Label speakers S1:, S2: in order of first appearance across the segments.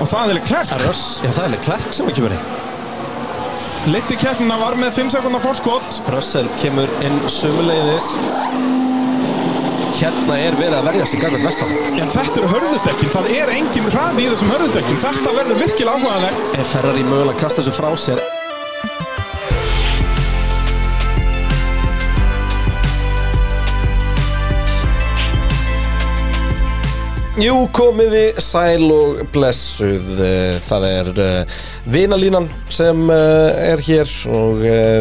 S1: Og það er Leclerc.
S2: Röss, já það er Leclerc sem er kemur inn
S1: Leitt í keppnina var með 5 sekundar fórskot.
S2: Russell kemur inn sömuleiðis Hérna er verið að verja sig gangið vestan
S1: En þetta eru hörðudekkin, það er engin hraði í þessum hörðudekkin. Þetta verður virkilega áhugaðlegt.
S2: Er Ferrari mögulega að kasta þessu frá sér? Jú, komiði sæl og blessuð. Eh, Það er uh, vinalínan sem uh, er hér og uh,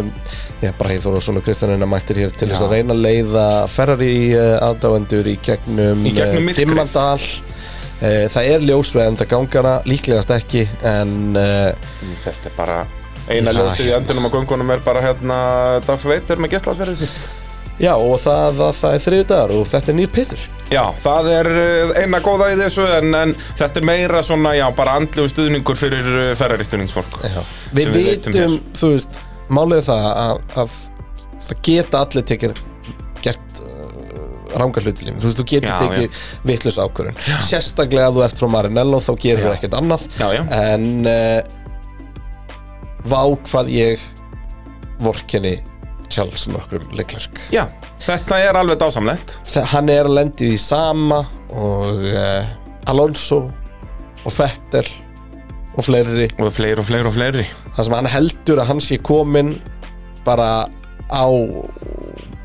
S2: já, Bræði Þórólfsson og Kristjánina mættir hér til þess að reyna að leiða Ferrari uh, aðdáendur í gegnum,
S1: Í gegnum
S2: eh,
S1: myrkrið.
S2: Dimmandal. Uh, það er ljósveðenda gangana, líklegast ekki, en uh,
S3: Þetta er bara eina
S2: Já,
S3: ljósið í
S2: hérna.
S3: endunum á göngunum er bara hérna Darth Vader með gestlasverðið sitt
S2: já, og það, það, það er þriðu dagar og þetta er nýr pittur.
S3: Já, það er eh, eina góða í þessu en, en þetta er meira svona, já, bara andlu stuðningur fyrir eh, Ferrari stuðningsfólk
S2: Já.
S3: Sem
S2: Við
S3: við vitum
S2: vitum, þú veist, málið er það að, að það geta allir tekið gert uh, ranga hluti í lífum, þú veist, þú getur
S3: Já,
S2: tekið vitlaus ákvörðun, sérstaklega að þú ert frá Marinello þá gerir þú ekkert annað
S3: Já, já.
S2: en uh, vá hvað ég vorkenni Charles nokkrum leiklerk
S3: Já, þetta er alveg dásamlegt
S2: hann er að lendi því sama og uh, Alonso og Vettel og fleiri
S3: og fleiri og fleiri og fleiri
S2: þar sem hann heldur að hann sé komin bara á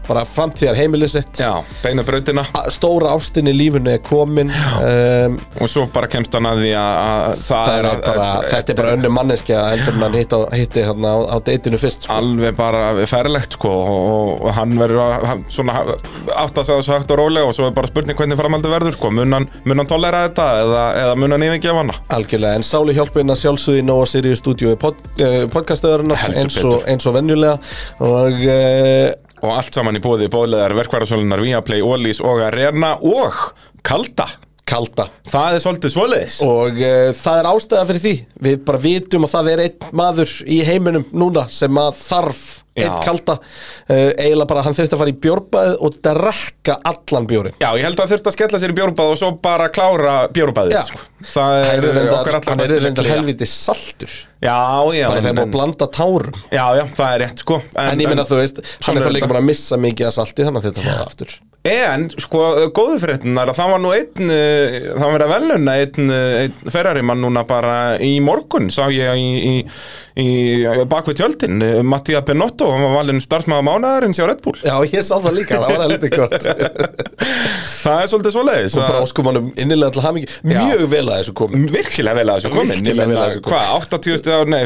S2: bara framtíðar heimilið sitt
S3: Já, beina brautina
S2: A- stóra ástin í lífinu er komin um,
S3: og svo bara kemst hann að því að að
S2: það er bara,
S3: að-
S2: þetta er bara önnur manneskja heldur en hann hitt á, hitti hérna á, á deytinu fyrst sko.
S3: alveg bara ferlegt sko, og, og hann verður að hann- svona átt að segja þessu hægt og rólega og svo er bara spurning hvernig framhaldi verður sko. mun, hann, mun hann tolera þetta eða, eða mun hann yfirgefa hana
S2: algjörlega, en sáli hjálpina sjálfsögði Nóa Sirius stúdíu pod, uh, podcastöðurinnar
S3: Heldur
S2: eins, og-
S3: betur.
S2: eins og venjulega og uh,
S3: og allt saman í bóði bóðleðar verkvarasölunar Viaplay, Ólís og Arena og Kalda
S2: kalda
S3: það er svolítið svoleiðis
S2: og uh, það er ástæða fyrir því við bara vitum að það er einn maður í heiminum núna sem að þarf einn
S3: Já.
S2: kalda uh, eiginlega bara hann þurfti að fara í bjórbæð og drekka allan bjórin
S3: Já, ég held að þurft að skella sér í bjórbað og svo bara klára bjórbæðið
S2: Já.
S3: sko. Það er
S2: hann er
S3: okkar
S2: reyndar,
S3: allra
S2: hann er
S3: besti
S2: reyndar
S3: leikliða.
S2: helviti saltur
S3: Já, já en-
S2: bara þegar maður
S3: en-
S2: blanda tárum en,
S3: Já, já, það er rétt sko
S2: ég minna þú veist, hann er
S3: er
S2: þá líka
S3: þetta.
S2: bara að missa mikið af salti þannig að þetta fara aftur
S3: En, sko, góðu fréttinar að það var nú einn, eh, það var verið að veluna einn, eh, einn ferrarimann núna bara í morgun, sá ég í, í, í bakvið tjöldin eh, Mattia Benotto, hann var valinn starfsmaður mánaðarins hjá Red Bull
S2: já ég sá það líka, það var helviti gott
S3: Það er svolítið svoleiðis
S2: og bara
S3: að-
S2: óskum hann innilega til hamingi
S3: Já.
S2: mjög vel að þessu komið
S3: Virkilega vel að þessu komin
S2: Virkilega
S3: Ég meina,
S2: vel að þessu komin.
S3: Hvað, 80 stiga, nei,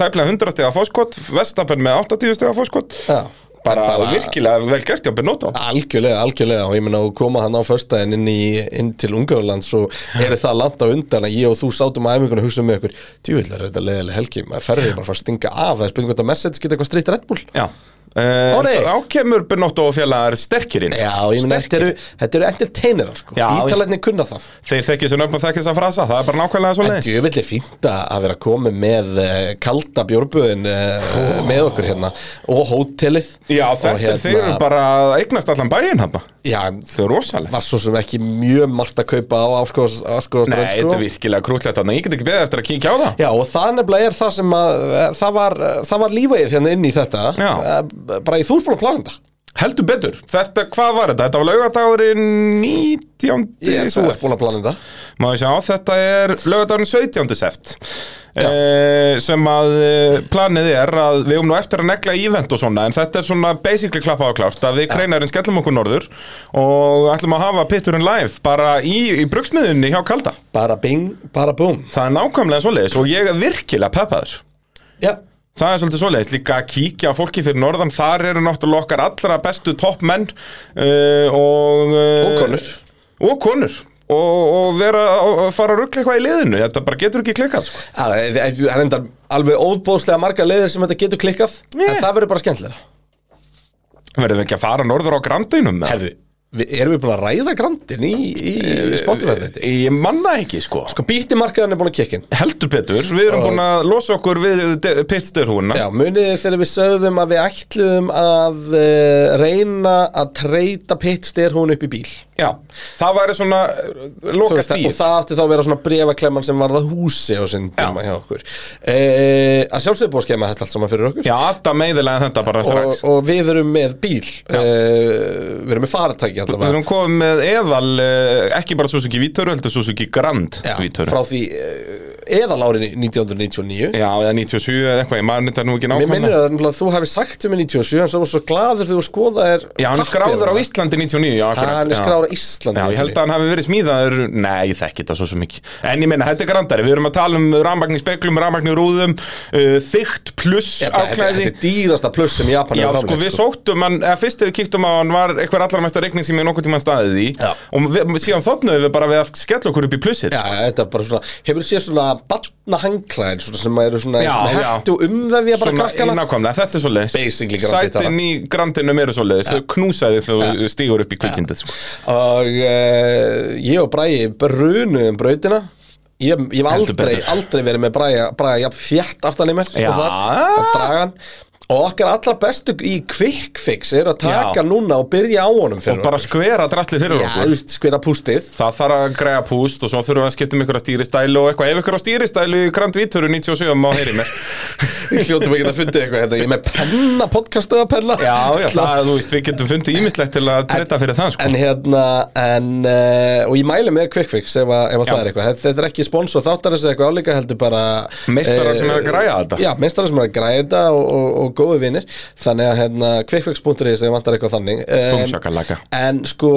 S3: tæplega 100 stiga fóskot Vestapen með 80 stiga fóskot
S2: Já.
S3: bara,
S2: Bara-
S3: virkilega vel gert hjá Benotto
S2: Algjörlega, algjörlega og ég meina að koma hann á föstudaginn inn, í, inn til Ungarland svo er það langt á undan að ég og þú sátum að æfingunni og hugsaðum með okkur djúvillar er þetta leiðilega helgi, maður ferði bara að fara að stinga af það er spurning hvort að message geta eitthvað streitt Red Bull
S3: Já Uh,
S2: Ó, nei.
S3: þá kemur Benotto og félagar sterkir inn
S2: Já, ég meina þetta eru, þetta eru entertainerar sko,
S3: Já, ég-
S2: ítalarnir kunna það
S3: Þeir þekki þessu nöfn og þekki þessa frasa, það er bara nákvæmlega svo
S2: En
S3: leiðis
S2: djöfill er fínt að að vera komið með uh, kalda bjórböðin uh, með okkur hérna og hótelið
S3: Já,
S2: Og hérna-
S3: þetta, þeir eru bara að eignast allan bæinn hann
S2: Já,
S3: Þau eru rosalega
S2: var svo sem ekki mjög margt að kaupa á afskoðaströnd
S3: Nei, þetta er virkilega krútlegt hann, ég get ekki beðið eftir að kíkja á það
S2: sko. Já og það nefnilega er það sem að eh, það var, það var lífægið hérna inn í þetta
S3: Já.
S2: Eh, bara í þúrbúin að plana þetta
S3: Heldur betur, þetta, hvað var þetta? Þetta var laugardagurinn 19.
S2: Þú ert búin að plana þetta
S3: Má ég sjá, þetta er laugardagurinn 17. seft eh, sem að eh, planið er að við um nú eftir að negla ívent og svona en þetta er svona basically klappað og klárt að við kreinarinn skellum okkur norður og ætlum að hafa pitturinn live bara í, í brugsmiðunni hjá Kalda
S2: Bara bing, bara búm
S3: Það er nákvæmlega svoleiðis og ég er virkilega peppaður
S2: Já,
S3: Það er svolítið svoleiðis, líka að kíkja á fólki fyrir norðan, þar eru náttúrulega okkar allra bestu toppmenn uh, og, uh,
S2: Og konur.
S3: Og konur og, og vera að fara að ruggla eitthvað í liðinu, þetta bara getur ekki klikkað sko.
S2: Ah, það er- það er enda alveg óbóðslega margar leiðir sem þetta getur klikkað
S3: Yeah.
S2: En það verður bara skemmtilega
S3: Verðum við ekki að fara norður á grandinum?
S2: Herðu, við, erum við búin að ræða grandin í, í, í
S3: Eh,
S2: Spotify þetta?
S3: Ég manna ekki sko.
S2: uh, Sko bítimarkaðan er búin að kikkin
S3: Heldur Petur, við erum búin að losa okkur við uh, pittstyrhúna
S2: Já, munið þið þegar við eh, sögðum að við ætluðum að uh, reyna að treyta pittstyrhún upp í bíl
S3: Já, Já, það væri svona uh,
S2: Þú
S3: loka
S2: veist, og
S3: stíð
S2: það átti þá að vera svona brefaklemman sem varða húsi á sinn tíma hjá okkur e, að sjálfsögðu búið að skemma þetta allt saman fyrir okkur
S3: Já, Adam meiðilega þetta bara
S2: og,
S3: strax
S2: og við erum með bíl e, við erum með faratæki
S3: Við erum komið með eðal, eh, ekki bara Suzuki Vítoru, heldur Suzuki Grand
S2: Já,
S3: Vítoru
S2: frá því eh, eðalári 1999
S3: Já, eða 97 eða eitthvað, ég maður þetta nú ekki
S2: Mér
S3: nákvæmna
S2: minnir að nefnilega þú hefði sagt um í 97 en svo var svo gladur þegar þú skoðaðir
S3: Já, hann er skráður á Íslandi 99 já, akkurat,
S2: Hann er
S3: já.
S2: skráður á Íslandi
S3: Já, ég held að hann hafi verið smíðaður Nei, ég þekki þetta svo sem ekki En ég meina, þetta er grandari, við erum að tala um rafmagn í speklum, rafmagn í rúðum uh, Þygt pluss
S2: Þetta þetta-
S3: áklæði
S2: þetta er dýrasta pluss sem Japan
S3: Já,
S2: hefur
S3: sko,
S2: framleitt,
S3: við sóttum hann, eða fyrst ef við kíktum á hann var eitthvað allra mesta reikning sem ég nokkuð tímann staðið í
S2: Já.
S3: og við, síðan þóttnum við bara við að skella okkur upp í plussið sko.
S2: Já, þetta er bara svona, hefur þú séð svona batnahangklæðin svona sem eru svona,
S3: Já,
S2: svona
S3: já.
S2: hættu umvefja bara
S3: Svona, í
S2: krakkana
S3: nákvæmlega, þetta er svo leiðis
S2: Basically grandið
S3: Sætin í grandinum eru svo leiðis, þau knúsaði þú ja. stígur upp í kvikindið sko.
S2: og uh, ég og Bræi brunuðum brautina Ég, ég hef
S3: Heldur
S2: aldrei,
S3: betur.
S2: aldrei verið með Bræja, Bræja jafn fjætt aftan í mér
S3: Já.
S2: og þar, og dragan og okkar allra bestu í quick fix er að taka
S3: Já.
S2: núna og byrja á honum fyrir
S3: Og bara skvera drastlið fyrir
S2: Já,
S3: okkur
S2: þú veist, skvera pústið
S3: Það þarf að greiða púst og svo þurfum við að skipta um ykkur að stýristælu og eitthvað. Ef ykkur á stýristælu í Grand Vítoru 97 má heyri mér.
S2: Við hljótum ekki að fundið eitthvað hérna Ég er með penna, podcastuða penna
S3: Já, já, það, þú veist, við getum fundið ímislegt til að treyta fyrir það, sko.
S2: En hérna, en uh, Og ég mæli með Quick Fix ef, að, ef að
S3: Já.
S2: það er eitthvað Þetta er ekki spons og þáttarins eða eitthvað álíka heldur bara
S3: Meistarar
S2: eh,
S3: sem eru að græja þetta.
S2: Já, meistarar sem er að græja þetta og, og, og góði vinnir Þannig að hérna, quickfix.is ef vantar eitthvað þannig Em,
S3: Búmsjakalaka.
S2: En sko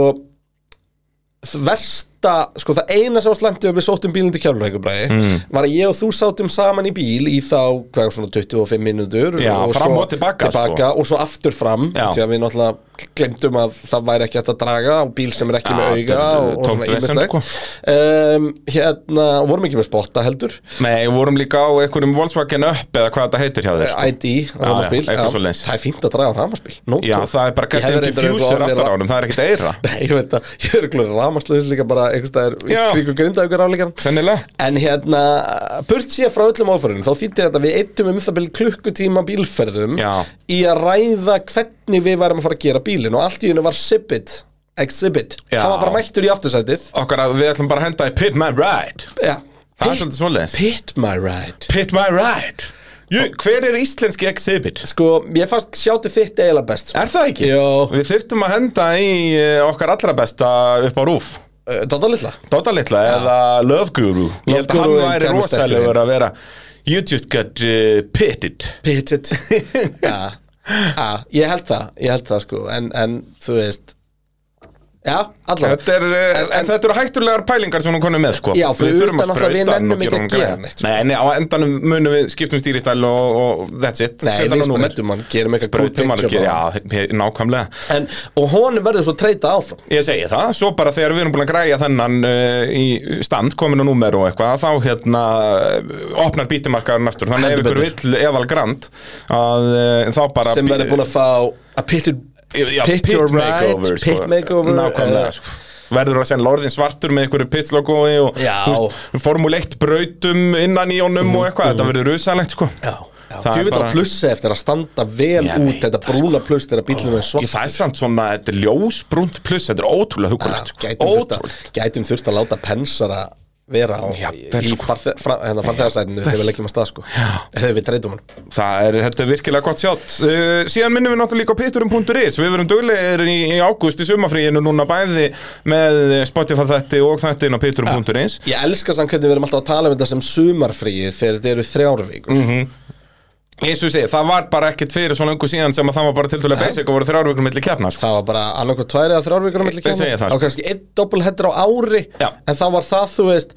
S2: versta, sko það eina sem var slæmt þegar við sóttum bílinn til Kjálfurhækubræði mm. var að ég og þú sátum saman í bíl í þá, hvað svona 25 mínútur
S3: Já,
S2: og
S3: fram
S2: svo
S3: og tilbaka, sko.
S2: og svo aftur fram
S3: Já.
S2: því að við náttúrulega glemdum að það væri ekki hægt að draga og bíl sem er ekki
S3: Já,
S2: með auga
S3: þetta er,
S2: og, og
S3: tómt
S2: svona
S3: vesen, sko.
S2: ýmislegt um, hérna, og vorum ekki með spotta heldur
S3: Nei, við vorum líka á einhverjum Volkswagen Up eða hvað þetta heitir hjá þér. sko.
S2: ID, rafmaspíl
S3: já, eitthvað svoleiðis.
S2: það er fínt að draga á rafmaspíl no
S3: Já,
S2: joke.
S3: það er bara
S2: Ég hefði
S3: gætið
S2: reyndar
S3: ekki
S2: örugglega
S3: fjúsir
S2: orðið
S3: aftur á
S2: ra-
S3: honum, það er ekkert eira.
S2: Nei, ég veit að, ég er glúin rámaslaðis líka bara einhverstaðar í
S3: Já.
S2: kringu grinda ykkur afleikar
S3: Sennilega.
S2: En hérna, burt síðan frá öllum áfærinu þá þýtti þetta að við eittum um það byrja klukkutíma bílferðum
S3: Já.
S2: í að ræða hvernig við værum að fara að gera bílinn og allt í hennu var Sibbit Exhibit,
S3: Já.
S2: hann var bara mættur í aftursætið
S3: Okkar að við ætlum bara að henda í Pit My Ride.
S2: Já,
S3: Það er svolítið svoleiðis.
S2: Pit my ride
S3: Pit My Ride. Jú, Hver er íslenski exhibit?
S2: Sko, ég fannst sjátti þitt eiginlega best sko.
S3: Er það ekki?
S2: Jó.
S3: Við þyrftum að henda í eh, okkar allra besta upp á rúf.
S2: Uh, Dóta litla
S3: Dóta litla eða Love Guru Ég held að hann
S2: Guru er
S3: væri
S2: kæmist ekki
S3: rosalegur að vera You just got uh, pitted
S2: Pitted Já, já, ég held það, ég held það sko En, en þú veist Já, allavega
S3: Þetta er, en, en,
S2: en-
S3: þetta eru hættulegar pælingar sem hún konum með sko
S2: Já, fyrir
S3: Við þurfum
S2: utan
S3: að
S2: náttúrulega við
S3: sprauta hann og
S2: nennum
S3: gera
S2: ekki
S3: honum
S2: að gera
S3: greiðan.
S2: neitt, sko.
S3: Nei, nei, á endanum munum við skiptum stýristæl og, og that's it
S2: Nei,
S3: Setja hann á
S2: við
S3: númer.
S2: sprautum hann, gerum eitthvað cool
S3: Sprautum hann og
S2: picture
S3: gera,
S2: bara.
S3: já, he- nákvæmlega
S2: en, Og honum verður svo treyta áfram
S3: Ég segi það, svo bara þegar við erum búin að græja þennan uh, í stand, komin á númer og eitthvað þá hérna eh, opnar bítimarkaðurinn aftur, þannig ef
S2: Heldur
S3: ykkur vill eðal grand að uh, þá bara
S2: sem verður búin að fá að pitted
S3: Já,
S2: pit,
S3: pit
S2: your
S3: makeover,
S2: right,
S3: sko.
S2: pit makeover
S3: Nákvæmlega,
S2: eh,
S3: sko verður að senda orðin svartur með einhverju pitslogoi og
S2: Já. Mhm.
S3: þú veist, formulegt brautum innan í honum og eitthvað, þetta verður rusalegt sko
S2: Já, já,
S3: Það er
S2: þú veit
S3: bara-
S2: að plussi eftir að standa vel
S3: Ég
S2: út
S3: veit sko.
S2: þetta brúna pluss þegar bílum er svart
S3: Í það er samt svona, þetta er ljósbrunt pluss, þetta er ótrúlega hugulegt sko.
S2: gætum þurft, að,
S3: Ótrúlegt.
S2: gætum þurft að láta pensara vera á,
S3: Jafnvel,
S2: í
S3: sko.
S2: farþe- fra- hérna, farþegarsætinu þegar við leggjum að stað sko þegar við treytum hann
S3: Það er, þetta er virkilega gott sjátt uh, Síðan minnum við náttúrulega líka á pitturum.is Við verum duglegir í, í ágúst í sumafríinu núna bæði með Spotify þætti og þetta inn á pitturum.is
S2: Ég elska samt hvernig við erum alltaf að tala um þetta sem sumarfríið þegar þetta eru þrjárvík mm.
S3: Eins og ég segi, það var bara ekkert fyrir svona ungu síðan sem að það var bara tiltölu basic og voru þrjár vikur milli keppna sko.
S2: Það var bara annarkoð tvær eða þrjárvíkur á milli
S3: Ég- ég segi það,
S2: kemur
S3: sko.
S2: og kannski einn doppelheader á ári
S3: Já.
S2: en þá var það, þú veist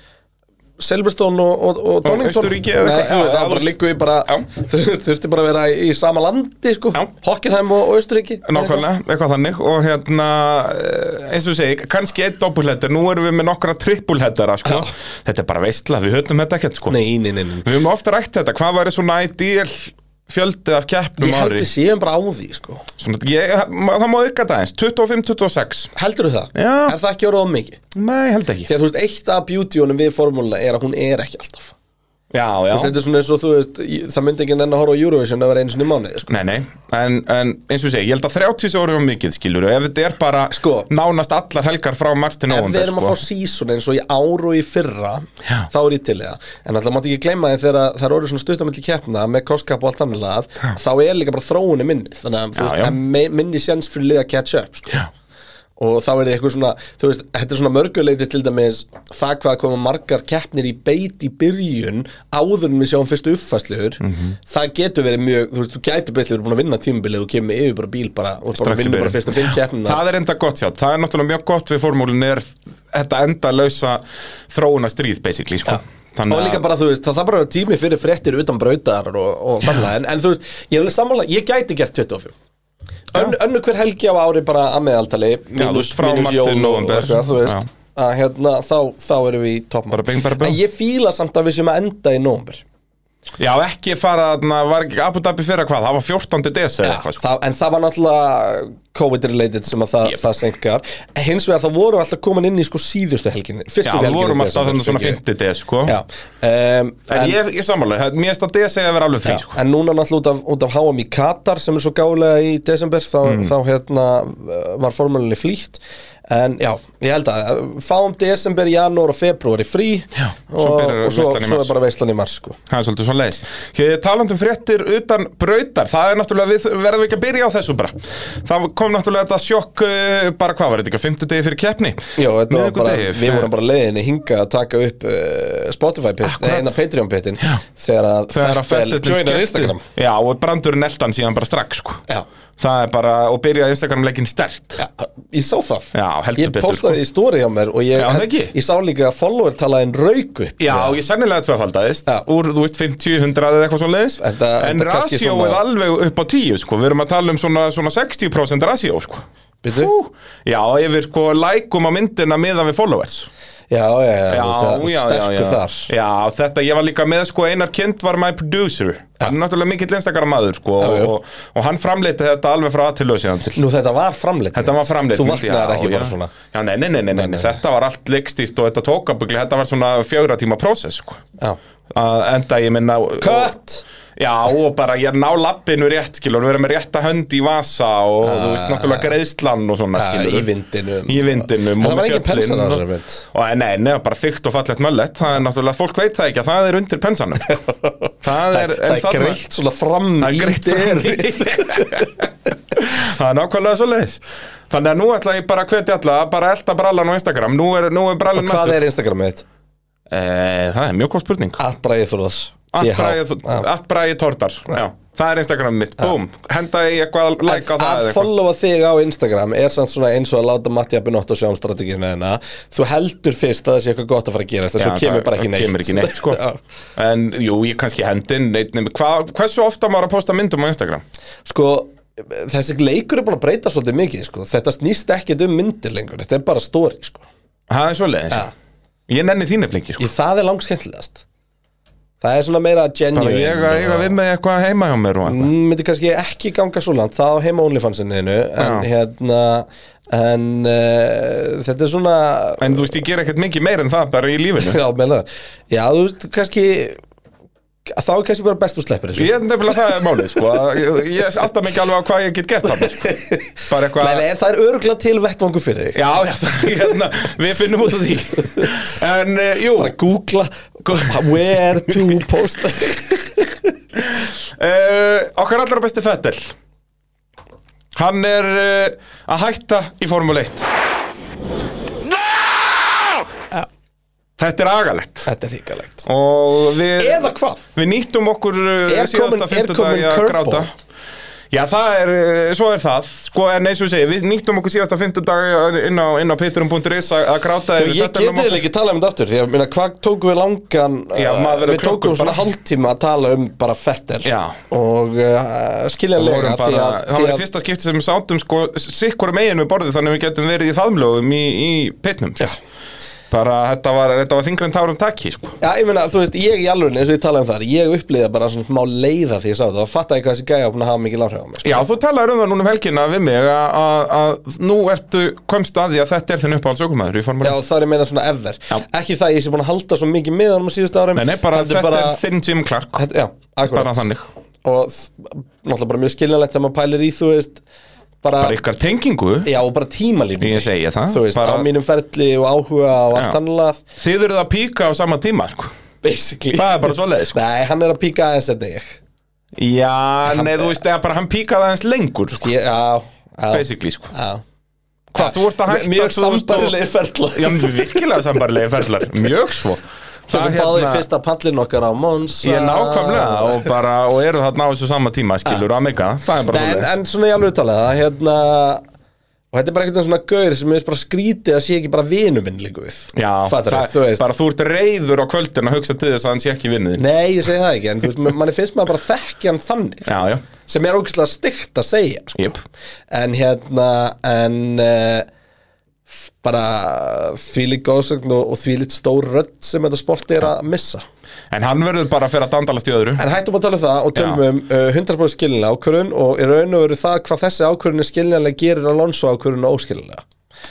S2: Silverstone og, og, og Donington
S3: Austurríki eða
S2: Nei,
S3: eitthvað. Já,
S2: þú
S3: já,
S2: veist, það bara
S3: þú-
S2: líku í bara
S3: Já.
S2: þú veist, þurfti bara að vera í sama landi sko,
S3: Já.
S2: Hockenheim og, og Austuríki
S3: Nákvæmlega, eitthvað þannig og hérna, eh, eins og ég segi, kannski einn doppulheadar, nú erum við með nokkra trippulheadara sko. Þetta er bara veistla, við höfum þetta ekkert sko.
S2: Nei, nei, nei, nei.
S3: Við höfum ofta rætt þetta, hvað væri svona ideal fjöldið af keppnum
S2: Ég held
S3: ári
S2: við séum bara á því sko.
S3: svona, ég, ma- Það má auka þetta eins, 25-26
S2: Heldur það?
S3: Já.
S2: Er það ekki orðað of mikið?
S3: Nei, held ekki
S2: Því að þú veist, eitt af beautyunum við formúluna er að hún er ekki alltaf
S3: já, já
S2: Þetta er svona eins og þú veist, í- það myndi ekki enn að horfa á Eurovision að vera einu sinni í mánuði, sko.
S3: Nei, nei, en, en eins og ég segi, ég held að 30 ári var mikið, skilur ef þetta er bara
S2: Sko.
S3: nánast allar helgar frá mars til
S2: Ef við
S3: nóvember,
S2: erum að
S3: sko
S2: fá season eins og í ár og í fyrra, þá er ég til í það. En alltaf mátti ekki gleyma því þegar það er orðið svona stuttamilli keppna með kostkap og allt annað, lað, þá er líka bara þróunni minni. Þannig að þú
S3: Já,
S2: veist,
S3: já.
S2: það er me- minni séns fyrir liða catch up, sko. Og þá er þið eitthvað svona, þú veist, þetta er svona mörguleiti til dæmis það hvað koma margar keppnir í beit í byrjun áður en við sjáum fyrstu uppfæsluður,
S3: Mhm.
S2: það getur verið mjög, þú veist, þú gæti beislega verið búin að vinna tímabilið og kemur yfir bara bíl bara og bara
S3: Strax í
S2: vinnur bara
S3: byrjun.
S2: fyrstu fimm keppnina.
S3: Það er enda gott hjá, það er náttúrulega mjög gott við formúlinu er þetta enda lausa þróuna stríð, basically, sko
S2: og líka bara, þú veist, það þarf bara að vera tími fyrir fréttir utan brautar og, og þannig en, en þú veist, ég er alveg sammála, ég gæti gert 25 Ön, önnu hver helgi á ári bara að meðaldali
S3: Já, þú
S2: mínus,
S3: veist, frá
S2: mínus
S3: mars til
S2: jól og
S3: nóvember.
S2: eitthvað, þú
S3: Já.
S2: veist að hérna, þá, þá erum við í toppmál
S3: Bara bing, bara bing.
S2: en ég fíla samt að við séum að enda í nóvember
S3: Já, ekki fara, na, var ekki Abu Dhabi fyrra hvað, það var 14. des eða eitthvað, sko
S2: Þa, en það var náttúrulega COVID-related sem að það, það senkar hins vegar þá vorum við alltaf komin inn í sko síðustu helginni
S3: Já,
S2: fyrstu
S3: við
S2: helginni
S3: vorum
S2: í
S3: alltaf
S2: desember,
S3: þannig svona
S2: fengi ég.
S3: 50 des, sko
S2: Já, um,
S3: En, ég, ég sammála, það- mér erst að des eða vera alveg frí,
S2: Já,
S3: sko
S2: en núna náttúrulega út af, út af HM í Katar sem er svo gálega í desember þá,
S3: Mm.
S2: þá hérna uh, var formúlinni flýtt en já, ég held að uh, fáum desember, janúar og februari frí já,
S3: svo
S2: og,
S3: byrjar
S2: og svo,
S3: veislan í
S2: svo
S3: mars.
S2: er bara veislan í mars sko.
S3: Það er svolítið svo leiðis. Talandum um fréttir utan brautar, það er náttúrulega, við verðum ekki að byrja á þessu bara. Það kom náttúrulega þetta sjokk, uh, bara hvað var þetta ekki, fimmtudegi fyrir keppni?
S2: já, þetta var bara,
S3: Miðvikudegi
S2: við
S3: fyrir-
S2: vorum bara leiðinni hinga að taka upp uh, Spotify pit,
S3: Akkurat.
S2: neina Patreon pitin þegar að
S3: þegar að
S2: Fertel
S3: ferðið
S2: joinar Instagram
S3: Já, og brandur neldan síðan bara strax, sko
S2: Já.
S3: Það er bara, og byrjaði Instagram leikinn stert
S2: Já, ég sá það
S3: Já, heldur
S2: Ég
S3: betur, sko.
S2: postaði í story á mér og ég,
S3: Já, það ekki.
S2: ég sá líka að follower talaði en rauk upp
S3: Já, ég sennilega tvöfaldaðist
S2: Já.
S3: Úr, þú veist, 50, 100 eða eitthvað svo leiðis
S2: Þetta-
S3: En
S2: þetta kannski
S3: rasjóið
S2: svona-
S3: alveg upp á 10, sko Við erum að tala um svona, svona 60% rasjó, sko
S2: Bíddu.
S3: Fú. Já, yfir sko lækum á myndina miðan við followers
S2: Já, já, já, já, já, já sterkur
S3: já.
S2: þar
S3: Já, þetta, ég var líka með sko Einar Kind var my producer Hann er náttúrulega mikill einstakara maður sko
S2: Já, já.
S3: Og, og hann framleiti þetta alveg frá að til lösiðan til
S2: Nú þetta var framleitt
S3: Þetta var framleitt
S2: Þú vaknaðir ekki
S3: já.
S2: bara svona
S3: Já, nei, nei, nei, nei, nei, nei. þetta var allt leikstýrt og þetta tók að byggja Þetta var svona fjögra tíma prósess sko.
S2: Já
S3: Að Enda ég minna
S2: Kött
S3: Já, og bara ég ná lappinu rétt skilur Við erum með rétta hönd í vasa Og þú veist náttúrulega greiðslan og svona skilur
S2: Ah. Í vindinum
S3: Í vindinum
S2: Það
S3: og
S2: var
S3: með
S2: engin
S3: fjöllin
S2: pensan á
S3: og-
S2: þessari mynd
S3: og eh, nei, nei, bara þygt og fallegt möllett það er náttúrulega, fólk veit það ekki að það er undir pensanum það
S2: Það
S3: er,
S2: er, það er greitt svona fram
S3: það
S2: í
S3: er greitt fram
S2: dyr
S3: í. það er nákvæmlega svo leiðis þannig að nú ætla ég bara að hvetja alla að bara elta brallan á Instagram nú er, nú er brallan
S2: Hvað er Instagramið þitt?
S3: Eh, það er mjög góð spurning
S2: Atbraðið Þorðars
S3: Atbræði Tordar Já. það er Instagram mitt, búm henda ég eitthvað like á
S2: Að,
S3: það
S2: að
S3: eða eitthvað.
S2: followa þig á Instagram er samt svona eins og að láta Mattia Binotto sjá um strateginu hérna Þú heldur fyrst að það sé eitthvað gott að fara að gerast en svo
S3: Já,
S2: kemur
S3: það-
S2: bara ekki
S3: það
S2: neitt
S3: kemur ekki neitt, sko.
S2: Já.
S3: en jú, ég kannski hendin neitt, neitt, hva, hversu ofta maður að posta myndum á Instagram
S2: sko þessi leikur er búin að breyta svolítið mikið sko. þetta snýst ekkit um myndir lengur þetta er bara story sko.
S3: það er svo leiðis
S2: Ja.
S3: ég nenni þínu blingi sko.
S2: Í það er langskemmtilegast það er svona meira
S3: Bara
S2: genuine Mm,
S3: ég að eiga við með eitthvað heima hjá mér og eitthvað.
S2: myndi kannski ekki ganga svo langt það á heima OnlyFansinniðinu en
S3: Já.
S2: hérna en uh, þetta er svona
S3: En þú veist, ég ger ekkert mikið meir en það bara í lífinu
S2: já, meina það já, þú veist, kannski þá er kannski bara best þú sleppir þessu
S3: Ég er nefnilega það er málið, sko að Ég, ég alltaf mikið alveg á hvað ég get gett þannig sko. Bara
S2: Nei,
S3: eitthvað
S2: nei, það er örgla til vettvangu fyrir þig
S3: Já, já, það, hérna, við finnum út af því En, uh, jú
S2: bara googla where to post
S3: uh, Okkar allra besti Fettel Hann er uh, að hætta í Formule 1 Þetta er agalegt
S2: þetta er híkalegt
S3: Og við
S2: eða hvað
S3: Við nýttum okkur uh,
S2: Er komin-
S3: síðasta
S2: er komin
S3: fimmtudag að
S2: curveball?
S3: gráta Já, það er, uh, svo er það Sko, en eins og ég segi, við nýttum okkur síðasta fimmtudag uh, inn á, inn á pitturum.is að að gráta
S2: Ég
S3: yfir
S2: geti
S3: Fettelinum
S2: eiginlega ekki talað um þetta aftur Því að minna, hvað tókum við langan
S3: Já,
S2: uh,
S3: maður verður
S2: Við tókum
S3: klokkur
S2: svona
S3: bara.
S2: hálftíma að tala um bara Fettel
S3: Já.
S2: Og uh,
S3: og
S2: skiljanlega
S3: vorum bara,
S2: því að,
S3: það
S2: því
S3: var í
S2: að
S3: fyrsta skipti sem við sátum sko sikkur megin við borðið þannig að við getum verið í faðmlögum í, í pitnum
S2: Já.
S3: bara þetta var, þetta var þingra en tárum taki sko.
S2: Já, ég meina, þú veist, ég í alveg, eins og ég talaði um það, ég upplýða bara svona smá leiða því ég sá það og fattaði hvað þessi gæja opna að hafa mikið láhrif á mig, sko.
S3: Já, þú talaður um það núna um helgina við mig að- að að nú ertu komst að því að þetta er þinn uppáhalds ökumæður í
S2: Já,
S3: formule
S2: og það er meina svona ever.
S3: Já.
S2: Ekki það að ég sé búin að halda svo mikið með honum á síðustu árum.
S3: Nei, nei, bara
S2: heldur
S3: þetta er þinn Jim Clark
S2: þetta, Já, akkurat.
S3: Bara þannig.
S2: Og þ- náttúrulega bara mjög skiljanlegt þegar maður pælir í, þú veist, bara,
S3: bara ykkar tengingu,
S2: já, og bara tímalínu.
S3: ég segi það
S2: Þú veist,
S3: Ah, bara,
S2: á mínum ferli og áhuga og allt
S3: Já.
S2: annað,
S3: Þið eruð að píka á sama tíma sko.
S2: basically.
S3: Það er bara svoleiðis, sko.
S2: Nei, hann er að píka aðeins þetta ég.
S3: Já, nei, þú veist, eða bara hann píkaði aðeins lengur sko,
S2: Ég- Já, já,
S3: basically, sko
S2: já.
S3: Hvað, þú ert að hætta
S2: Mjög
S3: 2000 og-
S2: sambarilegir ferla.
S3: Já, virkilega sambarlegi ferlar, mjög svo
S2: Tökum báði fyrsta pallin okkar á Mons
S3: hérna- Ég er nákvæmlega og bara, og eru þarna á þessu sama tíma, skilur, Amerika, það er bara
S2: en,
S3: svoleiðis.
S2: en svona í alveg talað að hérna Og þetta er bara einhvern veginn svona gaur sem ég veist bara skrítið að sé ekki bara vinu minn líka við
S3: Já,
S2: Fattar
S3: það-
S2: þú veist
S3: bara þú ert reyður á kvöldin að hugsa til þess að hann sé ekki vinnið
S2: Nei, ég segi það ekki, en þú veist, manni finnst maður bara þekki hann þannig
S3: Já, já,
S2: sem er ógæslega stygt að segja sko.
S3: Jep.
S2: en hérna en uh, bara þvílík góðsögn og, og þvílík stór rödd sem þetta sporti er að missa
S3: en hann verður bara að fyrir að dandalast í öðru
S2: En hættum að tala um það og tölum
S3: Já.
S2: um uh, 100% skiljanlega ákvörðun og í raun og veru það hvað þessi ákvörðun er skiljanlega gerir Alonso ákvörðun og óskiljanlega.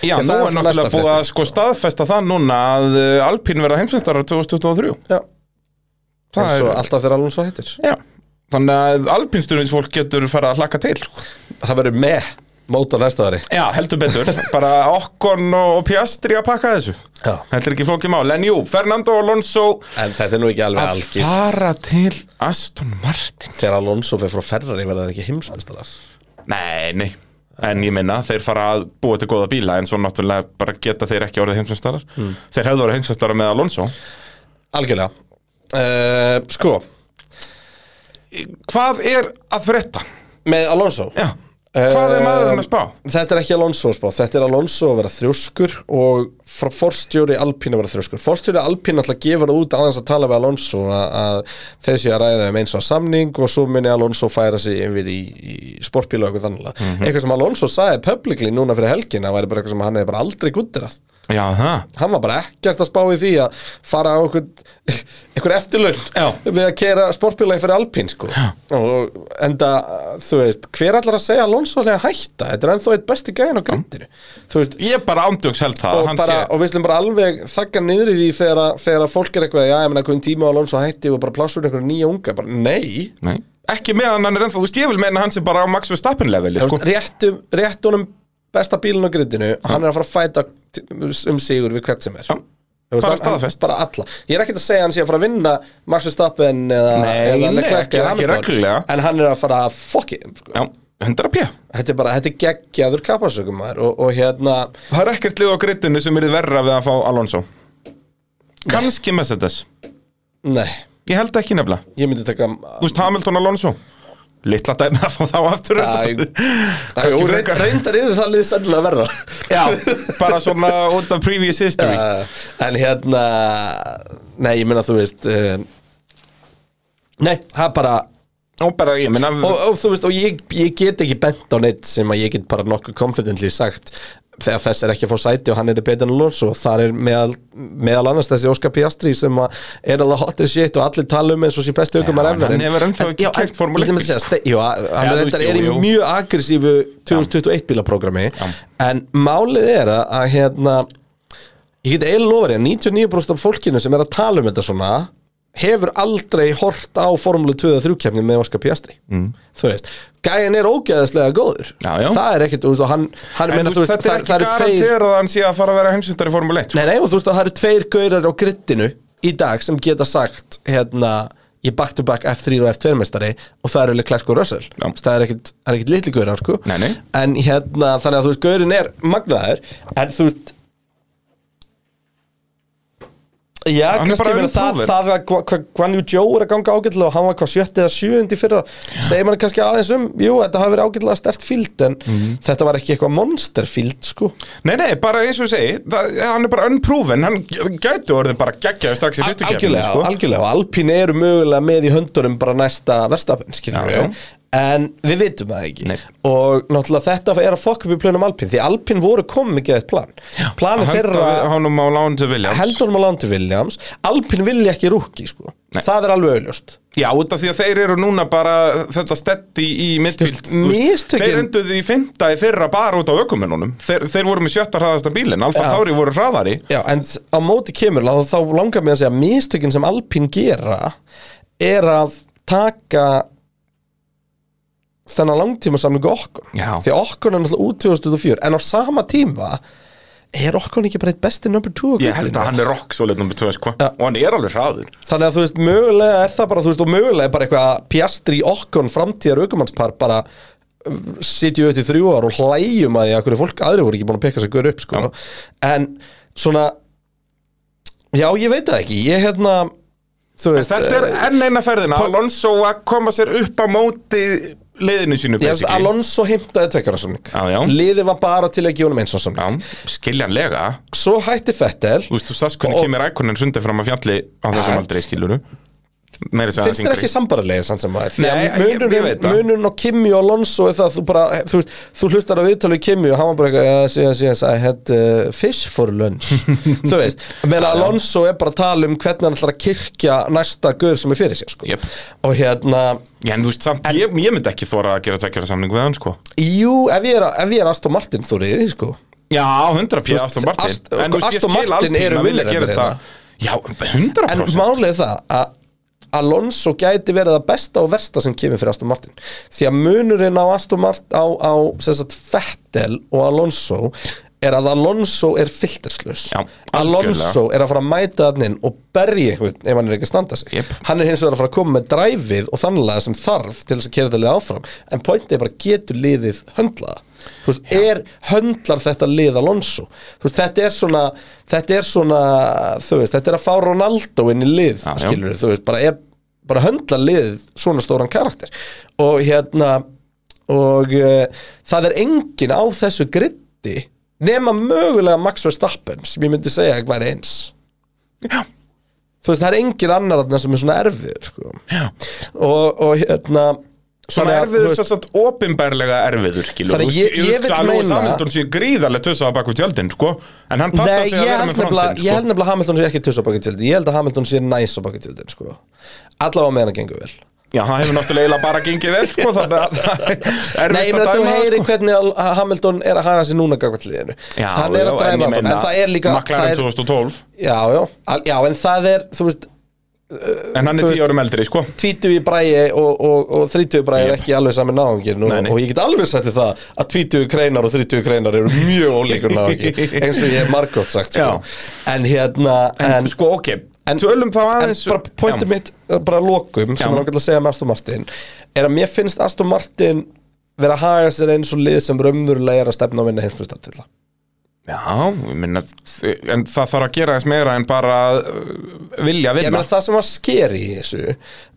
S3: Já,
S2: Ég,
S3: nú
S2: það er
S3: er náttúrulega
S2: næsta
S3: búið að sko staðfesta það núna að uh, Alpín verða heimsvinstarar 2023
S2: Já,
S3: Það
S2: eins og
S3: er-
S2: alltaf þegar Alonso hættir.
S3: Já, þannig að alpínstunins fólk getur farið að hlaka til sko.
S2: Það verður með mót á næsta ári.
S3: Já, heldur betur, bara Okkon og Piastri að pakka þessu
S2: Já.
S3: Þetta er ekki flókið mál, en jú, Fernando Alonso
S2: En þetta er nú ekki alveg
S3: að
S2: algist.
S3: fara til Aston Martin
S2: Þegar Alonso fyrir frá Ferrari verður það ekki heimsmestarar.
S3: Nei, nei, en ég minna, þeir fara að búa til góða bíla en svo náttúrulega bara geta þeir ekki orðið heimsvinstarar Þeir hefðu orðið heimsvinstarar með Alonso
S2: Algjörlega. Uh, sko,
S3: Hvað er að frétta?
S2: með Alonso.
S3: Já, hvað er maður
S2: Um,
S3: með spá?
S2: Þetta er ekki Alonso spá, þetta er Alonso að vera þrjóskur og frá forstjóri Alpín að vera þrjóskur. Forstjóri Alpín alltaf gefur það út aðeins að tala við Alonso að, að þeir séu að ræða um eins og samning og svo muni Alonso færa sig yfir í, í sportbíla og eitthvað þannlega.
S3: Mhm.
S2: Eitthvað sem Alonso sagði publicly núna fyrir helgina væri bara eitthvað sem hann hefði bara aldrei guttirað.
S3: Já, það
S2: Hann var bara ekkert að spá í því að fara á einhvern, einhvern eftirlaun
S3: Já.
S2: við að kera sportbílaði fyrir Alpín sko. og enda, þú veist, hver ætlar að segja Alonso að hætta? Þetta er ennþá eitt besti gæðin á grindinu þú veist,
S3: Ég bara ándjóks held það
S2: og,
S3: hann
S2: bara,
S3: sé-
S2: og við slum bara alveg þakka niður í því þegar, að- þegar að fólk er eitthvað, já, ég menna, hvernig tíma á Alonso hætti og bara plásur einhverju nýja unga, bara nei
S3: Nei. Ekki meðan hann er ennþá, þú veist, ég vil meina hann sem bara á Max Verstappen leveli,
S2: Þú
S3: sko.
S2: veist, réttu, réttu honum besta bílun á grindinu, hann er að fara að fæta t- um sigur við hvert sem er
S3: Já.
S2: Þú
S3: Bara
S2: hann- hann-
S3: staðfest.
S2: bara alla Ég er ekkert að segja hann sé að fara að vinna Max Verstappen eða,
S3: Nei,
S2: eða
S3: nei,
S2: Leclerc
S3: ekki-
S2: eða
S3: ekki
S2: Hamilton.
S3: reglulega.
S2: En hann er að fara að fokki sko.
S3: Já, 100 pjö.
S2: Þetta er bara, þetta er geggjaður kapasökum maður og, og hérna,
S3: Það er ekkert lið á grittinu sem er verra við að fá Alonso. Kanski Mercedes.
S2: nei
S3: Ég held ekki nefnilega.
S2: Ég myndi taka
S3: Þú veist, Hamilton Alonso. Littla dæmi að fá þá aftur.
S2: Æ,
S3: kannski
S2: Jú, reynd-
S3: frekar.
S2: Reyndar yfir það liðið sennilega verra
S3: Já, bara svona út af previous history.
S2: Uh, en hérna Nei, ég meina þú veist uh, Nei, það er bara
S3: Og bara, ég minna,
S2: og, og þú veist, og ég, ég get ekki bent á neitt sem að ég get bara nokkuð confidently sagt þegar þess er ekki að fá sæti og hann er betur en Alonso og þar er meðal, meðal annars þessi Óskar Piastri sem að er alveg hot as shit og allir tala um eins og sé besti aukum
S3: Já,
S2: að ever
S3: hann hefur ennþá ekki
S2: já, en-
S3: keyrt Formule
S2: ég
S3: 1
S2: ætla með að segja, ste- Jú, að- hann
S3: Já,
S2: er
S3: þú
S2: reyndar
S3: veist,
S2: er í
S3: jú, jú.
S2: mjög aggressífu 2021 bílaprogrammi en málið er að, að hérna ég get eiginlega lofað því að 99% af fólkinu sem er að tala um þetta svona hefur aldrei hort á Formule 2 eða 3 kemni með Oscar Piastri mm. þú veist, gæin er ógeðaslega góður
S3: Já, já.
S2: það er ekkert, þú veist, og hann, hann
S3: en
S2: meina,
S3: þú veist, þetta er
S2: það,
S3: ekki
S2: það eru tveir
S3: garanterað að hann sé að fara að vera heimsvistar í Formule 1.
S2: nei, nei, og þú veist, og það eru tveir gaurar á grittinu í dag sem geta sagt hérna, ég back to back F3 og F2 mestari og það eru Leclerc og Russell
S3: Já.
S2: Þess, það er ekkert, það er ekkert litli gaurar, sko
S3: Nei, nei.
S2: en hérna, þannig að þú veist, gaurin er magnaður, en þú veist Já,
S3: Hann er
S2: kannski
S3: bara
S2: meina það,
S3: unproven.
S2: það að hvað hva, Guan Yu Zhou er að ganga ágætlega og hann var hvað sjötti eða sjöundi fyrir segir mann kannski aðeins um, jú, þetta hafi verið ágætlega stert fíld en
S3: Mhm.
S2: þetta var ekki eitthvað monster fíld, sko
S3: Nei, nei, bara eins og ég segi, það, hann er bara unproven, hann gæti orðið bara geggjaði strax í fyrstu sko. kefni,
S2: algjörlega, algjörlega og Alpín eru mögulega með í höndunum bara næsta
S3: Já,
S2: verstafinn,
S3: já.
S2: skiljum við En við vitum það ekki
S3: Nei.
S2: Og náttúrulega þetta er að fokka upp í plönum Alpin Því Alpin voru komið ekki að eitt plan Planið þeirra
S3: Hánum á lánu til Williams
S2: heldunum á lán til Williams Alpin vilja ekki rúki sko.
S3: Nei.
S2: Það er alveg auðljóst
S3: Já, út af því að þeir eru núna bara þetta stetti í midfield
S2: Just
S3: þú veist,
S2: mistökin.
S3: Þeir enduðu í fynda í fyrra bara út á ökumennunum þeir, þeir voru með sjötta hraðasta bílinn Alfa
S2: Já.
S3: Tauri voru hraðari
S2: Já, en þ- á móti kemur þá, þá langar mér að segja að mistökin sem Alpín gera er að taka þennan langtíma samlingu okkur
S3: Já.
S2: því að okkur er náttúrulega út 2004 en á sama tíma er okkur ekki bara eitt besti number 2
S3: Ég held að hann er rock svo leitum sko. og hann er alveg hraður
S2: þannig að þú veist, mögulega er það bara þú veist, og mögulega er bara eitthvað að pjastri okkur framtíðar aukumannspar bara sitju auðvitað í þrjú ár og hlæjum að því að hverju fólk aðri voru ekki búin að peka sig gaur upp sko. en svona já, ég veit það ekki ég hérna, þú veist
S3: Þetta er
S2: eh,
S3: enn eina ferðina Alonso að koma sér upp á móti liðinu sínu
S2: ég,
S3: basically.
S2: Alonso heimtaði tvekjara samning
S3: Já, já.
S2: liðið var bara til að gefa honum eins og samning
S3: Já, skiljanlega
S2: svo hætti Fettel
S3: Þú veist, þú sast hvernig
S2: Og-
S3: kemur ækonin sundið fram að fjalli á
S2: Ja.
S3: þessum aldrei skiluru Finnst
S2: finnst þér ekki sambarlega samt sem maður því
S3: Nei,
S2: að
S3: ég- ég veit
S2: munurinn
S3: það.
S2: munurinn á Kimi og Alonso er það að þú bara, þú veist, þú hlustar á viðtalið Kimi og hann var bara eitthvað, yes, yes, yes, I had uh, fish for lunch þú veist, meðan Alonso er bara að tala um hvernig hann ætlar að kirkja næsta guður sem er fyrir sér, sko
S3: Jep.
S2: og hérna,
S3: Já, en þú veist samt, ég, ég myndi ekki þóra að gera tveggjara samning við hann, sko
S2: jú, ef ég er, ef ég er Aston Martin, þú reyði því, sko
S3: Já, 100 pí
S2: veist,
S3: Aston Martin
S2: Ast- sko,
S3: ég
S2: Aston
S3: skil
S2: Martin
S3: Alpine
S2: eru
S3: að vilja
S2: vilja
S3: gera
S2: þetta.
S3: þetta Já, 100
S2: en málið er það að Alonso gæti verið það besta og versta sem kemur fyrir Aston Martin því að munurinn á Aston Martin á, á sem sagt, Fettel og Alonso er að Alonso er filterslaus
S3: Já, algjörlega.
S2: Alonso er að fara að mæta hann inn og berja einhvern ef hann er ekki að standa sig
S3: Jep.
S2: hann er hins vegar að fara að koma með dræfið og þannlega sem þarf til þess að kera þetta lið áfram en pointið er bara getur liðið höndlaða Þú veist, er höndlar þetta lið Alonso Þú veist, þetta er svona þetta er svona, þú veist, þetta er að fá Ronaldo inn í lið,
S3: Já, já.
S2: skilur þú veist, bara, er, bara höndla lið svona stóran karakter og hérna og uh, það er engin á þessu gritti nema mögulega Max Verstappen sem ég myndi segja að væri eins
S3: Já,
S2: þú veist, það er engin annar þarna sem er svona erfiður sko.
S3: já
S2: og, og hérna
S3: Svona
S2: þannig að, þú
S3: erfiður,
S2: veist,
S3: svo satt opinberlega erfiður, skilur
S2: Þannig að ég- ég vil
S3: Lewis
S2: meina-
S3: Hamilton sé gríðarlega tussa á baku tjöldin, sko En hann passa sig
S2: Nei,
S3: að
S2: ég
S3: vera
S2: held
S3: með frontinn,
S2: nefnilega ég held
S3: sko
S2: nefnilega að Hamilton sé ekki tuss á baki tildin ég held að Hamilton sé næs á baki tildin sko. allavega meðan að gengur vel
S3: Já, það hefur náttúrulega eiginlega bara gengið vel, sko Þannig að það er
S2: Nei,
S3: erfitt
S2: ég meina
S3: að
S2: þú
S3: dæma,
S2: heyri
S3: sko.
S2: hvernig Al- Ha- Hamilton er að haga sér núna gagvart liðinu
S3: Já,
S2: hann er
S3: já, en
S2: að
S3: ég
S2: dræfa en
S3: meina,
S2: það er líka það
S3: McLaren
S2: er,
S3: 2012,
S2: já, já, al- já, en það er þú veist,
S3: en hann
S2: þú
S3: er
S2: veist-
S3: 10 árum eldri, sko
S2: tvítu í bræi og, og, og þrítu í bræi er
S3: Jep.
S2: ekki alveg saman náungin og,
S3: Nei, nei.
S2: og ég get alveg sagt þér það að tvítu kreinar og þrítu kreinar eru mjög ólíkur náungi eins og ég hef margótt sagt
S3: Já.
S2: sko. en hérna en,
S3: Sko, ok,
S2: en-
S3: tölum þá
S2: en
S3: aðeins
S2: bara pointið
S3: Já.
S2: mitt, bara að lokum sem
S3: Já.
S2: er náttúrulega að segja með Aston Martin er að mér finnst Aston Martin vera að haga sér eins og lið sem raunverulega er að stefna að vinna heimsfyrstatilla
S3: Já, ég minna, en það þarf að gera eins meira en bara uh, vilja
S2: Ég
S3: vinna
S2: meina það sem var skeri í þessu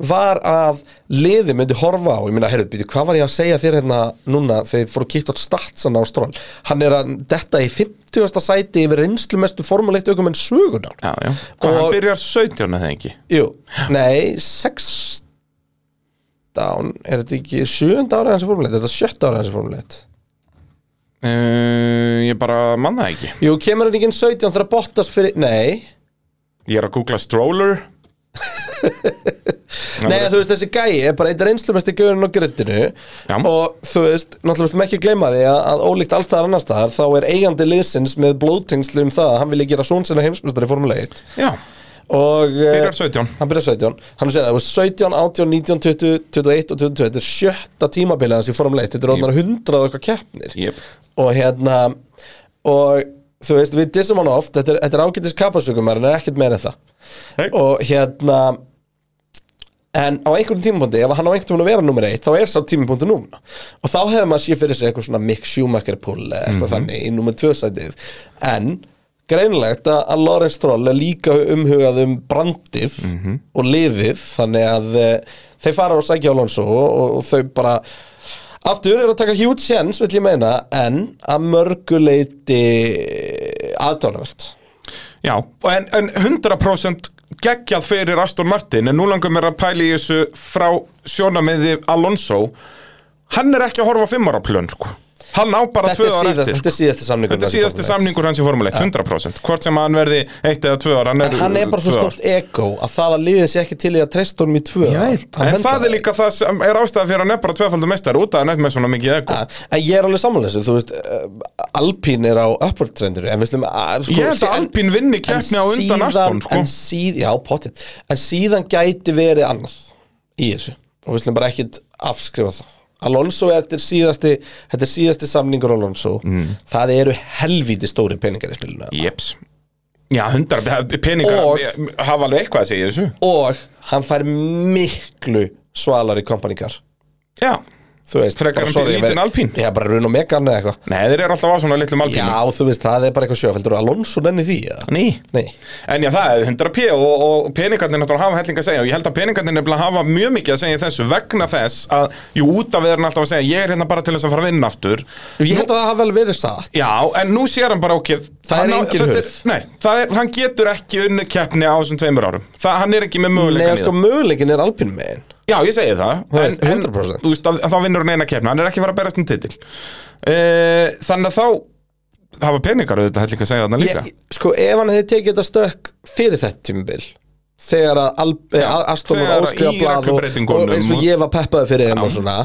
S2: var að liði myndi horfa á ég meina, heyrðu, býtu, hvað var ég að segja þér hérna núna þegar þið fóru að kýtt átt statsana á stról hann er að detta í 50. sæti yfir reynslumestu formuleitt aukum en sögunar
S3: Já, já, hvað
S2: Og-
S3: hann byrjar 17 eða ekki
S2: Jú, nei, 16 er þetta ekki 7. ára hans í formuleitt, þetta er 7. ára hans í formuleitt
S3: uh, Ég bara manna það ekki
S2: Jú, kemur hann ekki inn 17 þegar að bottast fyrir, nei
S3: Ég er að googla stroller
S2: Nei, þú veist, þessi gæi er bara eitt reynslumesti gauðurinn á grittinu
S3: Já.
S2: og þú veist, náttúrulega sem ekki gleyma því að, að ólíkt allstaðar annar staðar þá er eigandi liðsins með blóðtengslu um það að hann vilja gera són sinna heimsmestari í Formule 1
S3: Já,
S2: og eh,
S3: byrjar 17
S2: hann byrjar 17 hann er sér það, þú veist, 17, 18, 19, 20, 21 og 22 þetta er sjötta tímabilið hans í Formule 1 þetta er orðnar 100 og eitthvað keppnir
S3: yep.
S2: og hérna og þú veist, við dissum hann oft þetta er, þetta er ágætis kapasökum, en er ekkert meira en það
S3: hey.
S2: og hérna en á einhverjum tímapunkti ef hann á einhverjum tímapunkti að vera nummer eitt þá er sá tímapunkti núna og þá hefði maður séð fyrir sig eitthvað svona Mick Schumacher pull eða eitthvað
S3: Mhm.
S2: þannig í nummer tvö sætið en greinlegt að, að Lawrence Stroll er líka umhugað um brandið
S3: Mhm.
S2: og liðið þannig að e, þeir fara og sækja Alonso og, og, og þau bara aftur er að taka huge chance vill ég meina en að mörguleiti aðdánavert
S3: Já, en, en 100% geggjað fyrir Aston Martin en nú langar mér að pæla í þessu frá sjónamiði Alonso hann er ekki að horfa á fimmara plön sko. hann á bara
S2: Þetta
S3: tvö
S2: er
S3: ára
S2: síðast-
S3: eftir sko.
S2: þetta er síðasti samningur
S3: Þetta er síðasti samningur hans í Formule 1, 100% Hvort sem hann verði eitt eða tvö ára
S2: En hann er bara svo
S3: tvö ár.
S2: stort ego að það að liðið sé ekki til í að treysta honum í tvö ár
S1: veit.
S2: Hann
S3: En
S2: höndlar
S3: það er líka það sem er ástæða fyrir að hann er bara tvöfaldum meistar út að hann er með svona mikið ego
S2: Ja, En ég er alveg samanleysu, þú veist eh, Alpín er á upward trendur En við slum að sko,
S3: Ég held að
S2: en-
S3: Alpín vinni
S2: en
S3: keppni á undan
S2: síðan-
S3: Aston sko.
S2: en síð, Já, potið En síðan gæti verið annað í þessu Og við slum bara ekkit afskrifa það Alonso, þetta er síðasti, þetta er síðasti samningur Alonso
S3: Mm.
S2: Það eru helvíti stóri peningar í spilinu
S3: Jeps Já, hundar peningar
S2: Og-
S3: hafa alveg eitthvað að segja í þessu
S2: Og hann fær miklu svalari kompanikar
S3: Já,
S2: Þú veist
S3: Frekar
S2: bara,
S3: en
S2: sorry,
S3: bíl- lítinn
S2: við-
S3: Alpín?
S2: Já, bara run og megan eða eitthvað
S3: nei þeir eru alltaf á svona litlum alpínu
S2: Já, þú veist, það er bara eitthvað sjöfeldur Alonso nenni því, eða?
S3: Ný
S2: Nei
S3: En já, það er 100 p og, og peningarnir náttúrulega hafa helling að segja og ég held að peningarnir nefnilega hafa mjög mikið að segja í þessu vegna þess að, jú, út af við erum alltaf að segja ég er hérna bara til þess að fara að vinna aftur
S2: Ég held að það hafa vel verið satt
S3: Já, en nú sér hann bara okkið
S2: Það er engin hurð.
S3: Nei, það er, hann getur ekki unni keppni á þessum tveimur árum það, Hann er ekki með
S2: Nei,
S3: möguleika
S2: sko, möguleikin er alpín megin
S3: Já, ég segi það,
S2: Þú veist, 100%.
S3: En, þú veist, að, þá vinnur hann eina keppni, hann er ekki að fara að berast um titil uh, Þannig að þá hafa peningar auðvitað helling að segja þarna líka
S2: ég, Sko, ef hann hefði tekið þetta stökk fyrir þetta tímubil Þegar að Al- eh, Aston voru
S3: þegar að
S2: áskrifa
S3: í
S2: blað og,
S3: reglubreytingunum
S2: og eins og
S3: og-
S2: ég var peppaði fyrir þeim og svona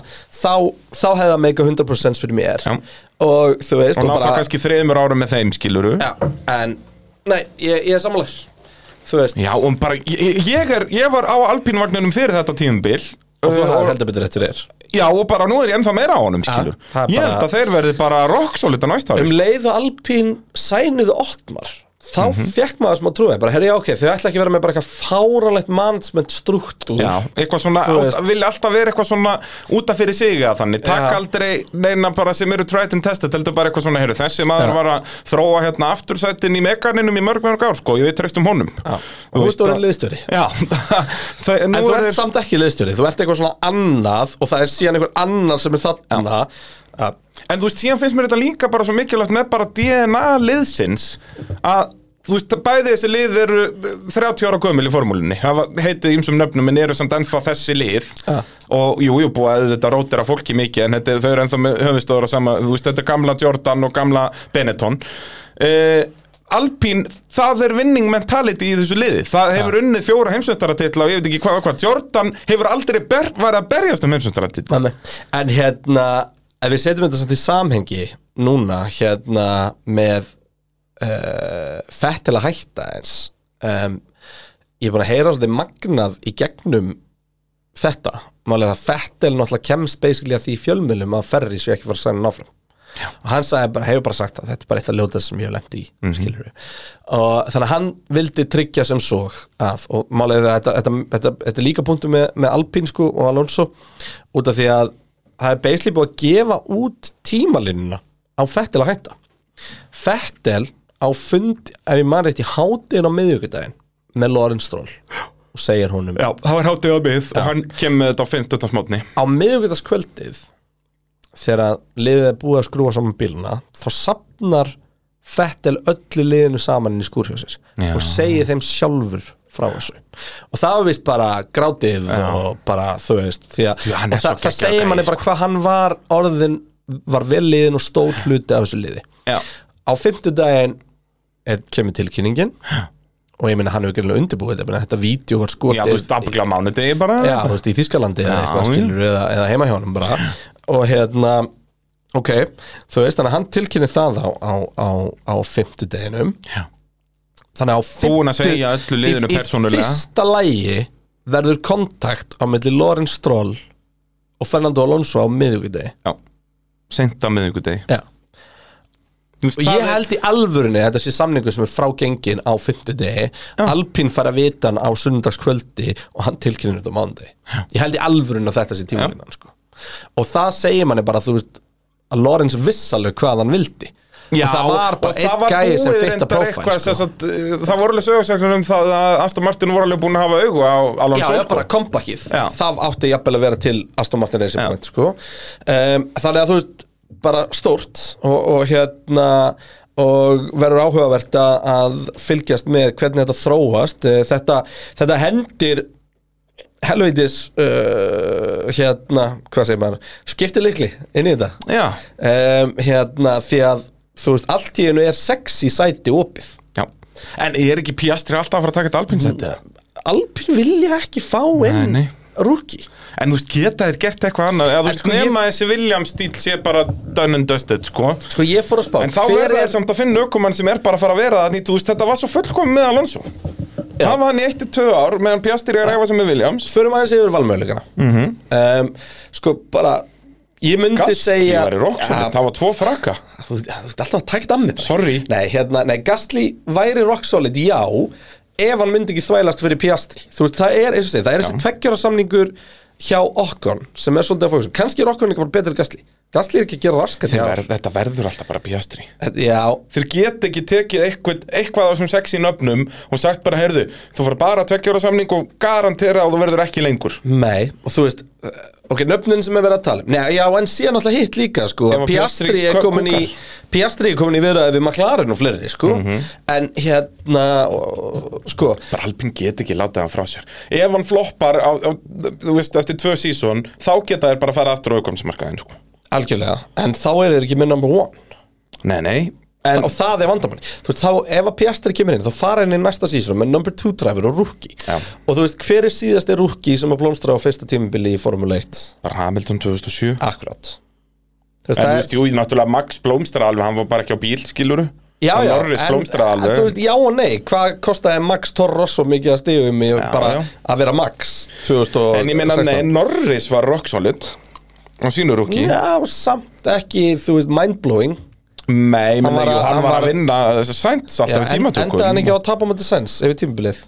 S2: Þá, þá hefði það meika 100% fyrir mér
S3: Já.
S2: Og þú
S3: Og
S2: veist, og,
S3: ná það
S2: bara
S3: kannski þreimur árum með þeim, skiluru
S2: Já, en, nei, ég, ég er samanlegs Þú veist
S3: Já, og bara, ég, ég, er, ég var á alpínvagninum fyrir þetta tímubil
S2: Og þú hefði heldur betur eftir þér
S3: Já, og bara nú er ég ennþá meira á honum, skilur
S2: það er
S3: Ég
S2: bara-
S3: held að þeir verði bara rock svolítið næst ári sko.
S2: um leið og Alpín sænuðu Ottmar þá
S3: Mhm.
S2: fekk maður sem að trúi bara, herri, já, ok, þau ætla ekki að vera með bara eitthvað fáralegt mannsmynd strúkt úr
S3: Já, eitthvað svona,
S2: Þú veist.
S3: vilja alltaf vera eitthvað svona út af fyrir sig eða þannig Takk
S2: Já.
S3: aldrei neina bara sem eru tried and tested heldur bara eitthvað svona, heyrðu, þessi maður var að þróa hérna aftursætin í meganinum í mörg mörg ár, sko, ég veit treystum honum Já,
S2: og þú veist orðin liðstjóri
S3: Já, það,
S2: en
S3: nú
S2: þú
S3: er
S2: ert samt ekki liðstjóri, þú ert eitthvað svona annað og það er síðan einhver annar sem er þarna Uh, að
S3: En þú veist, síðan finnst mér þetta líka bara svo mikilvægt með bara DNA liðsins að þú veist, bæði þessi lið eru 30 ára gömul í formúlinni hafa heitið ýmsum nöfnum en eru samt ennþá þessi lið
S2: Ja.
S3: og jú, jú, búið að þetta rótira fólki mikið en þetta, þau eru ennþá með höfistóður á sama þú veist, þetta er gamla Jordan og gamla Benetton uh, Alpín, það er vinning mentality í þessu liði, það hefur unnið fjóra heimsveistaratitla og ég veit ekki hvað, og hvað Jordan hefur aldrei ber, var að berjast um heimsveistaratitla
S2: Nei, nei. En hérna, ef við setjum þetta samt í samhengi núna hérna með uh, fett til að hætta eins um, ég er búin að heyra svolítið magnað í gegnum þetta, málega það Fettel náttúrulega kemst basically að því í fjölmjölum að ferri svo ekki fara að sæna hann áfram og hann sagði bara, hefur bara sagt að þetta er bara eitt af ljótað sem ég hef lent í, mm og þannig að hann vildi tryggja sem svo að, og málega þetta, þetta, þetta, þetta er líka punktu með, með Alpinsku og Alonso, út af því að það er basically búið að gefa út tímalinuna á Fettel að hætta Fettel á fund, ef ég maður rétt í hátinn á miðvíkudaginn með Lorenz Stroll og segir honum
S3: Já, það var hátíð á byggð og hann kemur með þetta á 15. smátni
S2: á miðvíkudagskvöldið þegar að liðið er búið að skrúa saman bíluna þá sapnar Fettel öllu liðinu saman inn í skúrhjósis
S3: Já.
S2: og segir þeim sjálfur frá þessu og það var vist bara grátið og bara þú veist því að,
S3: hann er
S2: og það,
S3: svo
S2: það
S3: geggjaður
S2: segir manni
S3: gæi, sko.
S2: bara hvað hann var orðin var vel liðin og stór hluti af þessu liði
S3: Já.
S2: á fimmtudaginn er- kemur tilkynningin og ég meina hann hefur gerðilega undirbúið þetta, ég meina, þetta vídeo var skotið
S3: Já, þú veist, afbyggla mánudegi bara
S2: Já, þú veist, í Þískalandi eða eitthvað
S3: já.
S2: skilur eða, eða heima hjá honum bara og hérna, ok þú veist, þannig að hann tilkynni það á, á, á, á fimmtudeginum
S3: Já.
S2: þannig að á
S3: Búin að
S2: fimmtu-
S3: segja öllu liðinu
S2: í,
S3: persónulega.
S2: Í fyrsta lægi verður kontakt á milli Lorenz Stroll og Fernando Alonso á miðvíkudegi
S3: Já. Seint á miðvikudegi
S2: Já
S3: Þú veist,
S2: Og
S3: það
S2: ég held í alvörunni að þetta sé samningur sem er frágengin á fimmtudegi Alpín fara að vita hann á sunnudagskvöldi og hann tilkynir þetta á mándi Ég held í alvörunni að þetta sé tímalinnan sko. Og það segir manni bara þú veist að Lorenz vissalegu hvað hann vildi
S3: Já,
S2: Og það var
S3: og það
S2: bara einn
S3: var
S2: gæi sem
S3: búið
S2: fitta
S3: reyndar
S2: prófæl
S3: eitthvað,
S2: sko.
S3: sem sagt, eh, Það voru alveg sögursegnum um það að Aston Martin voru alveg búin að hafa augu á
S2: Já,
S3: Alonso
S2: já,
S3: sko.
S2: bara kompakið
S3: Já.
S2: Það átti jafnvel að vera til Aston Martin Racing Point sko. um, Þannig að þú veist bara stórt og, og hérna og verður áhugavert að- að fylgjast með hvernig þetta þróast Eh, þetta, þetta hendir helvitis uh, hérna, hvað segir maður skiptir líkli inn í þetta
S3: Já,
S2: um, hérna, því að þú veist, allt í hennu er sex í sæti opið
S3: já En ég er ekki Piastri alltaf að fara að taka þetta
S2: Mm.
S3: alpinsætti
S2: Alpin vilja ekki fá inn
S3: nei.
S2: rúki
S3: En þú veist, geta þér gert eitthvað annað Eða þú
S2: En
S3: veist,
S2: sko, ég-
S3: nema þessi Williams stíl sé bara done and dusted, sko
S2: Sko ég fór að spá
S3: En þá
S2: hver
S3: verður
S2: er-
S3: þær samt að finna ökumann sem er bara að fara að vera það Þú veist, þetta var svo fullkomið með Alonso Það var hann í 1-2 ár meðan Piastri er að ræfa sem með Williams
S2: förum aðeins yfir valmöðuleikana
S3: Mhm.
S2: um, sko bara ég myndi
S3: Gastli
S2: segja
S3: var í Roxon,
S2: Ja,
S3: það var tvo frakka
S2: þú þú ert alltaf að taka dammið
S3: Sorry.
S2: nei, hérna, nei, Gastli væri rock solid, já ef hann myndi ekki þvælast fyrir Piastri þú veist, það er, eins og segja, það er þessi tveggjara samningur hjá Okkon sem er svolítið að fókusum kannski er Okkon ekki bara betur Gastli Gastli er ekki að gera raska
S3: Þeir
S2: þegar
S3: verð- Þetta verður alltaf bara Piastri
S2: já,
S3: Þeir get ekki tekið eitthvað, eitthvað á þessum sexi nöfnum og sagt bara, heyrðu, þú fara bara að tveggjóra samning og garantera að þú verður ekki lengur.
S2: nei, og þú veist eh, ok, nöfnin sem er verið að tala um nei, já, en síðan alltaf hitt líka, sko
S3: Ef að
S2: Piastri,
S3: Piastri
S2: er
S3: kú-
S2: komin í Piastri er komin í viðraði við McLaren og fleiri, sko
S3: Mhm.
S2: en hérna, og- sko
S3: Bara Alpin get ekki látið hann frá sér. Ef hann floppar, á, á, þú veist, eftir tvö sísón, þá geta þær bara að fara aftur á aukumsmarkaðin, sko.
S2: algjörlega, en þá er þeir ekki með number one
S3: Nei, nei.
S2: En, og það er vandamann Þú veist, þá, ef að Piastri kemur inn, þá fara henni næsta sísum með number 2 driver og rookie
S3: Já.
S2: og þú veist, hver er síðasti rookie sem að blómstra á fyrsta tímabili í Formule 1
S3: Bara Hamilton 2007.
S2: akkurat þú veist,
S3: En þú
S2: það er-
S3: veist, jú, náttúrulega Max blómstraði alveg, hann var bara ekki á bíl, skiluru.
S2: já, já,
S3: Norris
S2: en-
S3: blómstraði
S2: en
S3: alveg.
S2: þú veist, já og nei, hvað kostaði Max Torros svo mikið að stigum í bara
S3: já.
S2: að vera Max 2016
S3: en ég meina, nei, Norris var rock solid á sínu rúki.
S2: já, samt ekki, þú veist, mindblowing
S3: Nei, menn,
S2: Hann var
S3: hann,
S2: að-
S3: hann,
S2: hann
S3: var
S2: var-
S3: að vinna eh, sænt
S2: já,
S3: alltaf í
S2: en,
S3: tímatökum.
S2: enda hann ekki á að tapa mútið sens yfir tímabilið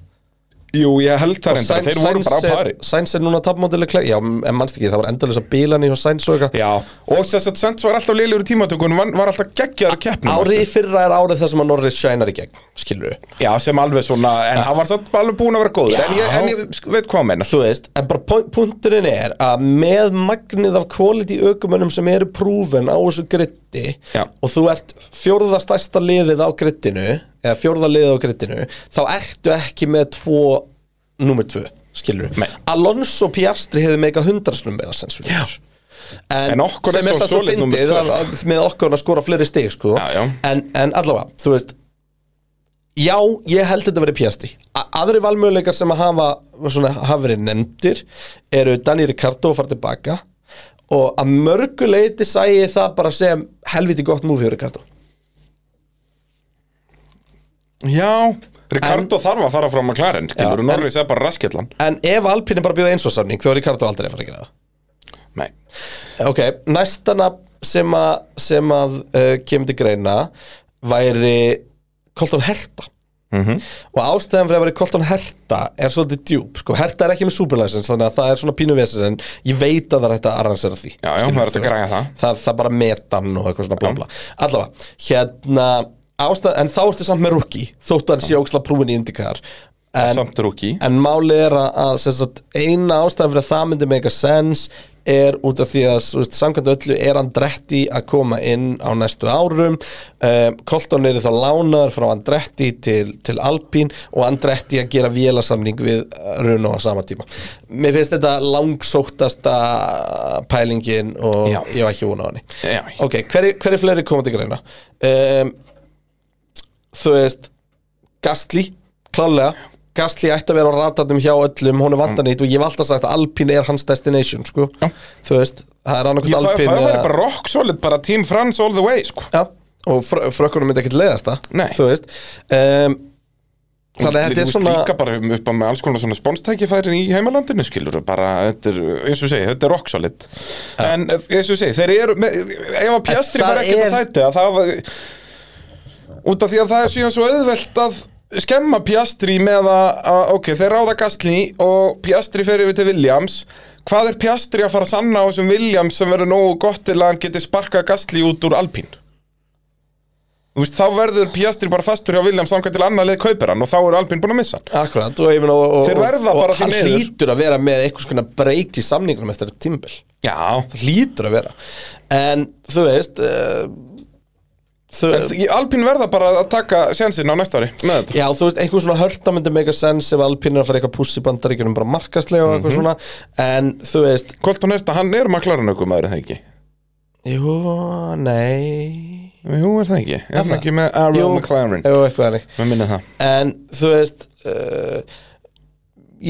S3: Jú, ég held það reyndar,
S2: Sainz-
S3: þeir voru bara
S2: Sainz
S3: á
S2: er-
S3: pari
S2: Sainz er núna tapmótileg klær Já, en mannst ekki, það var endalins að bílan í og Sainz og eitthvað
S3: Já, og þess að Sands var alltaf liðlegur í tímatökunum, var, var alltaf geggjaður í keppnum
S2: Árið í
S3: veistu.
S2: fyrra er árið þar sem að Norris shinar í gegn Skilur við
S3: Já, sem alveg svona, en hann var samt alveg búin að vera góður en ég, en ég sk- veit hvað að menna
S2: Þú veist, en bara pun- punkturinn er að með magnið af quality aukumönnum sem eru prúfen á þessu gritti
S3: Já.
S2: og þú ert fjórða stærsta liðið á grittinu eða fjórða liðið á grittinu þá ertu ekki með tvo númer tvö, skilur
S3: Nei.
S2: við Alonso Piastri hefði meika hundrasnum með það sens fyrir En,
S3: En Ocon er
S2: sem
S3: svo
S2: samt svo
S3: solid númer
S2: fyndið
S3: tvö.
S2: að- að- með okkur að skora fleiri stig sko.
S3: Já, já.
S2: En, en allavega, þú veist Já, ég held þetta verið pjasti Aðri valmöguleikar sem að hafa svona, hafa verið nefndir eru Dani Ricardo að fara tilbaka og að mörgu leiti sæi ég það bara sem helviti gott múfi fyrir Ricardo
S3: Já, Ricardo þarf að fara frá McLaren, skilur,
S2: Já, en-
S3: Norris er bara raskillan
S2: En ef Alpine er bara að bjóða eins og samning þá er Ricardo aldrei að fara að gera það
S3: Nei,
S2: Ok, næsta nafn sem að, sem að uh, kemur til greina væri Colton Herta
S3: Mhm.
S2: og ástæðan fyrir að vera Colton Herta er svolítið djúb, sko, Herta er ekki með superlicense þannig að það er svona pínu vesins en ég veit að það er hægt að arransera því
S3: já, já,
S2: Skilur,
S3: það er hægt
S2: þú
S3: að græja
S2: veist.
S3: það
S2: það, það er bara metan og eitthvað svona bla bla allavega, hérna ástæðan, en þá ertu samt með rookie þóttu hann sé óksla prúin í Indikar en,
S3: Samt rúki
S2: En málið er að, að sem sagt, eina ástæðan fyrir að það myndi make a sense er út af því að þú veist, samkvæmt öllu er Andretti að koma inn á næstu árum um, Colton eru þá lánaður frá Andretti til, til Alpín og Andretti að gera vélasamning við uh, Runo á sama tíma Mér finnst þetta langsóttasta pælingin og
S3: Já.
S2: ég var ekki vona á henni
S3: Já.
S2: Ok, hverju hver fleiri komandi greina? Um, þú veist Gastli, klálega Gastli ætti að vera á ratarnum hjá öllum hún er vandanýtt og ég hef alltaf sagt að Alpine er hans destination sko,
S3: Já.
S2: þú veist það er annarkvæmt
S3: Ég- Það
S2: Alpine
S3: það væri
S2: eða-
S3: bara rock solid, bara Team France all the way, sko
S2: já, og fr frökkunum myndi ekkit leiðast
S3: Nei.
S2: það þú veist um, þannig að
S3: Þú
S2: þetta er
S3: veist,
S2: svona
S3: líka bara upp á með alls konar svona sponstækifærin í heimalandinu skilur bara, þetta er, eins og segi, þetta er rock solid en eins og segi, þeir eru með, ef að Pjastri
S2: það
S3: fær ekkert
S2: er-
S3: að sæti að það var út af því að það er síðan svo auðvelt að skemma Pjastri með að, að ok, þeir ráða Gastli og Pjastri fer yfir til Williams hvað er Pjastri að fara að sanna á þessum Williams sem verður nógu gott til að hann geti sparkað Gastli út úr Alpín Þú veist, þá verður Pjastri bara fastur hjá Williams þangað til annað leið kaupir hann og þá eru Alpín búin að missa hann
S2: akkurat og, ég meina, og, og,
S3: Þeir verða
S2: og,
S3: bara
S2: og
S3: því
S2: hann
S3: miður.
S2: hlýtur að vera með eitthvað svona breyk í samningnum eftir þetta tímbil
S3: Já,
S2: hlýtur að vera en eh, þú veist uh,
S1: Þau,
S3: En þ- Alpín verða bara að taka sénsinn á næsta ári með þetta.
S2: Já, þú veist, einhvern svona hörta myndi mega sens ef Alpín er að fara eitthvað pússi bandaríkjunum bara markaslega og eitthvað svona en þú veist,
S3: Kolton Herta, hann er maklarinn okkur maður, er það ekki?
S2: jú, nei
S3: Jú, er það ekki? Er hann
S2: það?
S3: ekki með Aaron
S2: Jú.
S3: McLaren?
S2: eða eitthvað hannig
S3: Mér minna það.
S2: en þú veist uh,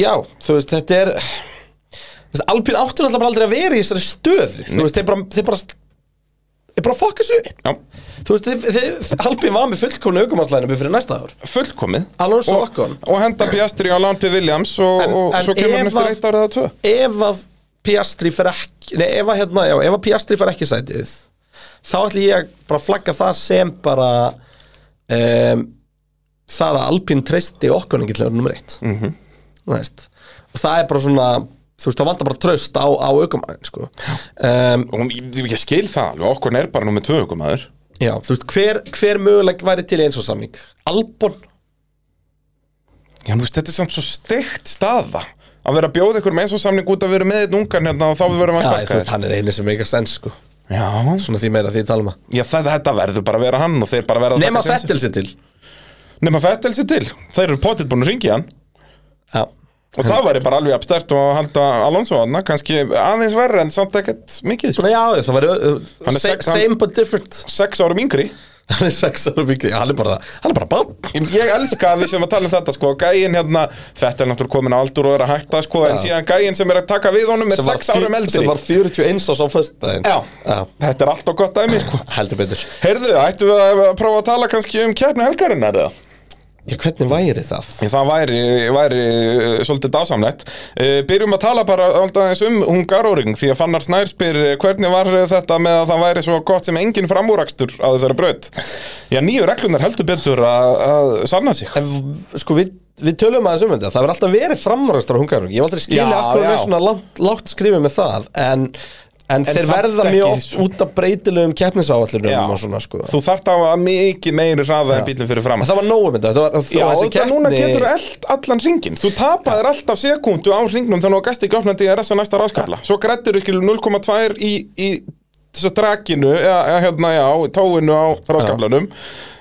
S2: já, þú veist, þetta er þú veist, Alpín áttur alltaf bara aldrei að vera í þessari stöð þú veist, þeir bara þeir bara, þeir bara fuck þessu upp.
S3: Já,
S2: þú veist, þeir, þeir, Alpín var með fullkomna aukumannslæðinu fyrir næsta ár
S3: fullkomið.
S2: Alonso
S3: Og,
S2: Ocon
S3: og henda Bjastri á lán til Williams og,
S2: En-
S3: og
S2: en
S3: svo kemur hann
S2: ef
S3: eftir
S2: að-
S3: eitt árið eða tvö.
S2: ef að Piastri fer ekki nei, ef að hérna, já, ef að Piastri fer ekki sætið þá ætlum ég að bara flagga það sem bara um, það að Alpín treysti okkur ekki til að vera nummer eitt mm
S3: Mhm.
S2: -hmm. og það er bara svona þú veist, það vantar bara traust á, á aukumannin sko. um,
S3: Og hún- ég, ég skil það alveg, okkur er bara nummið tvö okkur maður.
S2: já, þú veist, hver, hver möguleg væri til í eins og samning Albon,
S3: Já, en þú veist, þetta er samt svo steikt staða að vera að bjóða ykkur með eins og samning út að vera með einn ungan hérna og þá við verum að
S2: já, þú
S3: stakka
S2: veist, hann er eini sem meika sens sko.
S3: Já,
S2: svona því meira því ég tala um að
S3: já það, þetta verður bara að vera hann og þeir bara verða að
S2: nema
S3: taka sénsinn.
S2: Fettil sér til
S3: Nema Fettel sér til, þeir eru potið búin að ringja hann
S2: já,
S3: og það væri bara alveg abstert og að halda Alonso hann, kannski aðeins verri en samt ekkert mikið, sko.
S2: svona já, það væri uh,
S3: Hann er
S2: same,
S3: sex- hann-
S2: same but different
S3: sex árum yngri
S2: hann er sex ára byggri, hann er bara hann er bara bann
S3: Ég ég elska að við sem að tala um þetta sko Gæin hérna, þetta er náttúrulega komin á aldur og er að hætta sko En
S2: Já.
S3: síðan gæin sem er að taka við honum er sex árum eldri
S2: sem var 41 ás á föstudaginn
S3: Já. Þetta er alltaf gott dæmi sko
S2: heldur betur
S3: Heyrðu, ættum við að prófa að tala kannski um keppni helgarinnar eða?
S2: já, hvernig væri það?
S3: Ég, Það væri, væri eh, svolítið dásamlegt Eh, Byrjum að tala bara alltaf um Hungaroring því að Fannar Snær spyr eh, hvernig var þetta með að það væri svo gott sem engin framúrakstur á þessari braut Já, nýju reglunar heldur betur að, að sanna sig
S2: En, sko við, við tölum aðeins um þetta það verður alltaf verið framræstur á hungarung ég hef aldrei skilja
S3: Já,
S2: akkur
S3: já.
S2: með svona langt, lágt skrifið með það en, en, þeir
S3: samt
S2: verða
S3: ekki
S2: mjög oft
S3: svo-
S2: út af breytilegum
S3: Já.
S2: keppnisáallunum og svona sko
S3: Þú þarft á að mikið meiri hraða en bílum fyrir fram
S2: En það var nógu mynda það var,
S3: Já,
S2: þessi
S3: þetta núna
S2: keppni-
S3: getur allt, allan ringin Þú tapaðir alltaf sekundu á ringnum þannig að þú gæst ekki opnað DRS á næsta ráskafla Svo grættir þú skilur 0,2 í, í þessa drakinu eða, eða hérna, já, tóinu á ráskaflanum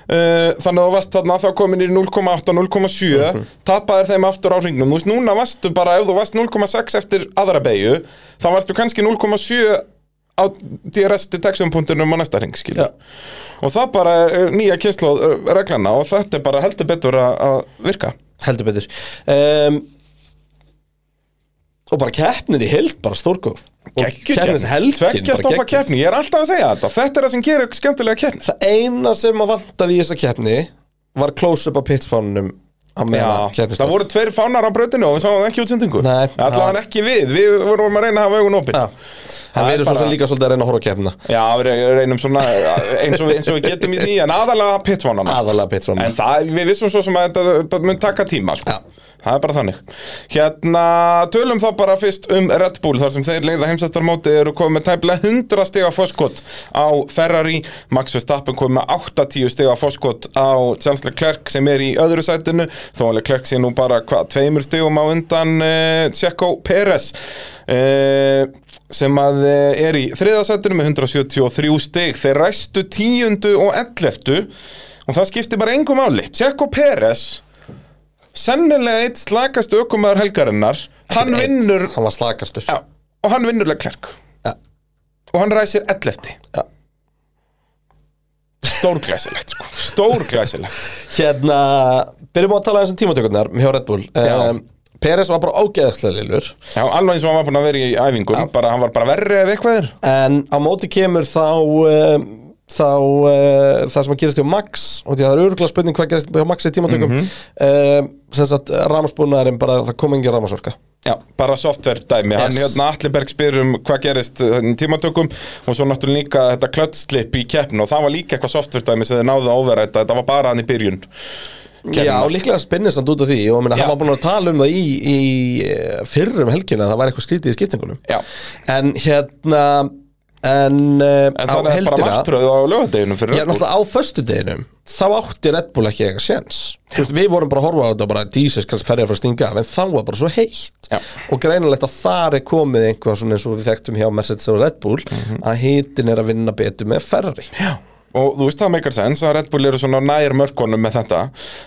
S3: Uh, þannig að þú varst þarna þá komin í 0,8, 0,7
S2: Mhm.
S3: tapaðir þeim aftur á hringnum þú veist, núna varstu bara, ef þú varst 0,6 eftir aðra beigju, þá varstu kannski 0,7 á DRS detection.num á næsta hring, skilja
S2: Já.
S3: og það bara er nýja kynslu reglana og þetta er bara heldur betur að, að virka
S2: heldur betur um, og bara keppnin í held bara stórgóð og keppnin sem helgin
S3: tveggja
S2: bara
S3: stoppa
S2: geggjuð.
S3: keppni, ég er alltaf að segja þetta þetta er það sem gerir skemmtilega keppni
S2: það eina sem að vantaði í þessa keppni var close-up á pitspánunum á meðan
S3: Já,
S2: keppnist
S3: það voru tveir fánar á brautinu og við sáum það ekki útsendingu
S2: Nei,
S3: allavega ekki við, við vorum að reyna að hafa augun opinn
S2: Já. það
S3: Það er
S2: verður svo
S3: bara-
S2: sem líka svolítið að reyna að horfa á keppna
S3: já, við reynum svona eh, eins og, við- eins og við getum í því en aðalega pitfánana
S2: aðalega pitspánunum
S3: En það, við vissum svo sem að þetta, þetta mun taka tíma sko.
S2: Já.
S3: Það er bara þannig Hérna, tölum þá bara fyrst um Red Bull Þar sem þeir leiða heimsastarmóti eru komið með tæplega 100 stiga foskot á Ferrari Max Verstappen komið með 80 stiga foskot á Charles Leclerc sem er í öðru sætinu Þó að Leclerc sé nú bara hvað, tveimur stigum á undan uh, Checo Perez uh, sem að eh, er í þriðasættinu með 173 stig þeir ræstu tíundu og elleftu og það skiptir bara engum máli Tjekko Peres sennilega eitt slakast ökumæður helgarinnar hann
S2: Ekkert einn.
S3: vinnur
S2: hann var slakastur
S3: Já, og hann vinnur Leclerc
S2: Já.
S3: og hann ræsir ellefti
S2: Já.
S3: stórglæsilegt sko. stórglæsilegt
S2: hérna, byrjum á að tala aðeins um tímatökurnar hjá Red Bull um, Peres var bara ágeðarslega lillur
S3: Já, alveg eins og hann var búin að vera í æfingum bara, hann var bara verri ef eitthvað er
S2: En á móti kemur þá um, þá uh, það sem að gerast hjá Max og því að það er örgulega spurning hvað gerast hjá Max í tímatökum
S3: Mhm.
S2: mm sem sagt rámasbúnaðurinn bara það kom engin rámasorka
S3: Já, bara software dæmi, hann
S2: Yes.
S3: hérna Atliberg spyr um hvað gerist uh, í tímatökum og svo náttúrulega líka þetta klötslip í keppn og það var líka eitthvað software dæmi sem þið náðu að overræta, þetta var bara hann í byrjun
S2: Já, líklega spinnist hann út af því og minna,
S3: Já.
S2: hann var búin að tala um það í, í eh, fyrrum helgina að það var eitthvað skrítið í skiptingunum
S3: Já.
S2: En hérna en, uh,
S3: En þannig er bara martröð á lögadeginum fyrir
S2: Já,
S3: Red Bull.
S2: náttúrulega á föstudeginum þá átti Red Bull ekki eitthvað séns Þú veist, Við vorum bara að horfa á þetta og bara Jesus, kannski ferja fyrir að stinga af, en þá var bara svo heitt
S3: Já.
S2: og greinilegt að þar er komið Mhm. einhvað svona eins og við þekktum hjá Mercedes og Red Bull að hitin er að vinna betur með Ferrari Já,
S3: og þú veist það meikar sens að Red Bull eru svona nær mörkonum með þetta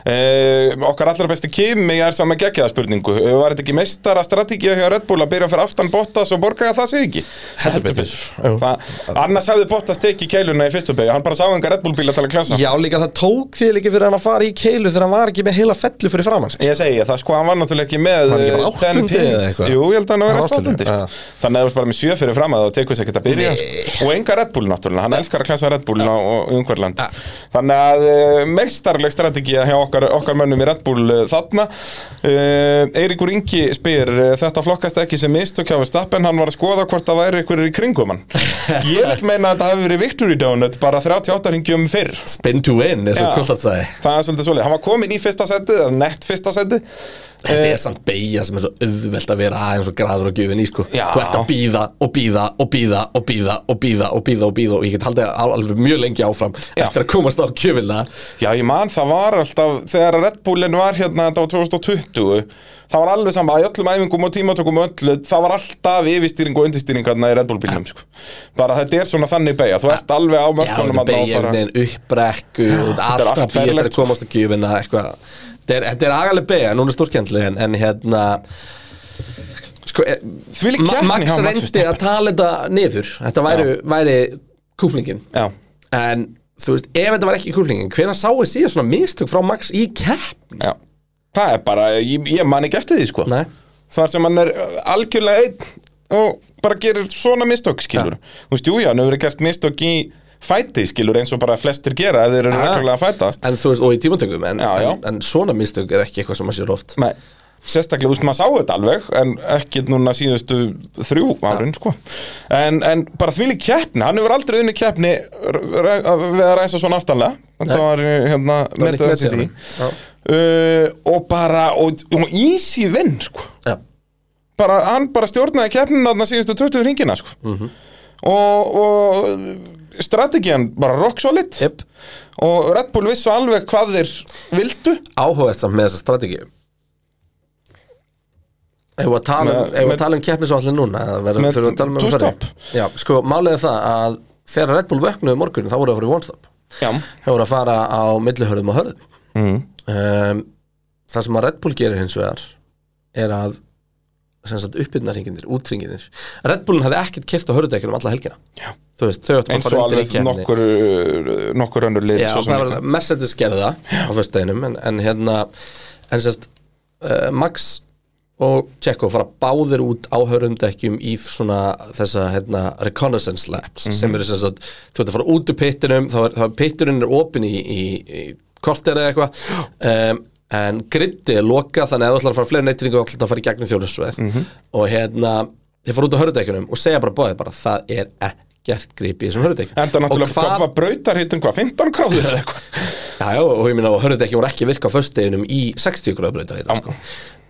S3: eh, okkar allra besti kimi er saman geggjaða spurningu Eh, var þetta ekki meistara strategið hjá Red Bull að byrja fyrir aftan Bottas og borga það sig ekki
S2: Heldur betur. Jú.
S3: það, annars hefði Bottas tekið keiluna í fyrstu beigja hann bara sá enga Red Bull bíla til að klensa
S2: Já, líka það tók því líka fyrir hann að fara í keilu þegar hann var ekki með heila fellu fyrir framann
S3: Ég segi það, sko, hann var náttúrulega ekki með
S2: Var hann ekki bara
S3: eh, 10
S2: áttundi
S3: pins.
S2: eða eitthvað?
S3: Jú, ég held að hann var
S2: Hann var
S3: rest áttundi
S2: áttundi,
S3: sko.
S2: já.
S3: Þannig að það var bara með sjö fyrir fram að það tekur sér ekkert að byrja sko. Og enga Red Bull náttúrulega, hann elskar að klensa Red Bull á umhverland Þannig að uh, meistarleg strategía hjá okkar, okkar mönnum í Red Bull uh, þarna uh, Eiríkur Ingi spyr uh, Þetta flokkast ekki sem mist og kjáfist app En hann var að skoða hvort það væri ykkur í kringum hann Ég vil meina að þetta hafi verið Victory Donut bara 38 ringjum um fyrr
S2: Spin to win, eins
S3: Já.
S2: og Kullat sagði
S3: Það er svolítið svolítið, hann var komin í fyrsta seti, eða nett fyrsta seti
S2: Þetta
S3: Eh,
S2: er samt beigja sem er svo auðvelt að vera aðeins og graður og gjöfin í sko
S3: Já.
S2: Þú ert að býða og býða og býða og býða og býða og býða og býða og ég get haldið á- alveg mjög lengi áfram
S3: Já.
S2: eftir að komast á gjöfinna
S3: Já, ég man, það var alltaf, þegar Red Bullin var hérna, þetta var 2020, það var alveg sama, í öllum æfingum og tímatökum og öllu, það var alltaf yfirstýring og undirstýringarna í Red Bull bílnum, sko. Bara þetta er svona þannig beigja, þú ert alveg á
S2: Já, þetta
S3: mörkunum
S2: er beigja einhvern veginn uppbrekku og
S3: allt
S2: alltaf býða
S3: ferlegt, sko.
S2: eftir að komast á gjöfinna eitthvað Þetta er- Þetta er agaleg beigja, núna er stórkendli en, en hérna sko, eh,
S3: Þvílík
S2: Ma-
S3: keppni hjá
S2: Max
S3: Max
S2: reyndi
S3: Verstappen.
S2: að tala þetta niður Þetta væri, væri kúplingin
S3: Já,
S2: En þú veist, ef þetta var ekki kúplingin Hvenær sáið síðan svona mistök frá Max í keppni?
S3: já. Það er bara, ég, ég man ekki eftir því, sko.
S2: Nei.
S3: Þar sem hann er uh, algjörlega einn og bara gerir svona mistök, skilur. Þú veist, jú, já, hann hefur verið gert mistök í fæti, skilur, eins og bara flestir gera ef þeir eru reglulega að fætast.
S2: En þú veist, og í tímantökum en,
S3: Já, já.
S2: en, en svona mistök er ekki eitthvað sem maður sér oft
S3: Nei, sérstaklega, þú veist, maður sá þetta alveg en ekki núna síðustu þrjú árin, sko en, en bara þvíli keppni, hann hefur aldrei unni keppni r- r- við að ræsa svona aftanlega þetta var eh, hérna
S2: var nýtt
S3: metið hans í því
S2: metið, já.
S3: uh, og bara, og, og easy vinn, sko
S2: Já,
S3: bara, hann bara stjórnaði keppnina þarna síðustu 20 ringina, sko og, og strategian bara rock solid
S2: yep.
S3: og Red Bull vissu alveg hvað þeir vildu
S2: áhugast samt með þessa strategíu Ef við að tala um,
S3: Með-
S2: ef við
S3: með-
S2: að tala um keppnisvallir núna eða verðum-
S3: Með
S2: þurfum við að tala um
S3: two
S2: umferðir? Já, sko, málið er það að þegar Red Bull vöknuðu í morgun þá voru að fara í one stop
S3: Já,
S2: Það voru að fara á millihörðum og hörðum
S3: Mm.
S2: um, Það sem að Red Bull gerir hins vegar er að sem sagt uppbyrnarhinginir, útringinir Red Bullin hafði ekkert keft á hörðudekjunum alla helgina
S3: Já.
S2: Þú veist, þau áttum að
S3: eins og
S2: fara undir í
S3: alveg
S2: keppni
S3: nokkur, uh, nokkur önnur lið
S2: Já,
S3: svo sem
S2: það
S3: líka.
S2: var Mercedes gerði það á föstudeginum en, en hérna en sérst, uh, Max og Tjekko fara báðir út á hörundekkjum í svona þessa hérna, reconnaissance laps
S3: Mhm.
S2: sem eru sérst að þú ert að fara út úr pittinum þá er, þá er pitturinn er opin í, í, í korter eða eitthvað um, en gritti er lokað þannig að ef þú ætlar að fara fleiri neytringu þá ætlar að fara í gegnum þjónusveið
S3: Mhm.
S2: og hérna þeir fara út á hörundekkjunum og segja bara báðið bara það er ekkert grip í þessum hörundekkjum
S3: Enda náttúrulega, hvað var brautarhittin, hvað, 15 gráður eða eitthvað?
S2: Já, já, og ég minna að hörðu ekki voru ekki að virka á föstudeginum í 60 gráðu breytar heita, sko.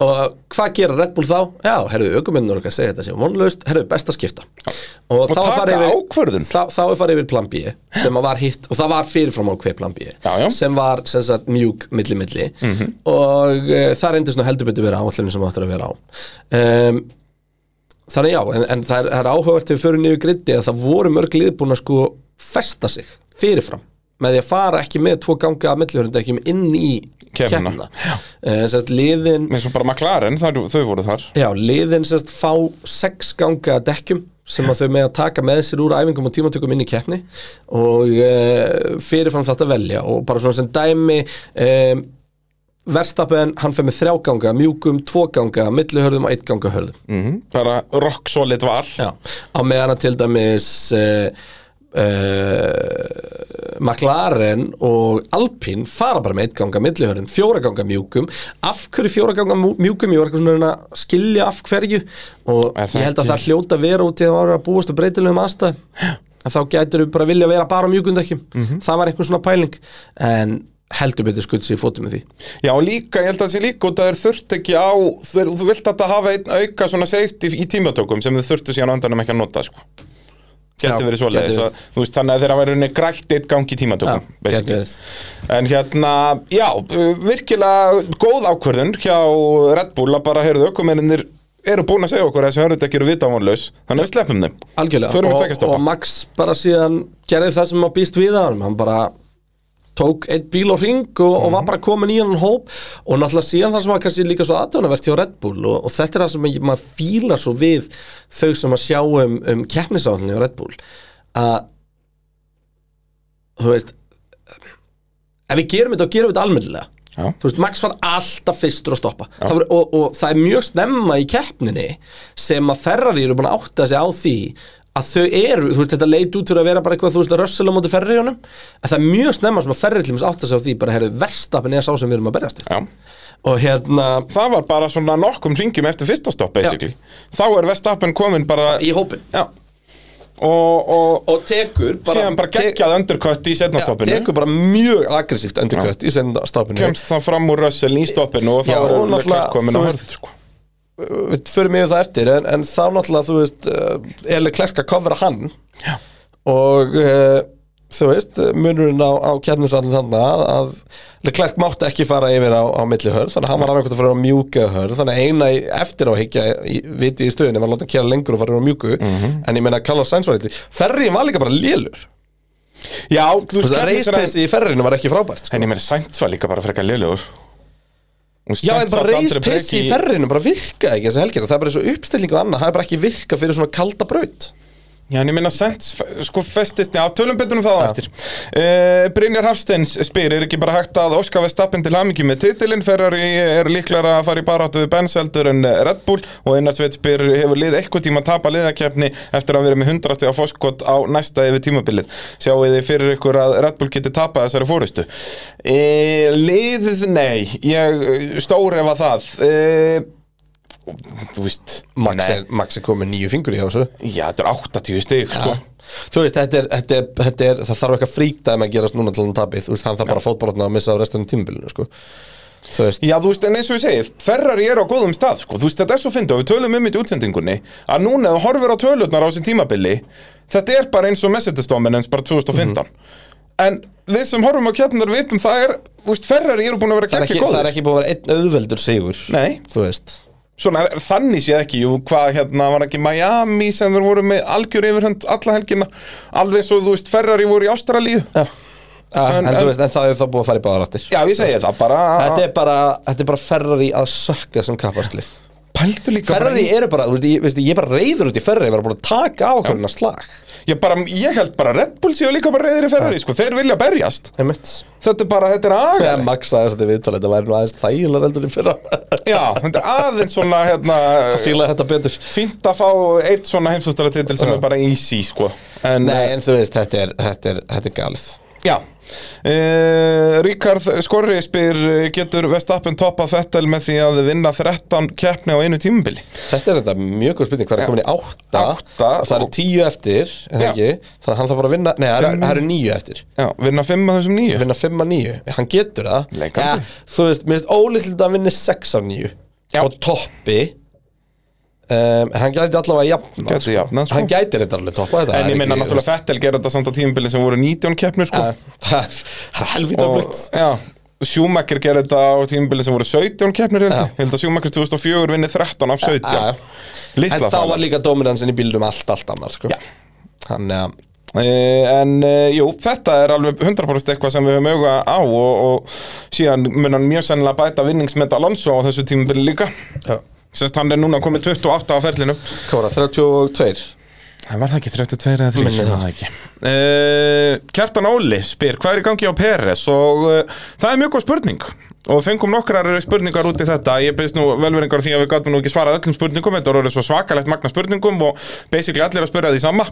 S2: Og hvað gera Red Bull þá? Já, herðu, ökumennur okkar segja þetta sem vonlaust, herðu, best að skipta. Og, þá er
S3: taka
S2: farið
S3: ákvörðun.
S2: Þá, þá er farið yfir plan B, sem að var hitt, og það var fyrirfram á hver plan B,
S3: Já, já. Mhm.
S2: sem var sem sagt mjúk milli-milli og uh, það reyndist nú heldur betur vera áallinu sem áttur að vera á. Um, Þannig já, en, en það er, það er áhugavert ef við förum niður grindi að það voru mörg lið búin að sko festa sig fyrirfram með því að fara ekki með tvo ganga að millihörunda ekki inn í
S3: Keppnina.
S2: keppnina uh, sérst liðin
S3: Mér svo bara McLaren, þar, þau voru þar
S2: já, liðin sérst fá sex ganga að dekkjum sem að þau með að taka með sér úr æfingum og tímatökum inn í keppni og uh, fyrirfram þetta velja og bara svona sem dæmi um, Verstappen, hann fer með þrjá ganga mjúkum, tvo ganga, millihörðum og eitt ganga hörðum
S3: Bara rock solid val
S2: Já, á meðan að til dæmis uh, uh, McLaren og Alpine fara bara með eitt ganga millihörðum, fjóra ganga mjúkum af hverju fjóra ganga mjú- mjúkum ég var eitthvað svona að reyna að skilja af hverju og
S3: Er það
S2: ég held að
S3: ekki-
S2: það hljóta að vera út í að það var að búast og breytilegum aðstæðum að þá gætur við bara vilja vera bara á mjúkundekkjum
S3: Mhm.
S2: það var einhvern svona pæling en heldur betur skutt sér í fótum með því
S3: Já, og líka, ég held að það sé líka út að þeir þurft ekki á þeir, Þú vilt að þetta hafa einn auka svona safety í tímatökum sem þau þurftu síðan á endanum ekki að nota, sko Geti
S2: Já,
S3: verið svoleiðis
S2: gæti verið.
S3: að, þú veist, Þannig að þeirra væri henni grætt eitt gang í tímatökum
S2: Já,
S3: basically.
S2: gæti verið.
S3: En hérna, já, uh, virkilega góð ákvörðun hjá Red Bull að bara heyrðu aukumennir eru búin að segja okkur að þessi hörðutekki eru vitavonlaus þannig að við sleppum þeim
S2: Algjörlega,
S3: Förum í
S2: og,
S3: tveggja stoppa.
S2: og Max bara síðan gerði það sem maður býst við að honum. hann bara tók eitt bíl og ring og, og
S3: Mhm.
S2: var bara komin í hann hóp og náttúrulega síðan það sem var kannski líka svo aðdánavert hjá Red Bull og, og þetta er það sem ég- maður fílar svo við þau sem að sjá um, um keppnisáhaldinni hjá Red Bull að þú veist ef við gerum þetta og gerum þetta almennilega
S3: Já.
S2: þú veist, Max var alltaf fyrstur að stoppa það var, og, og það er mjög snemma í keppninni sem að Ferrari eru búin að átta sig á því að þau eru, þú veist, þetta leit út fyrir að vera bara eitthvað, þú veist, Russell á móti Ferrari honum að það er mjög snemma sem að Ferrari til dæmis átta sig á því bara, herru, verstapin er sá sem við erum að berjast við
S3: Já.
S2: og hérna,
S3: það var bara svona nokkum ringjum eftir fyrsta stopp basically þá er Vestappen komin bara
S2: í hópin
S3: já. og, og,
S2: og tekur
S3: og síðan bara
S2: te-
S3: geggjað undercut í setna
S2: Já,
S3: stoppinu
S2: tekur bara mjög aggressíft endurkvætt í senda stoppinu
S3: kemst það fram úr Russell í stoppinu og þá
S2: Já,
S3: er
S2: og náttúrulega,
S3: Leclerc komin á
S2: þú veist-
S3: hörð sko.
S2: við förum yfir það eftir en, en þá náttúrulega, þú veist uh, Eli Klerk að covera hann Já. og uh, þú veist munurinn á, á kjarnisallin þannig að, að Leclerc mátti ekki fara yfir á, á milli hörð, þannig að hann var annarkvæmt að fara á mjúka hörð, þannig að eina í- eftir á higgja í- viti í stöðunni var að láta hann kjæra lengur og fara yfir á mjúku, en ég meina Carlos Sainz var eitthvað, ferriðin var líka bara lélur
S3: já, þú veist keppnisrenn-
S2: reispensi í ferriðinu var ekki frábært sko.
S3: en ég meira sænt var líka bara frekar liðlegur
S2: Já, en bara reispiss í ferrinu bara virkaði ekki þessa helgina, það er bara svo uppstilling og annað, það er bara ekki virka fyrir svona kalda braut
S3: Já, en ég minna Sents, sko festist, já, tölum betur um það á eftir. Uh, Brynjar Hafsteins spyr, er ekki bara hægt að Óska Vestappen til hamingju með titilinn, Ferrari er líklega að fara í baráttu við Benz heldur en Red Bull og Einar Sveit spyr, hefur lið eitthvað tíma að tapa liðakefni eftir að vera með 100 á foskot á næsta yfir tímabilið? Sjáu þið fyrir ykkur að Red Bull geti tapað þessari fórustu? Uh, liðið, nei, ég stórefa það. Uh, þú veist,
S2: Max
S3: nei.
S2: er, Max er komið nýju fingur í þessu
S3: Já, þetta er 80 stig, sko.
S2: Þú veist, þetta er, þetta er, þetta er, það þarf eitthvað fríkdæmi að gerast núna til hann tapið Þú veist, hann þarf bara fótbrotna að missa af restunum tímabilinu, sko Þú veist,
S3: Já, þú veist, en eins og ég segi, Ferrari er á góðum stað, sko, þú veist, þetta er svo fyndið og við tölum um þetta í útsendingunni, að núna ef þú horfir á tölurnar á þessum tímabili, þetta er bara eins og messendistómin eins bara 2015.
S2: Mhm.
S3: En við sem horfum á kjarnar vitum, það er, þú veist, Ferrari eru búin að vera
S2: það er,
S3: ekki
S2: ekki, það
S3: góður.
S2: er ekki búið að vera einn auðveldur sigur
S3: Nei.
S2: Þú veist,
S3: Svona, þannig sé ekki, jú, hvað, hérna, var ekki Miami sem þeir voru með algjör yfirhund alla helgina, alveg eins og, þú veist, Ferrari voru í Ástralíu.
S2: já En,
S3: En-
S2: Ah, en,
S3: en-
S2: þú veist, en það er það búið að fara í báðar áttir
S3: Já, ég segi það bara,
S2: Þetta er bara, þetta er bara Ferrari að sökka sem kapparslið
S3: pældu líka bara
S2: Ferrari
S3: í-
S2: eru bara, þú veist, ég, veist, ég er bara reyður út í Ferrari Ég var bara að taka á okkur hennar slag
S3: Ég, bara, ég held bara Red Bull séu líka bara reyðir í Ferrari, sko, þeir vilja berjast.
S2: Einmitt
S3: Þetta er bara, þetta er agalegt.
S2: Þegar Max sagði þetta viðtalið, þetta væri nú aðeins þægilega heldur í fyrra
S3: Já, þetta er aðeins svona hérna,
S2: Fílaði þetta betur
S3: fínt að fá eitt svona heimsfjöldstæðartitil sem er bara easy sko en,
S2: Nei, en þú veist, þetta er, þetta er, þetta er galið
S3: Já uh, Ríkard Skorri spyr eh, getur Vestappen toppað Fettel með því að vinna 13 keppni á einu tímabili
S2: Þetta er þetta mjög góð spurning, hvað er komin í átta,
S3: Átta
S2: og það eru
S3: og-
S2: tíu eftir, er það
S3: Já.
S2: ekki, þannig að hann þarf bara að vinna, nei, það eru-
S3: Fimm.
S2: það eru níu eftir,
S3: Já, vinna 5 af þessum nýju
S2: vinna fimm að níu, hann getur það,
S3: Leikandi.
S2: Eh, þú veist, mér finnst ólíklegt að hann vinni sex af níu
S3: Já.
S2: á toppi, um, en hann gæti allavega jafna,
S3: Gæti jafnað, sko.
S2: hann gæti þetta alveg toppa þetta,
S3: En ég minna náttúrulega Fettel gerði þetta samt á tímabili sem voru 19 keppni sko
S2: það, Eh, það er- það er helvítið að
S3: og,
S2: blutt.
S3: já, Schumacher gerði þetta á tímabili sem voru 17 keppnir held
S2: Já.
S3: ég held að Schumacher 2004 vinni 13 af 17
S2: Já. Eh, En
S3: Litla
S2: þá
S3: fána.
S2: var líka dominansin í bílum allt, allt annar, sko.
S3: Já.
S2: Þannig að,
S3: Eh, En eh, jú, þetta er alveg 100% eitthvað sem við höfum auga á og, og síðan mun hann mjög sennilega bæta vinningsmet Alonso á þessu tímabili líka
S2: já.
S3: Sérst hann er núna komið 28 á ferlinu
S2: Hvað var það, 32?
S3: Það var það ekki 32 eða 3
S2: Minnir það
S3: ekki Eh, Kjartan Óli spyr hvað er í gangi á Peres og uh, það er mjög góð spurning og fengum nokkrar spurningar út í þetta ég beðist nú velveringar á því að við gátum nú ekki svarað öllum spurningum þetta voru svo svakalegt magna spurningum og basically allir að spyrja því sama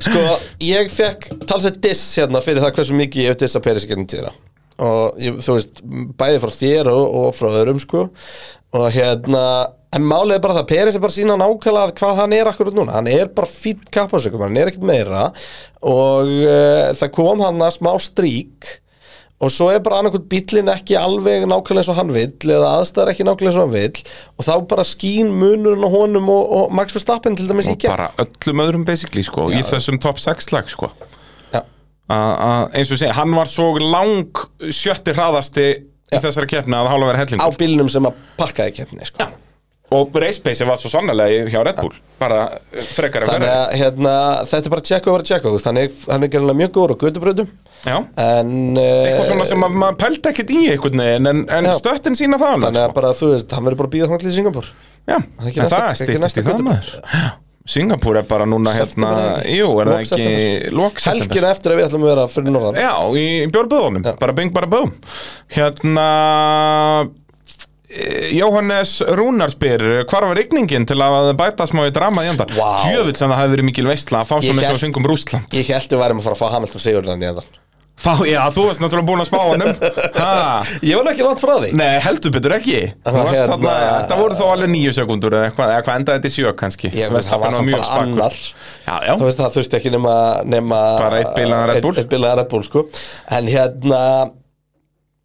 S2: Sko, ég fekk talsett diss hérna fyrir það hversu mikið ég hef dissa Peris í gegnum tíðina og ég, þú veist, bæði frá þér og, og frá öðrum sko og hérna, en málið er bara það Peris er bara að sína nákvæmlega hvað hann er akkur núna, hann er bara fýtt kappasökum hann er ekkert meira og uh, það kom hann að smá strík og svo er bara annarkvæmt bíllinn ekki alveg nákvæmlega eins og hann vill eða aðstæðar ekki nákvæmlega eins og hann vill og þá bara skín munurinn á honum og, og Max Verstappen til dæmis í
S3: og
S2: gegn
S3: bara öllum öðrum basically sko, í þessum top 6 lag sko
S2: Já.
S3: að að- eins og segja, hann var svo lang sjötti hraðasti í þessari keppni að hálfa verið
S2: á
S3: hellingur
S2: bílnum sem að pakkaði keppni sko.
S3: og race pace var svo sannlega hjá Red Bull bara eh, frekar en
S2: Þannig
S3: Ferrari
S2: að hérna, þetta er bara Tjekko að vera Tjekko Þannig hann er gerðilega mjög góður á gödubröðum
S3: Já.
S2: En
S3: eitthvað
S2: eh,
S3: svona sem að maður pældi ekkert í einhvern veginn en, en
S2: Já.
S3: stöttin sína það alveg,
S2: Þannig að
S3: sko.
S2: bara þú veist, hann verður bara að býða þannig til Singapur
S3: Já,
S2: Það er ekki
S3: en
S2: næsta-
S3: það
S2: ekki
S3: stýttist í
S2: næsta
S3: það
S2: götu-
S3: maður Já. Singapúr er bara núna hérna
S2: September, eða ekki?
S3: Jú, er
S2: Lok
S3: það
S2: september.
S3: ekki lok september Eh.
S2: Helgina eftir að við ætlum að vera fyrir norðan
S3: Já, í bjórböðunum, bara bing, bara búm Hérna eh, Jóhannes Rúnar spyr hvar var rigningin til að bæta smá í drama í enda?
S2: Vá.
S3: Tjöfitt sem það hafi verið mikil veistla að fá
S2: Ég
S3: svona eins og
S2: hélt-
S3: við fengum Rúsland
S2: Ég held við værum að fara að fá Hamilton Sigurland í endan
S3: Fá, já, þú varst náttúrulega búin að spá honum ha.
S2: Ég var nú ekki langt frá því
S3: Nei, heldur betur ekki
S2: Það var
S3: hérna,
S2: hérna-
S3: þarna, Það voru þó alveg nýju sekundur eða eitthvað, eða hvað endaði þetta í sjö kannski
S2: Ég veist,
S3: Verstappen
S2: það var samt
S3: mjög
S2: bara
S3: spakur.
S2: annar
S3: Já, já,
S2: Þú veist, það þurfti ekki nema, nema
S3: Bara einn bilaðan Red Bull.
S2: Eitt bilaðan Red Bull, sko En hérna,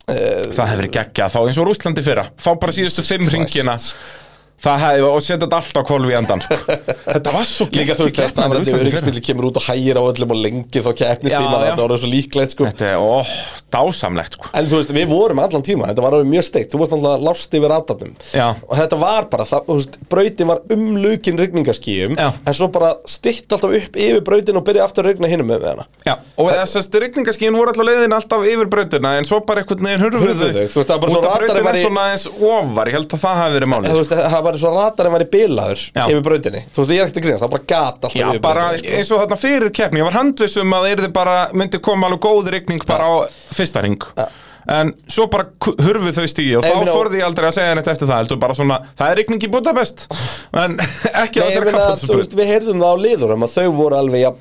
S3: það hefur verið geggja að fá eins og Rúslandi fyrra Fá bara síðustu fimm
S2: Christ.
S3: ringina Það hefði, og setja þetta allt á kvolfi endan sko. Þetta var svo
S2: líka þú veist,
S3: keppni
S2: þegar stafrætti
S3: Rússlandi fyrra.
S2: öryggspili kemur út og hægir á öllum og lengi þá keppnistíma
S3: Já, já.
S2: Þetta var svo líklegt, sko
S3: Þetta er, ó, dásamlegt sko.
S2: En þú veist, við vorum allan tíma, þetta var alveg mjög steikt Þú varst náttúrulega lást yfir aðdarnum
S3: Já.
S2: Og þetta var bara, það, þú veist, brautin var umlukin rigningaskíum
S3: Já.
S2: En svo bara stytt alltaf upp yfir brautin og byrja aftur að rigna hinum með hana
S3: Já, og þessast rigningaskíin voru alltaf leiðin alltaf yfir brautina En svo bara einhvern veginn hurfuðu
S2: Hurfu þau, þú veist, það var bara
S3: Út
S2: svo
S3: af brautin
S2: ratarinn var
S3: er
S2: í-
S3: svona aðeins ofar, ég held að það hafi verið
S2: En
S3: málið sko.
S2: þú veist, það var svo ratarinn væri bilaður
S3: Já.
S2: yfir brautinni Þú veist, ég er ekkert að grínast, það bara gat alltaf
S3: Já,
S2: yfir
S3: bara
S2: brautinni,
S3: eins og þarna fyrir keppni Ég var handvissum að yrði bara, myndi koma alveg góð rigning bara á fyrsta ring En svo bara ku- hurfu þau stíði og
S2: Ég
S3: þá
S2: meina-
S3: fórði ég aldrei að segja neitt eftir það heldur bara svona, það er rigning í Budapest en ekki á
S2: Nei, ég
S3: þessari
S2: meina, þú veist,
S3: kapphaldsbröð
S2: við heyrðum það á liðurum að þau voru alveg ja,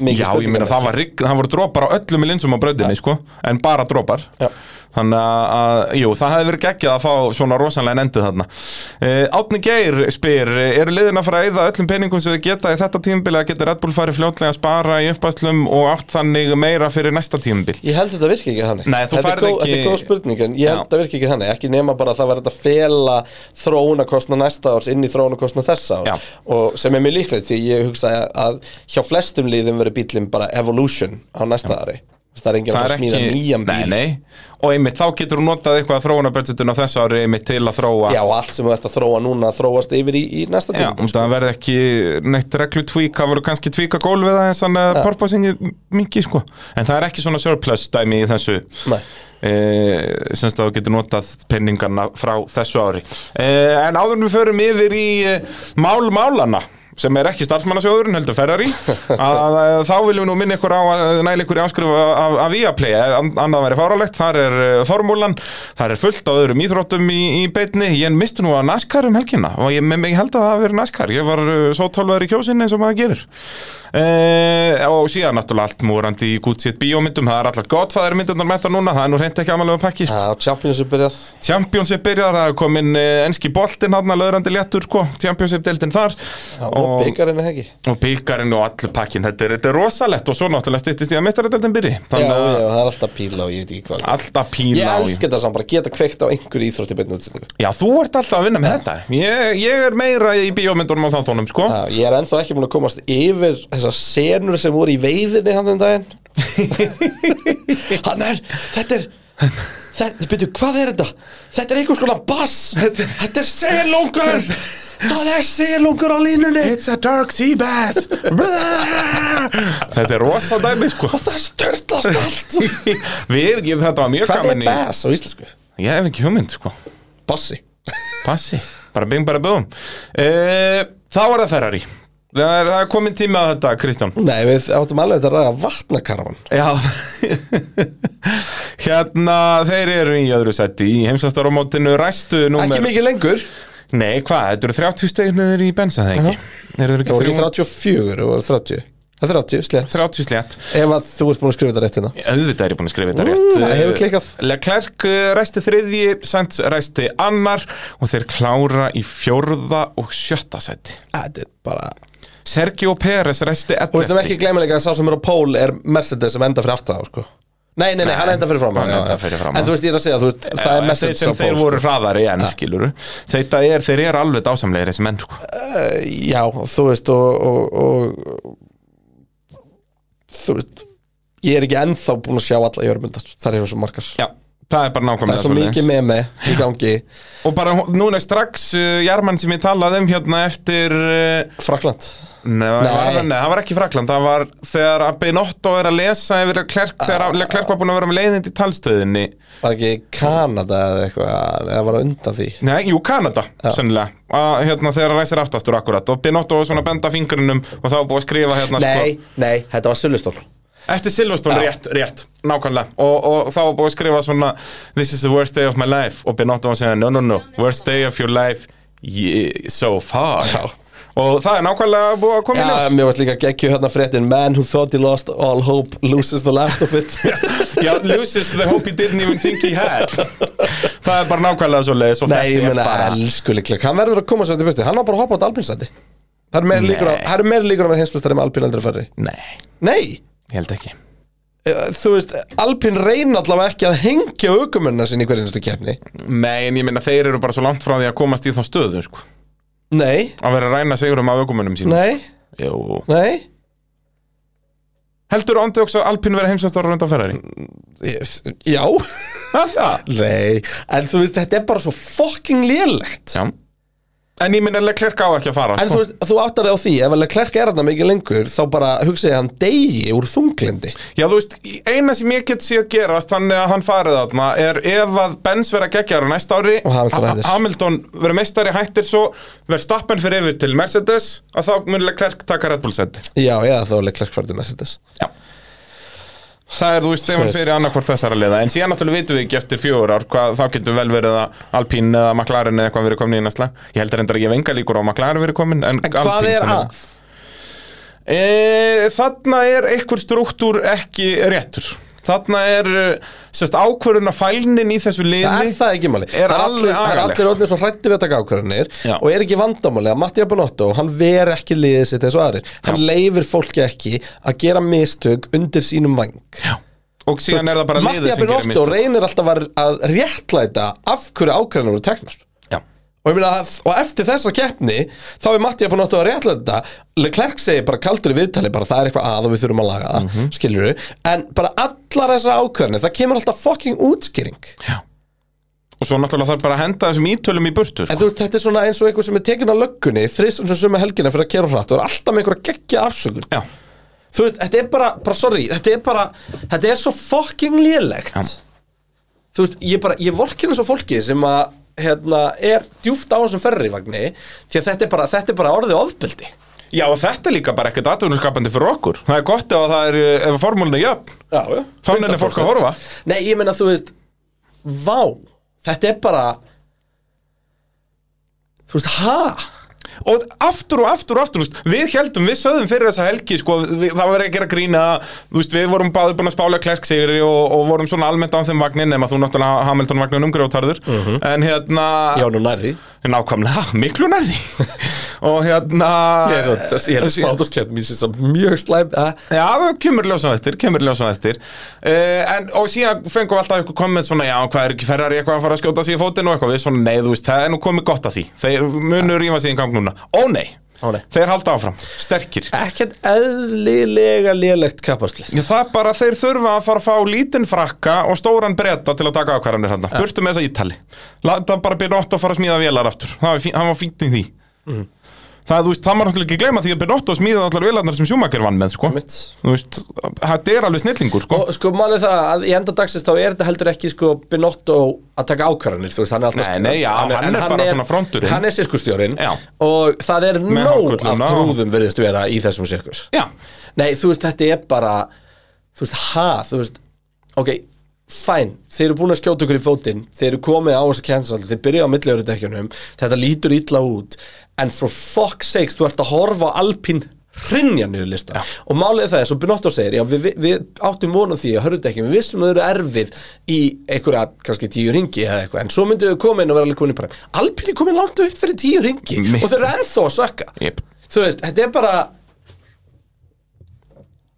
S2: mikið
S3: Já, ég
S2: um
S3: meina það var rigning, það voru dropar á öllum í linsum á bröðinni, sko, en bara dropar
S2: Já.
S3: Þannig að, að, jú, það hefði verið geggjað að fá svona rosalega endið þarna uh, Átni Geir spyr, eh, eru liðin að fara að eyða öllum peningum sem við geta í þetta tímbil að geta Red Bull farið fljótlega að spara í uppbæslum og átt þannig meira fyrir næsta tímbil
S2: Ég held þetta virki ekki þannig
S3: Nei, þú
S2: Þetta er
S3: færð
S2: góð-
S3: ekki-
S2: Þetta er góð spurning en ég held
S3: Já.
S2: þetta virki ekki þannig Ekki nema bara að það var þetta fela þróunakostna næsta árs inn í þróunakostna þessa árs
S3: Já.
S2: Og sem er mjög líklegt því ég hugsa að hjá flestum liðum verið bílinn bara evolution á næsta ári Þú veist, Það er enginn að
S3: Það
S2: fara
S3: er
S2: að smíða
S3: ekki,
S2: nýjan
S3: nei,
S2: bíl
S3: nei, og einmitt þá getur þú notað eitthvað að þróuna budgetun á þessu ári einmitt til að þróa
S2: Já, og allt sem þú ert að þróa núna þróast yfir í, í næsta sko.
S3: Já,
S2: tíma
S3: um það verði ekki neitt reglu tvík, það voru kannski tvíka gólfið aðeins þannig að porpoisingi mingi sko en það er ekki svona surplus dæmi í þessu
S2: Nei.
S3: e, semst að þú getur notað penningarna frá þessu ári e, en áður en við förum yfir í e, mál málana sem er ekki starfsmannasjóðurinn heldur Ferrari að, að, að þá viljum við nú minna ykkur á að næla ykkur í áskrifa af, af Viaplay Eh, An- annað væri fáralegt, þar er uh, formúlan þar er fullt á öðrum íþróttum í, í beinni, ég misti nú að NASCAR um helgina og ég, ég held að það hafi verið NASCAR ég var uh, svo tálvaður í kjósinni eins og maður gerir Eh, og síðan náttúrulega allt múrandi í gútsið bíómyndum, það er alltaf gott það er myndunar með þetta núna, það er nú reynd ekki amalega pakki
S2: Já, Championship byrjað
S3: Championship byrjar, það er komin eh, enski boltinn hann að löðrandi léttur, sko, Championship deildin þar
S2: Já, og byggarinn er ekki
S3: og byggarinn og allur pakkin, þetta er, þetta er rosalegt og svo náttúrulega styttist í að mestaradeldin byrji
S2: Já,
S3: þannig
S2: já,
S3: að
S2: það er alltaf píla og ég veit ekki hvað
S3: alltaf píla
S2: Ég
S3: á í-
S2: elska þetta saman, bara geta kveikt á einhverju íþrótti beinni útsendingu
S3: Já, þú ert alltaf að vinna með þetta ég, ég er meira í bíómyndunum á þáttunum, sko
S2: Já, ég er ennþá ekki múin að komast yfir þessar senur sem voru í veifinni hann þenn daginn Hann er, þetta er Þetta, byrju, hvað er þetta? Þetta er einhvers konar bass Þetta er selungur Það er selungur á línunni
S3: It's a dark sea bass Þetta er rosa dæmi, sko
S2: Og það störtlast allt
S3: Við, ég, þetta var mjög
S2: Hvað er
S3: gaman í
S2: bass á íslensku?
S3: Ég hef ekki hugmynd, sko
S2: Bassi
S3: Passi, bara bing, bara búum e, Þá var það Ferrari Það er, það er komin tími að þetta, Kristján
S2: Nei, við áttum alveg þetta að ræða vatnakarvan
S3: Já Hérna, þeir eru í öðru setti í heimsastarómótinu ræstu númer
S2: Ekki mikið lengur
S3: Nei, hvað, þetta eru 30 stegnir í bensa það ekki Þeir eru
S2: Það voru
S3: ekki
S2: ekki 34, það voru 30 Það er 30, slétt
S3: 30 slétt
S2: Ef að þú ert búin að skrifa þetta rétt hérna
S3: auðvitað er ég búin að skrifa þetta rétt
S2: það hefur klikkað.
S3: Leclerc eh, ræsti þriðji, Sainz ræsti annar og þeir klára í fjórða og sjötta seti
S2: Þetta er bara
S3: Sergio Pérez ræsti
S2: Og við
S3: ellefti
S2: þum ekki gleyma líka að sá sem er á pól er Mercedes sem enda fyrir aftan þá, sko Nei, nei, nei, hann enda fyrir fram
S3: hann endar fyrir framan.
S2: En þú veist, ég er að segja, þú veist, það er sko.
S3: Eh, þeir
S2: Mercedes á
S3: sem
S2: pól
S3: þeir voru hraðari en ja. skilur þetta er, þeir eru alveg dásamlegir þessi menn sko.
S2: Já, þú veist, og, og, og Þú veist Ég er ekki ennþá búin að sjá alla jörmyndar Þar hefur svo margar
S3: já, það er bara
S2: það
S3: nákvæmlega
S2: er svo
S3: svoleiðis.
S2: mikið með mig í gangi
S3: Og bara hó- núna er strax uh, Jarmann sem ég talaði um hérna eftir uh,
S2: Frakland
S3: Nei, nei. Var,
S2: Nei.
S3: nei, það var ekki Frakland Það var þegar að Benotto er að lesa yfir að Klerk
S2: Ah.
S3: Þegar að Klerk var búin að vera með leiðind í talstöðinni
S2: var ekki Kanada eða eitthvað eða var á undan því
S3: Nei, jú, Kanada, sennilega að, hérna, Þegar að ræsir aftastur akkurat Og Benotto var svona að benda fingrunum Og það var búið að skrifa hérna
S2: Nei, nei, þetta var Sullustól
S3: sko Eftir Silveston, rétt, rétt, nákvæmlega og, og þá var búið að skrifa svona This is the worst day of my life Og Benotto var að segja, no, no, no, worst day of your life yeah, So far Og það er nákvæmlega búið að koma í ljós
S2: Já, mér varst líka geggju hérna fréttin Man who thought he lost all hope loses the last of it
S3: Já, loses the hope he didn't even think he had Það er bara nákvæmlega svo leiðis og
S2: Nei, ég
S3: þetta er
S2: meina,
S3: bara
S2: elskuleiklega Hann verður að koma svo þetta byrtu Hann var bara að hoppa á þetta alpinsæti Það eru meira líkur á
S3: Nei.
S2: Það eru meira líkur á að vera heimsbyrstari með alpinaldri færri
S3: Nei,
S2: Nei,
S3: ég held ekki
S2: eh, þú veist, alpin reyna allavega ekki að hengja aukumunna sinni í hverjum stu kefni
S3: Nei, en ég meina þeir eru bara svo langt frá því að komast í þá stöðu sko.
S2: Nei,
S3: Að vera að ræna sigurum af aukumunum sínum
S2: nei,
S3: Jú.
S2: nei
S3: Heldur ándi okkur að Alpín verið heimsastar á rönda ferðari?
S2: Ég- Já,
S3: Það það
S2: nei En þú veist, þetta er bara svo fucking lélegt
S3: Já En ég minna Leclerc á ekki að fara sko.
S2: En þú veist, þú áttar þig á því, ef alveg klerk er hann mikið lengur Þá bara hugsa ég að hann deyi úr þunglindi
S3: Já, þú veist, eina sem ég get séð gerast þannig að hann farið þarna er ef að Benz vera geggjara næsta ári
S2: Og Hamilton
S3: Ha-
S2: hættir.
S3: Hamilton verið meistari hættir svo verið stappen fyrir yfir til Mercedes að þá munlega Klerk taka Red Bull setið
S2: Já, já, þá alveg klerk færði Mercedes
S3: Já Það er, þú veist, ef hann
S2: veist.
S3: fyrir annarkvort þessara liða en síðan náttúrulega vitum við ekki eftir fjögur ár hvað þá getur vel verið að Alpín eða McLaren eða eitthvað verið komin í næsla Ég heldur endur að ég venga líkur á að McLaren verið komin En,
S2: En hvað
S3: Alpine
S2: er
S3: sennilega.
S2: að?
S3: E, þarna er einhver struktúr ekki réttur Þarna er eh, sérst, ákvörðuna fælnin í þessu
S2: Það er
S3: liði
S2: það ekki máli
S3: Er
S2: Það er allir,
S3: alveg
S2: það er
S3: agalegt. sko.
S2: allir orðnir svo hrættir við þetta gákvörðinir
S3: Já.
S2: Og er ekki vandamáli að Mattia Bonotto Hann ver ekki liðið sitt eins og aðrir Hann leifir fólki ekki að gera mistök undir sínum vang
S3: Já. Og síðan er það bara liðið
S2: Mattia
S3: sem gerir
S2: Bonotto
S3: mistök
S2: reynir alltaf að- að réttlæta Af hverju ákvörðinu voru teknar
S3: Já.
S2: Og, ég meina að, og eftir þessa keppni þá er Mattia búin að réttlega þetta Leclerc segir bara kaldur í viðtali bara það er eitthvað að og við þurfum að laga það, mm en bara allar þessar ákvörðinir það kemur alltaf fucking útskýring
S3: Og svo náttúrulega þarf bara að henda þessum ítölum í burtu
S2: en
S3: sko.
S2: þú veist þetta er svona eins og einhver sem er tekin að löggunni þriss eins og sömu helgina fyrir að kera hratt og er alltaf með einhverja geggja afsökun
S3: Já.
S2: þú veist þetta er bara, bara sorry þetta er bara, þetta er svo fucking lélegt
S3: Já.
S2: þú veist, ég bara, ég vorkin eins og fólki sem að, hérna, er djúft á þessum ferrivagni, því að þetta er bara, þetta er bara orðið ofbeldi
S3: Já, og þetta er líka bara ekkert atvinnurskapandi fyrir okkur Það er gott ef það er, eh, ef formúlinu jöfn
S2: Já, já
S3: Þá nennir fólk að horfa.
S2: Nei, ég meina, þú veist Vá, þetta er bara Þú veist, ha?
S3: og aftur og aftur og aftur þú veist, við heldum, við sögðum fyrir þessa helgi sko, við, það var ekki að grína þú veist, við vorum báði búin að spála klerksigri og, og vorum svona almennt á þeim vagnin nema þú náttúrulega Hamilton vagnin umgrjótarður en hérna,
S2: Mhm. Já, nú nærði
S3: nákvæmlega miklu nærði og hérna
S2: Ég er spáðurskjönd mín sem mjög slæm ha?
S3: Já, það kemur ljósan eftir, kemur ljósan eftir uh, en, Og síðan fengum við alltaf eitthvað komment svona Já, hvað er ekki ferrari eitthvað að fara að skjóta sig í fótinn og eitthvað Við svona, nei, þú veist, það er nú komið gott að því Þeir munur ríma sig í gang núna Ó nei,
S2: Ó, nei.
S3: þeir halda áfram, sterkir
S2: Ekkert eðlilega lélegt kapaslið
S3: Já, það er bara að þeir þurfa að fara að fá lítinn frakka og stóran bretta til að taka ákvarðanir hann. Burtu með þessa ítali. Láta bara Binotto fara að smíða vélar aftur. Það var fín- Hann var fínt í því.
S2: Mhm.
S3: Það, þú veist, það maður náttúrulega ekki gleyma því að Binotto smíða allar vélarnar sem Schumacher vann með, sko.
S2: Mitt
S3: Þú veist, þetta er alveg snillingur, sko.
S2: Og sko, málið það að í enda dagsins þá er þetta heldur ekki sko Binotto að taka ákvarðanir þú veist, hann er alltaf
S3: Nei, nei, já, hann
S2: en
S3: er bara svona fronturinn.
S2: Hann er sirkustjórinn
S3: Já.
S2: og það er nóg af
S3: hárkolluna og-
S2: trúðum verðist vera í þessum sirkus
S3: Já,
S2: Nei, þú veist, þetta er bara Þú veist, ha, þú veist Ok, fæn, þeir eru búin að skjóta ykkur í fótinn Þeir eru komið á þess að cancel Þeir byrja á milliörudekkjunum Þetta lítur illa út En for fuck's sakes, þú ert að horfa á Alpín hrinja niður lista og málið er það er svo Binotto segir já, við, við, við áttum vonum því að hörðu ekki við vissum að þau eru erfið í einhverja kannski tíu ringi eða eitthvað en svo myndu þau koma inn og vera alveg komin í præm Alpín er komin langt upp fyrir tíu ringi
S3: Mitt.
S2: og þau eru ennþá að sökka
S3: Jep.
S2: þú veist, þetta er bara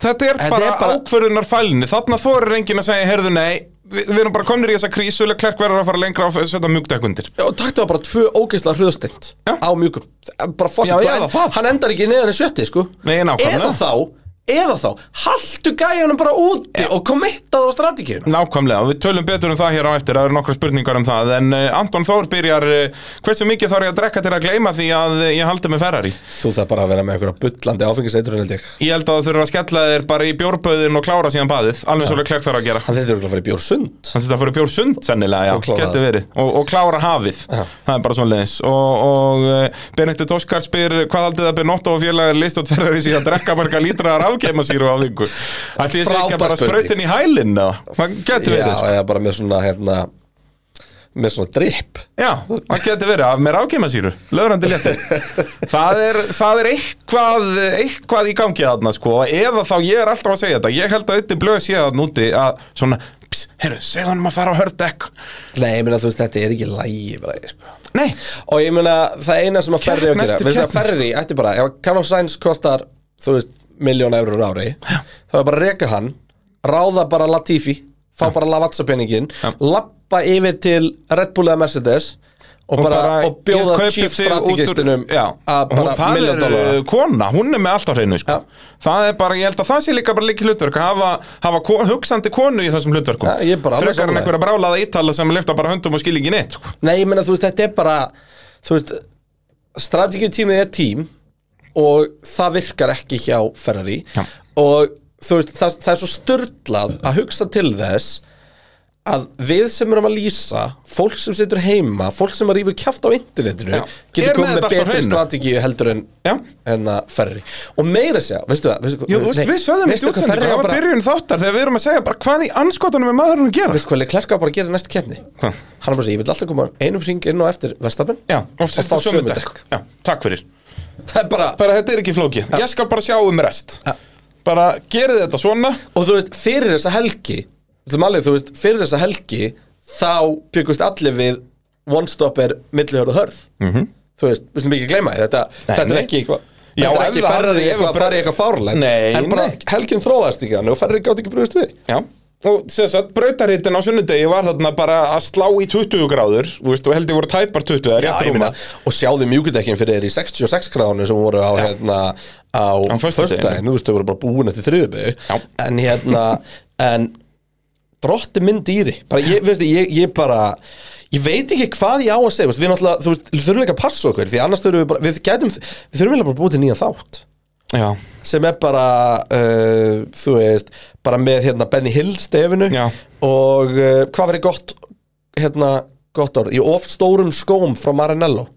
S3: þetta er
S2: Þetta
S3: bara,
S2: er bara-
S3: ákvörðunar fælni. Þarna þorir enginn að segja, heyrðu, nei, við, við erum bara komnir í þessa krísu, Leclerc verður að fara lengra og setja mjúkdekkundir.
S2: og taktu var bara tvö ógeðslega hröðstend
S3: Já.
S2: á mjögum bara fucking
S3: Já,
S2: þú-
S3: já,
S2: en-
S3: það.
S2: hann endar ekki neðan í sjötti sko
S3: Nei, nákvæmlega.
S2: eða þá eða þá, haltu gæjanum bara úti og kommitta það á strategíuna
S3: Nákvæmlega, og við tölum betur um það hér á eftir, það eru nokkra spurningar um það, en uh, Anton Þór byrjar, uh, hversu mikið þarf ég að drekka til að gleyma því að uh, ég haldi með Ferrari?
S2: Þú þarf bara að vera með einhverja bullandi áfengiseitrun held ég
S3: Ég held að þú þurfur að skella þér bara í bjórböðin og klára síðan baðið, alveg svolítið klær þarf að gera.
S2: Hann þetta er að fara í bjórsund
S3: Þannig að þetta fyrir bjór sund sennilega,
S2: Og
S3: já,
S2: klára
S3: getur
S2: það.
S3: verið og, og klára hafið, það er bara svona leðis og, og uh, Benedikt Óskar spyr hvað aldrei það Benotto og félagar list og tverrari síðan að drekka marga lítra rafgeimasýru á vingu Ætli ég sé ekki
S2: Frábær
S3: að bara
S2: spurning.
S3: sprautin í hælinn eða? það getur
S2: Já,
S3: verið sko.
S2: eða bara með svona hérna með svona drip
S3: Já, það getur verið af með rafgeimasýru löðrandi létti það, er, það er eitthvað eitthvað í gangi þarna sko eða þá ég er alltaf að segja þetta, ég held að auðvitað blöð sé þarna úti að svona Pss, heyrðu, segðu honum að fara á hördekk
S2: Nei, ég meina þú veist, þetta er ekki lægi bara, sko.
S3: Nei,
S2: Og ég meina, það eina sem að ferri að
S3: Keppni
S2: gera
S3: eftir
S2: Við veist að
S3: keppni.
S2: ferri, ætti bara, ef Carlos Sainz kostar þú veist, miljón eurur ári þá er bara að reka hann ráða bara Latifi, fá bara Lavazza peningin, lappa yfir til Red Bull eða Mercedes og, bara, og
S3: ég
S2: bjóða
S3: kaupi
S2: chief
S3: þig út úr-
S2: strategistinum
S3: já,
S2: að
S3: hún,
S2: bara
S3: það
S2: miljón
S3: er
S2: dólar
S3: uh, kona, hún er með allt á hreinu sko.
S2: Já.
S3: það er bara, ég held að það sé líka bara líki hlutverk að hafa, hafa ko hugsandi konu í þessum hlutverkum
S2: Já, ég er bara alveg
S3: frekar en
S2: sammála.
S3: einhverja brálaða ítala sem lifta bara höndum og skilja ekki neitt sko.
S2: Nei, ég meina, þú veist, þetta er bara þú veist, strategiutímið er tím og það virkar ekki hjá Ferrari
S3: Já.
S2: og þú veist, það, það er svo störlað að hugsa til þess að við sem erum að lýsa fólk sem situr heima, fólk sem að rífu kjaft á internetinu,
S3: Já. Er
S2: getur
S3: með
S2: komið með
S3: þetta allt á
S2: betri
S3: hreinu.
S2: strategíu heldur en
S3: Já.
S2: en að Ferrari og meira segja, veistu það veistu,
S3: Jú, þú veist,
S2: nei,
S3: við sögðum
S2: veistu
S3: eitt
S2: hvað
S3: útsendingu,
S2: Ferrari á
S3: það var
S2: bara-
S3: byrjun þáttar þegar við erum að segja bara hvað í anskotanum er maðurinn að gera
S2: veistu hvað Leclerc á bara að gera í næstu kefni
S3: Hvað?
S2: hann er bara að segja, ég vil alltaf koma einum hring inn og eftir Vestapen
S3: Já, og
S2: fá
S3: setja
S2: sömu
S3: sömu
S2: dekk.
S3: dekk Já, takk fyrir
S2: það er bara
S3: Bara þetta er ekki flókið, ég skal bara sjá um rest
S2: Já.
S3: Bara gerið þetta svona
S2: og þú veist, fyrir þessa helgi þú alveg, þú veist, fyrir þessa helgi þá byggust allir við one stop er millihörð og hörð -hmm. þú veist, við sem ekki gleyma því, þetta, þetta er
S3: Mhm. nei.
S2: ekki eitthvað
S3: Já,
S2: Þetta er
S3: ef
S2: ekki
S3: það-
S2: ferðar í
S3: ef
S2: eitthvað,
S3: bara-
S2: ferðar í eitthvað fárlega
S3: Nei,
S2: En bara
S3: nei.
S2: helgin þróast ekki hann og ferðar gátt ekki brugðist við
S3: Já Og sem sagt, brautarittin á sunnudegi var þarna bara að slá í 20 gráður Þú veist, og held ég voru tæpar 20 eða
S2: Já,
S3: rétt
S2: ég meina,
S3: rúma
S2: og sjáðu mjúkudekkin fyrir þeir í 66 gráðunum sem voru á, hérna, á, á
S3: föstudaginn.
S2: þú veist, þau voru bara búin eftir þriðubögu
S3: Já.
S2: en hérna, en drotti minn dýri, bara ég, veistu, ég, ég bara ég veit ekki hvað ég á að segja, veist, við náttúrulega, þú veist, við þurfum líka að passa okkur því annars þurfum við bara, við gætum við þurfum líka bara að búið til nýjan þátt
S3: Já,
S2: sem er bara uh, þú veist, bara með hérna Benny Hill stefinu
S3: Já.
S2: og uh, hvað verið gott hérna, gott orð, í of stórum skóm frá Marinello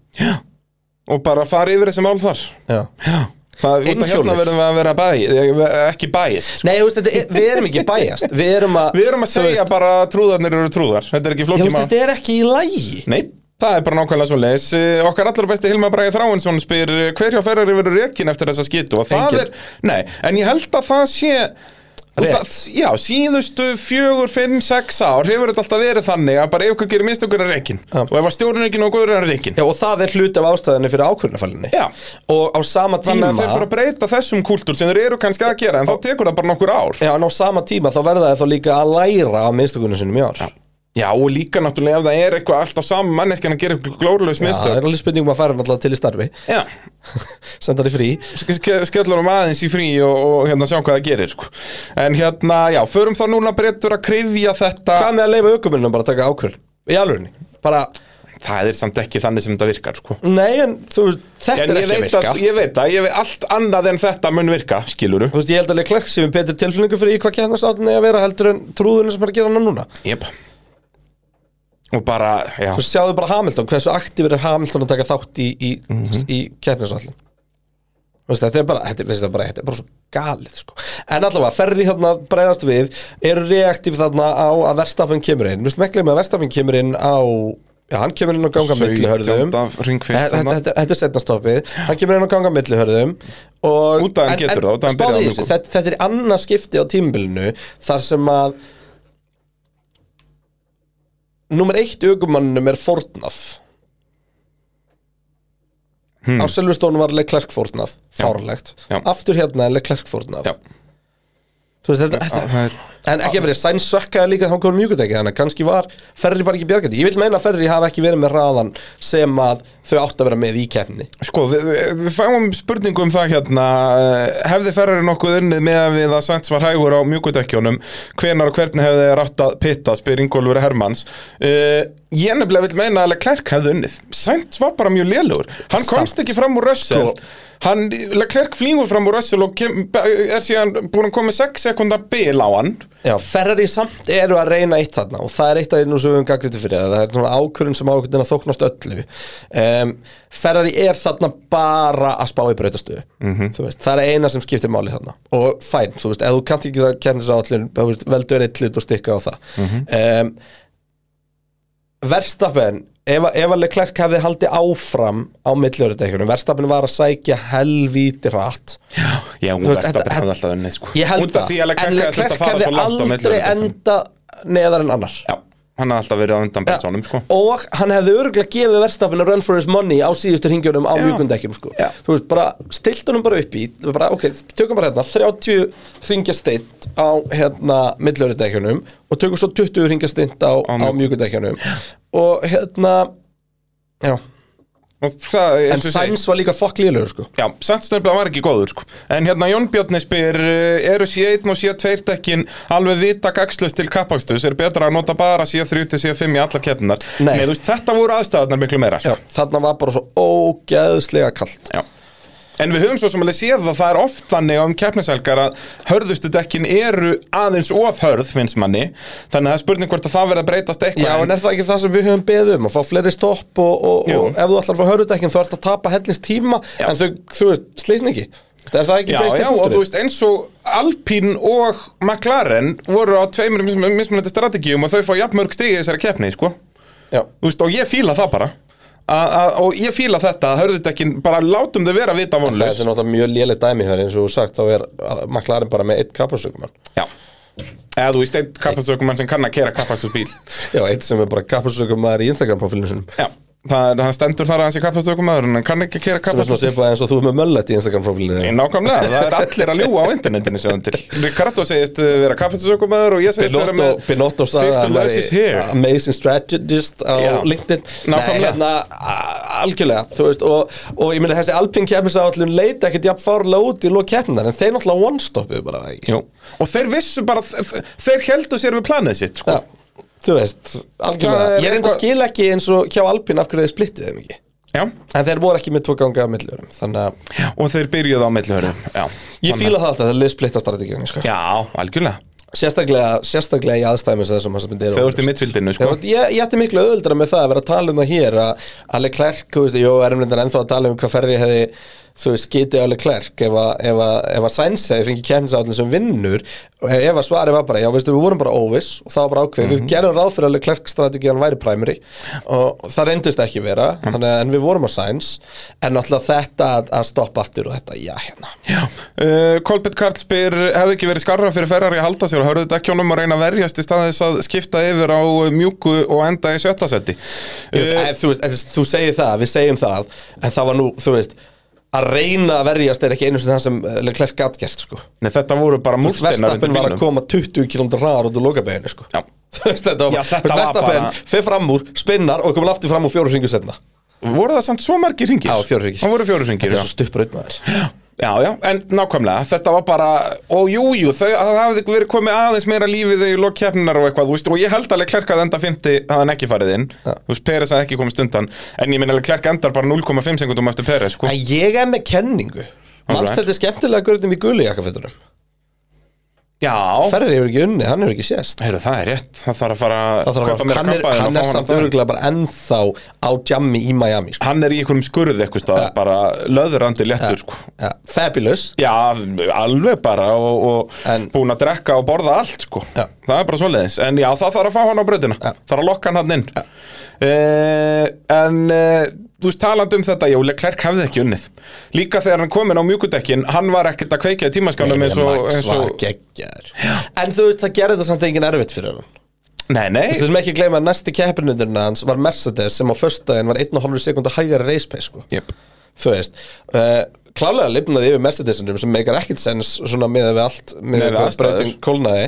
S3: og bara fara yfir þessi mál þar
S2: Já.
S3: Já Það, út af hérna
S2: Innhjólið.
S3: verðum við að vera bæ, eh, ekki bæjist
S2: Nei, þú veist, þetta, er- við erum ekki bæjast Við erum að,
S3: Við erum að
S2: þú
S3: segja
S2: veist,
S3: bara að trúðarnir eru trúðar Þetta er ekki
S2: ég,
S3: flókið
S2: veist,
S3: maður
S2: Þetta er ekki í lægi
S3: Nei, það er bara nákvæmlega svo leis Okkar allar besti Hilmar Bragi Þráinsson spyr eh, Hver hjá ferrari verður rekin eftir þessa skitu Og það
S2: Engin.
S3: er, nei, en ég held að það sé út
S2: Rétt.
S3: Að, já, síðustu fjögur, fimm, sex ár hefur þetta alltaf verið þannig að bara ef ykkur gerir mist okkur er reikin
S2: Já.
S3: og ef að stjórnir ekki nógu góður er reikin
S2: Já, og það er hluti af ástæðinni fyrir ákvörðunafælinni
S3: Já.
S2: Og á sama
S3: þannig
S2: tíma
S3: að þeir fyrir að breyta þessum kultúr sem þeir eru kannski að gera en þá tekur það bara nokkur ár
S2: Já, en á sama tíma þá verða þeir þá líka að læra af minnstakunum sinum í ár Já,
S3: Já, og líka náttúrulega ef það er eitthvað alltaf saman manneskjan að gera eitthvað glórlaus
S2: það
S3: mistök
S2: er alveg spurning um að fara náttúrulega til í starfi
S3: Já,
S2: Senda þið frí
S3: ske- ske- skellur um aðeins í frí og, og hérna sjá hvað það gerir sko. en hérna, já, förum þá núna breytur að krifja þetta
S2: Hvað með að leifa aukumunum bara að taka ákvörðun? Í alvörni Bara,
S3: það er samt ekki þannig sem þetta virkar sko.
S2: nei, en þú veist, þetta
S3: en
S2: er
S3: ég
S2: ekki
S3: veit,
S2: að virka
S3: að, ég veit að ég veit allt annað en þetta mun virka, skiluru
S2: Þú veist, ég held að Leclerc sem er betur tilfélningu fyrir í hvað kjarnastáttin er að vera heldur en trúðunum sem er að gera hana núna
S3: yep. og bara, já
S2: Þú sjáðu bara Hamilton, hversu aktífur er Hamilton að taka þátt í, í, mm í keppnisvallin Veistu, þetta er bara, þetta, veistu, bara, þetta er bara svo galið sko. En allavega, ferri hérna bregðast við eru reaktíf þarna á að verstafinn kemur inn Við smeklum að verstafinn kemur inn á Já, hann kemur inn á ganga milli hörðum
S3: 17. hring fyrst
S2: Þetta
S3: þarna.
S2: þetta- þetta er setna stoppið Hann kemur inn á ganga milli hörðum og,
S3: Út af hann
S2: en-
S3: getur
S2: en
S3: það, út af hann byrjar
S2: spáðu í
S3: á
S2: þessu,
S3: mjúkum.
S2: þetta, þetta er annað skipti á tímbilinu Þar sem að Númer eitt augumannum er fórnað Á Silvestónu var Leclerc fórnað Fárlegt
S3: Hmm. Já.
S2: Aftur hérna er Leclerc fórnað
S3: Já.
S2: Þú veist þetta, þetta
S3: Það er-
S2: En ekki að verið, Sainz sökkaði líka þá komum mjögutæki þannig að kannski var Ferri bara ekki bjargandi Ég vil meina að Ferri hafa ekki verið með raðan sem að þau átt að vera með í keppni
S3: Sko, við, við- við fáum spurningu um það hérna eh, Hefði Ferrari nokkuð unnið með að við að Sainz var hægur á mjúkudekkjónum Hvenar og hvernig hefði rátt að pitta, spyr Ingólfur Hermanns uh, Ég nefnilega vil meina að Leclerc hefði unnið Sainz var bara mjög lélugur Hann komst ekki fram úr Russell
S2: Sko.
S3: Hann, Leclerc flýgur fram úr Russell og kem, er síðan búin að koma með 6 sekunda bil á hann
S2: Já, Ferrari samt eru að reyna eitt þarna og það er eitt af þeirnum sem við höfum gagnriti fyrir það það er svona ákvörðun sem ákvörðun að þóknast öllu um, Ferrari er þarna bara að spá í breytastöðu þú veist, það er eina sem skiptir máli þarna og fæn, þú veist, ef þú kannt ekki að kemna þessu áallin, þú veist, veldur eitt hlut og stikka á það um, Verstappen ef, ef að Leclerc hefði haldið áfram á milliörutekjunum, Verstappen var að sækja helvíti hratt
S3: Já, hún
S2: Þú veist,
S3: veist,
S2: þetta-
S3: þetta, alltaf unnið sko
S2: ég held
S3: Út af
S2: það,
S3: því að
S2: en
S3: Leclerc hefði þurft
S2: Leclerc
S3: að fara
S2: hefði
S3: svo langt á
S2: aldrei
S3: milliörudekkjunum.
S2: enda neðar en annars
S3: Já, hann hafði alltaf verið á undan
S2: Ja,
S3: Bensonum sko
S2: og hann hefði örgulega gefið verstafinu run for his money á síðustu ringjónum á mjögundekkjum sko.
S3: Já.
S2: þú veist, bara stilt honum bara upp í bara, ok, tökum bara hérna 30 ringja stint á hérna millörudekkjunum og tökum svo 20 ringja stint á, á,
S3: mjúk-
S2: mjögundekkjunum og hérna já,
S3: Og það, eins og
S2: en
S3: ég segi-
S2: Sainz var líka fokk líðlegur sko.
S3: Já, sannsnöfnilega var ekki góður sko. En hérna Jón Björni spyr eh, Eru C1 og C2 dekkin alveg vita gagslust til kappakstus Er betra að nota bara C3 til C5 í allar keppnar
S2: Nei.
S3: þú veist, Þetta voru aðstæðarnar miklu meira
S2: já,
S3: sko.
S2: þarna var bara svo ógeðslega kalt
S3: Já. En við höfum svo sem alveg séð að það er oft þannig um keppniselgar að hörðustu dekkin eru aðeins of hörð finnst manni Þannig að það er spurning hvort að það verða að breytast eitthvað
S2: Já, en er það ekki það sem við höfum beðið um að fá fleiri stopp og, og,
S3: Jú.
S2: og ef þú ætlar að fá hörðutekkin þá ert að tapa hellins tíma
S3: Já.
S2: en þau, þú veist, slitni ekki Er það ekki
S3: Já,
S2: besti
S3: já, og þú veist, eins og Alpín og McLaren voru á tveimur mismun- mismunandi strategíum og þau fá jafnmörg stig í þessari keppni, sko
S2: Já,
S3: Þú veist, og ég fíla það bara a, a, og ég fíla þetta, hörðutekkin bara látum þau vera vita
S2: það
S3: vonlaus
S2: er náttúrulega mjög léleg dæmi hér eins og þú hefur sagt, þá er maklarinn bara með eitt kappasökumann
S3: já eða þú veist, einn kappakstökumann sem kann að kera kappakstökbíl
S2: Já, eitt sem er bara kappasökumann í Instagram-profilinu sinum
S3: já, það er, hann stendur þar að hans í kappakstökumann en hann kann ekki að kera
S2: sem er svona
S3: kappakstökbíl
S2: svipað eins og þú er með möllet í Instagram-profilinu þínu.
S3: Nákvæmlega, það er allir að ljúga á internetinu sem það til Ricardo segist uh, vera kaffestasökumæður og ég segist vera
S2: Binotto,
S3: með
S2: Binotto sagði að
S3: Victor
S2: hann
S3: Lewis is here
S2: væri amazing strategist á
S3: Já.
S2: LinkedIn
S3: Nákvæmlega.
S2: Nei, hérna, a- algjörlega, þú veist og, og ég meina þessi Alpine keppnisáallun leita ekkert jafn fárlega út í lók keppnar en þeir náttúrulega one-stoppuðu bara það ekki
S3: Jú. Og þeir vissu bara, þeir heldu sér við planið sitt sko.
S2: Já, þú veist,
S3: Það er
S2: algjörlega Ég reynda
S3: eitthvað-
S2: að skila ekki eins og hjá Alpine af hverju þeir splittuðu þeim ekki
S3: Já.
S2: En þeir voru ekki með tvo ganga á milliðurum Þannig að
S3: Og þeir byrjuðu á millihörðum Já,
S2: ég fíla það alltaf þegar lið splitta strategíunni sko.
S3: Já algjörlega
S2: sérstaklega, sérstaklega í aðstæmi sem þessum sem
S3: Þegar þú ert í mittfildinu sko.
S2: Sko? Ég, ég ætti miklu auðvöldra með það að vera að tala um það hér að Alli Klerk, þú veist, jó, erum reyndar ennþá að tala um hvað ferri hefði, þú veist, skitið Alli Klerk ef að, ef að, ef að Sainz hefði fengið kemnisállin sem vinnur og ef að svarið var bara, já, veistu, við vorum bara óviss og það var bara ákveð, við gerum ráð fyrir Alli Klerk strategiðan væri primary og það reyndist ekki vera, þannig að en við vorum á Sainz, en náttúrulega þetta að, að stoppa aftur og þetta, já, hérna
S3: uh, Kolbett Karl spyr Hefði ekki verið skarra fyrir Ferrari að halda sér og hörðu dekkjónum að reyna að verjast í staðis að skipta yfir á eh, mjúku og enda í sjötta seti uh,
S2: en, þú, veist, en, þú segir það, við segjum það En það var nú, þú veist Að reyna að verjast er ekki einu sem það sem eh, Leclerc gat gert, sko
S3: Nei, þetta voru bara múrsteinar
S2: Verstappen var að koma 20 km hraðar út úr lokabeginu, sko
S3: Já.
S2: Þú veist, þetta
S3: Já,
S2: var,
S3: þetta var
S2: Verstappen
S3: bara-
S2: fer fram úr, spinnar og komur aftur fram úr fjóru hringu setna
S3: Voru það samt svo margir hringir?
S2: Já, fjórir hringir.
S3: Það voru fjórir hringir,
S2: Þetta
S3: já
S2: er svo stuppur upp maður
S3: Já, já, en nákvæmlega, þetta var bara og jú, jú, þau, það hafði verið komið aðeins meira lífið í lokkeppninar og eitthvað, þú veist, og ég held alveg klerkað enda 50 hafði hann ekki farið inn,
S2: Já.
S3: þú veist, Peres hafði ekki komið stundan, en ég minn alveg klerka endar bara 0,5 sekundum eftir Peres, sko
S2: En ég er með kenningu Manst þetta skemmtilega görðum í guli jakkafötunum
S3: Já,
S2: Ferri hefur ekki unni, hann hefur ekki sést
S3: heyrðu, það er rétt, það þarf að fara
S2: Það þarf
S3: kaupa
S2: að,
S3: meira
S2: hann er,
S3: kampavín og fá
S2: hann er
S3: hann á
S2: samt
S3: staðinn.
S2: örgulega bara ennþá á jammi í Miami, sko
S3: Hann er í einhverjum skurð eitthvað stað,
S2: Já.
S3: bara löðurandi léttur, sko
S2: ja, Fabulous
S3: Já, alveg bara og, og
S2: En-
S3: búin að drekka og borða allt sko.
S2: Já.
S3: Það er bara svoleiðis En já, það þarf að fá hann á brautina
S2: Já.
S3: Þarf að lokka hann hann inn uh, En uh, þú veist talandi um þetta Jóle Klerk hefði ekki unnið Líka þegar hann komin á mjúkudekkin Hann var ekkert að kveikja í tímaskanum eins og,
S2: Max
S3: eins
S2: var
S3: og
S2: geggjar En þú veist, það gerði þetta samt engin erfitt fyrir hann
S3: Nei, nei
S2: Þú þurfum ekki að gleyma að næsti keppinundurinn hans var Mercedes sem á föstudaginn var 1,5 sekund að hægara racepace sko.
S3: Jep.
S2: þú veist uh, klálega lifnaði yfir Mercedesinum sem meikar ekkit sens svona með við allt með
S3: Miðað við
S2: við
S3: aðstæður.
S2: breyting kólnaði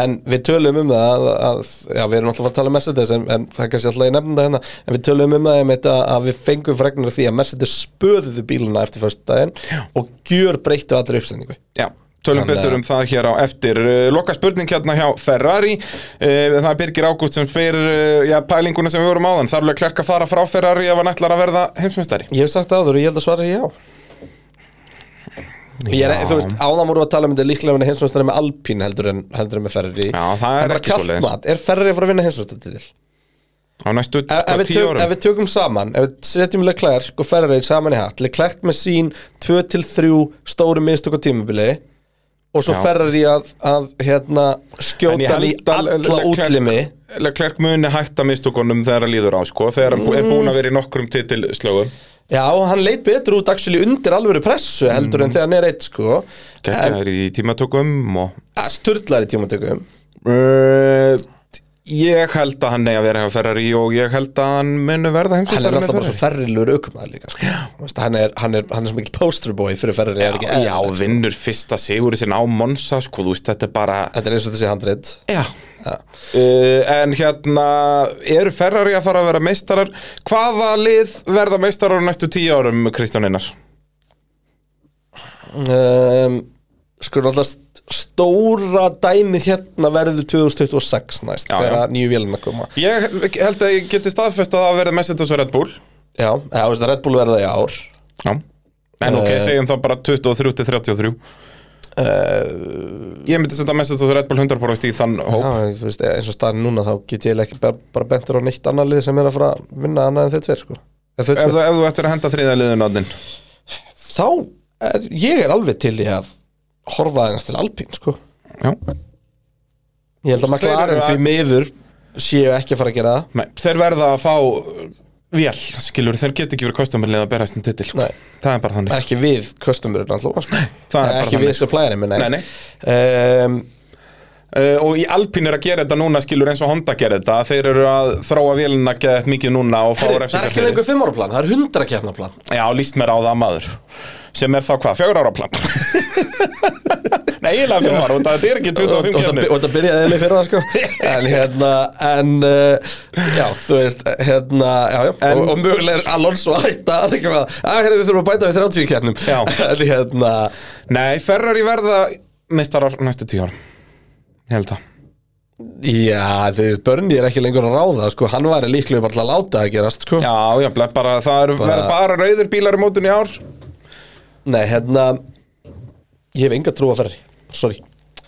S2: en við tölum um það að, að já, við erum alltaf að tala um Mercedes en, en það er kannski alltaf í nefnda hérna en við tölum um það einmitt að, að við fengum fregnir af því að Mercedes spöðuðu bíluna eftir föstudaginn og gjör breyttu allri uppsendingu
S3: Já, tölum
S2: Þannig að-
S3: betur um það hér á eftir Loka spurning hérna hjá Ferrari Eh, Það er Birgir Ágúst sem spyr eh, já, pælinguna sem við vorum áðan Þarf alveg klerk að fara frá Ferrari ef hann ætlar að verða heimsmeistari
S2: Ég hef sagt það áður og ég held að svara já Ég er, þú veist, áðan voru að tala um þetta líklega að vinna hinsvæmstæri með Alpín heldur en, heldur en með Ferrari
S3: Já, það er
S2: bara
S3: ekki
S2: kalt
S3: svoleiðis.
S2: mat. Er Ferrari að fara að vinna hinsvæmstæri til?
S3: Á næstu
S2: Ef, ef,
S3: sko,
S2: við
S3: tíu
S2: tök, ef
S3: árum
S2: við tökum saman, ef við setjum Leclerc og Ferrari saman í hatt Leclerc með sín 2-3 stóru mistök á tímabili og svo
S3: Já.
S2: Ferrari að, að hérna,
S3: En ég
S2: skjóta hann í
S3: held að
S2: alla
S3: Leclerc-
S2: útlimi
S3: Leclerc muni hætta mistökunum þegar hann líður á sko Þegar hann mm. er búin að vera í nokkrum titilslögum
S2: Já, hann leit betur út actually undir alvöru pressu heldur
S3: Mm.
S2: en þegar hann er eitt sko
S3: Gekka er í tímatökum og
S2: Sturðlari tímatökum
S3: Uh,
S2: Eh,
S3: ég held að hann neyja að vera hjá Ferrari og ég held að hann muni verða
S2: hann er
S3: heimsmeistari með
S2: náttúrulega bara svo
S3: Ferrari.
S2: ferrilur aukumæður líka sko. Þú veist, hann, er, hann, er, hann er svo mikil posterboy fyrir ferrari er ekki
S3: Já, já,
S2: eðlilegt.
S3: vinnur fyrsta sigur sinna á Monsa, sko, þú veist, þetta er bara
S2: þetta er eins og þessi handrit
S3: Já
S2: Já.
S3: Uh, en hérna, eru Ferrari að fara að vera meistarar? Hvaða lið verða meistarar á næstu tíu árum, Kristján Einar?
S2: um, sko náttúrulega st- stóra dæmið hérna verður 2026 næst
S3: Já,
S2: þegar
S3: já.
S2: að nýju vélina koma
S3: Ég held að ég geti staðfest að það verði Mercedes og Red Bull
S2: já, eða, þú veist, Red Bull verða í ár
S3: Já En ok,
S2: Eh.
S3: segjum þá bara 23 til 33 Ég myndi senda Mercedes og Red Bull 100% í þann hóp
S2: já, þú veist, eins og staðin núna þá get ég ekki bara, bara bentur á neitt annað lið sem er að fara að vinna annað en þau tveir sko. Eða þau
S3: ef,
S2: tveir.
S3: þú- ef þú ættir að henda þriða liðun á þinn
S2: þá er, ég er alveg til í að horfa aðeins til Alpín sko Ég held að
S3: Þeir
S2: McLaren
S3: eru að-
S2: því miður séu ekki að fara að gera það
S3: Nei, þeir verða að fá uh, vél, skilur, þeir get ekki verið kostamalið að berast um titil, sko.
S2: Nei.
S3: það er bara þannig
S2: Ekki við customerinn alltaf sko.
S3: það er bara
S2: Ekki
S3: þannig.
S2: við supplierinn minn
S3: Nei, nei.
S2: Um,
S3: uh, og í Alpine er að gera þetta núna, skilur, eins og Honda gera þetta, þeir eru að þróa vélina geðið mikið núna og fá
S2: herri, Það er ekki
S3: refsingar
S2: lengur fimm ára plan, það er hundra keppna plan
S3: Já, líst mér á það maður sem er þá hvað, fjögur ára plan Nei, eiginlega fjögur ára, út af þetta er ekki
S2: Og
S3: 25
S2: og-
S3: kjarnir
S2: og það byrjaði eða fyrir það sko En hérna, en uh, Já, þú veist, hérna Já, já,
S3: En-
S2: og, og mögulega er Alonso að hætta Það er ekki að, að hérna við þurfum að bæta við 30 keppnum
S3: Já.
S2: En hérna,
S3: Nei, Ferrari verða meistarar næstu tíu ára Ég held það
S2: já, þú veist, Bernie er ekki lengur að ráða sko, Hann væri líklega bara til að láta það gerast sko.
S3: Já, já, blef, bara það eru
S2: Bara-
S3: bara... bara rauðir bílar í mótun í ár
S2: Nei, hérna Ég hef enga trú að ferri Sorry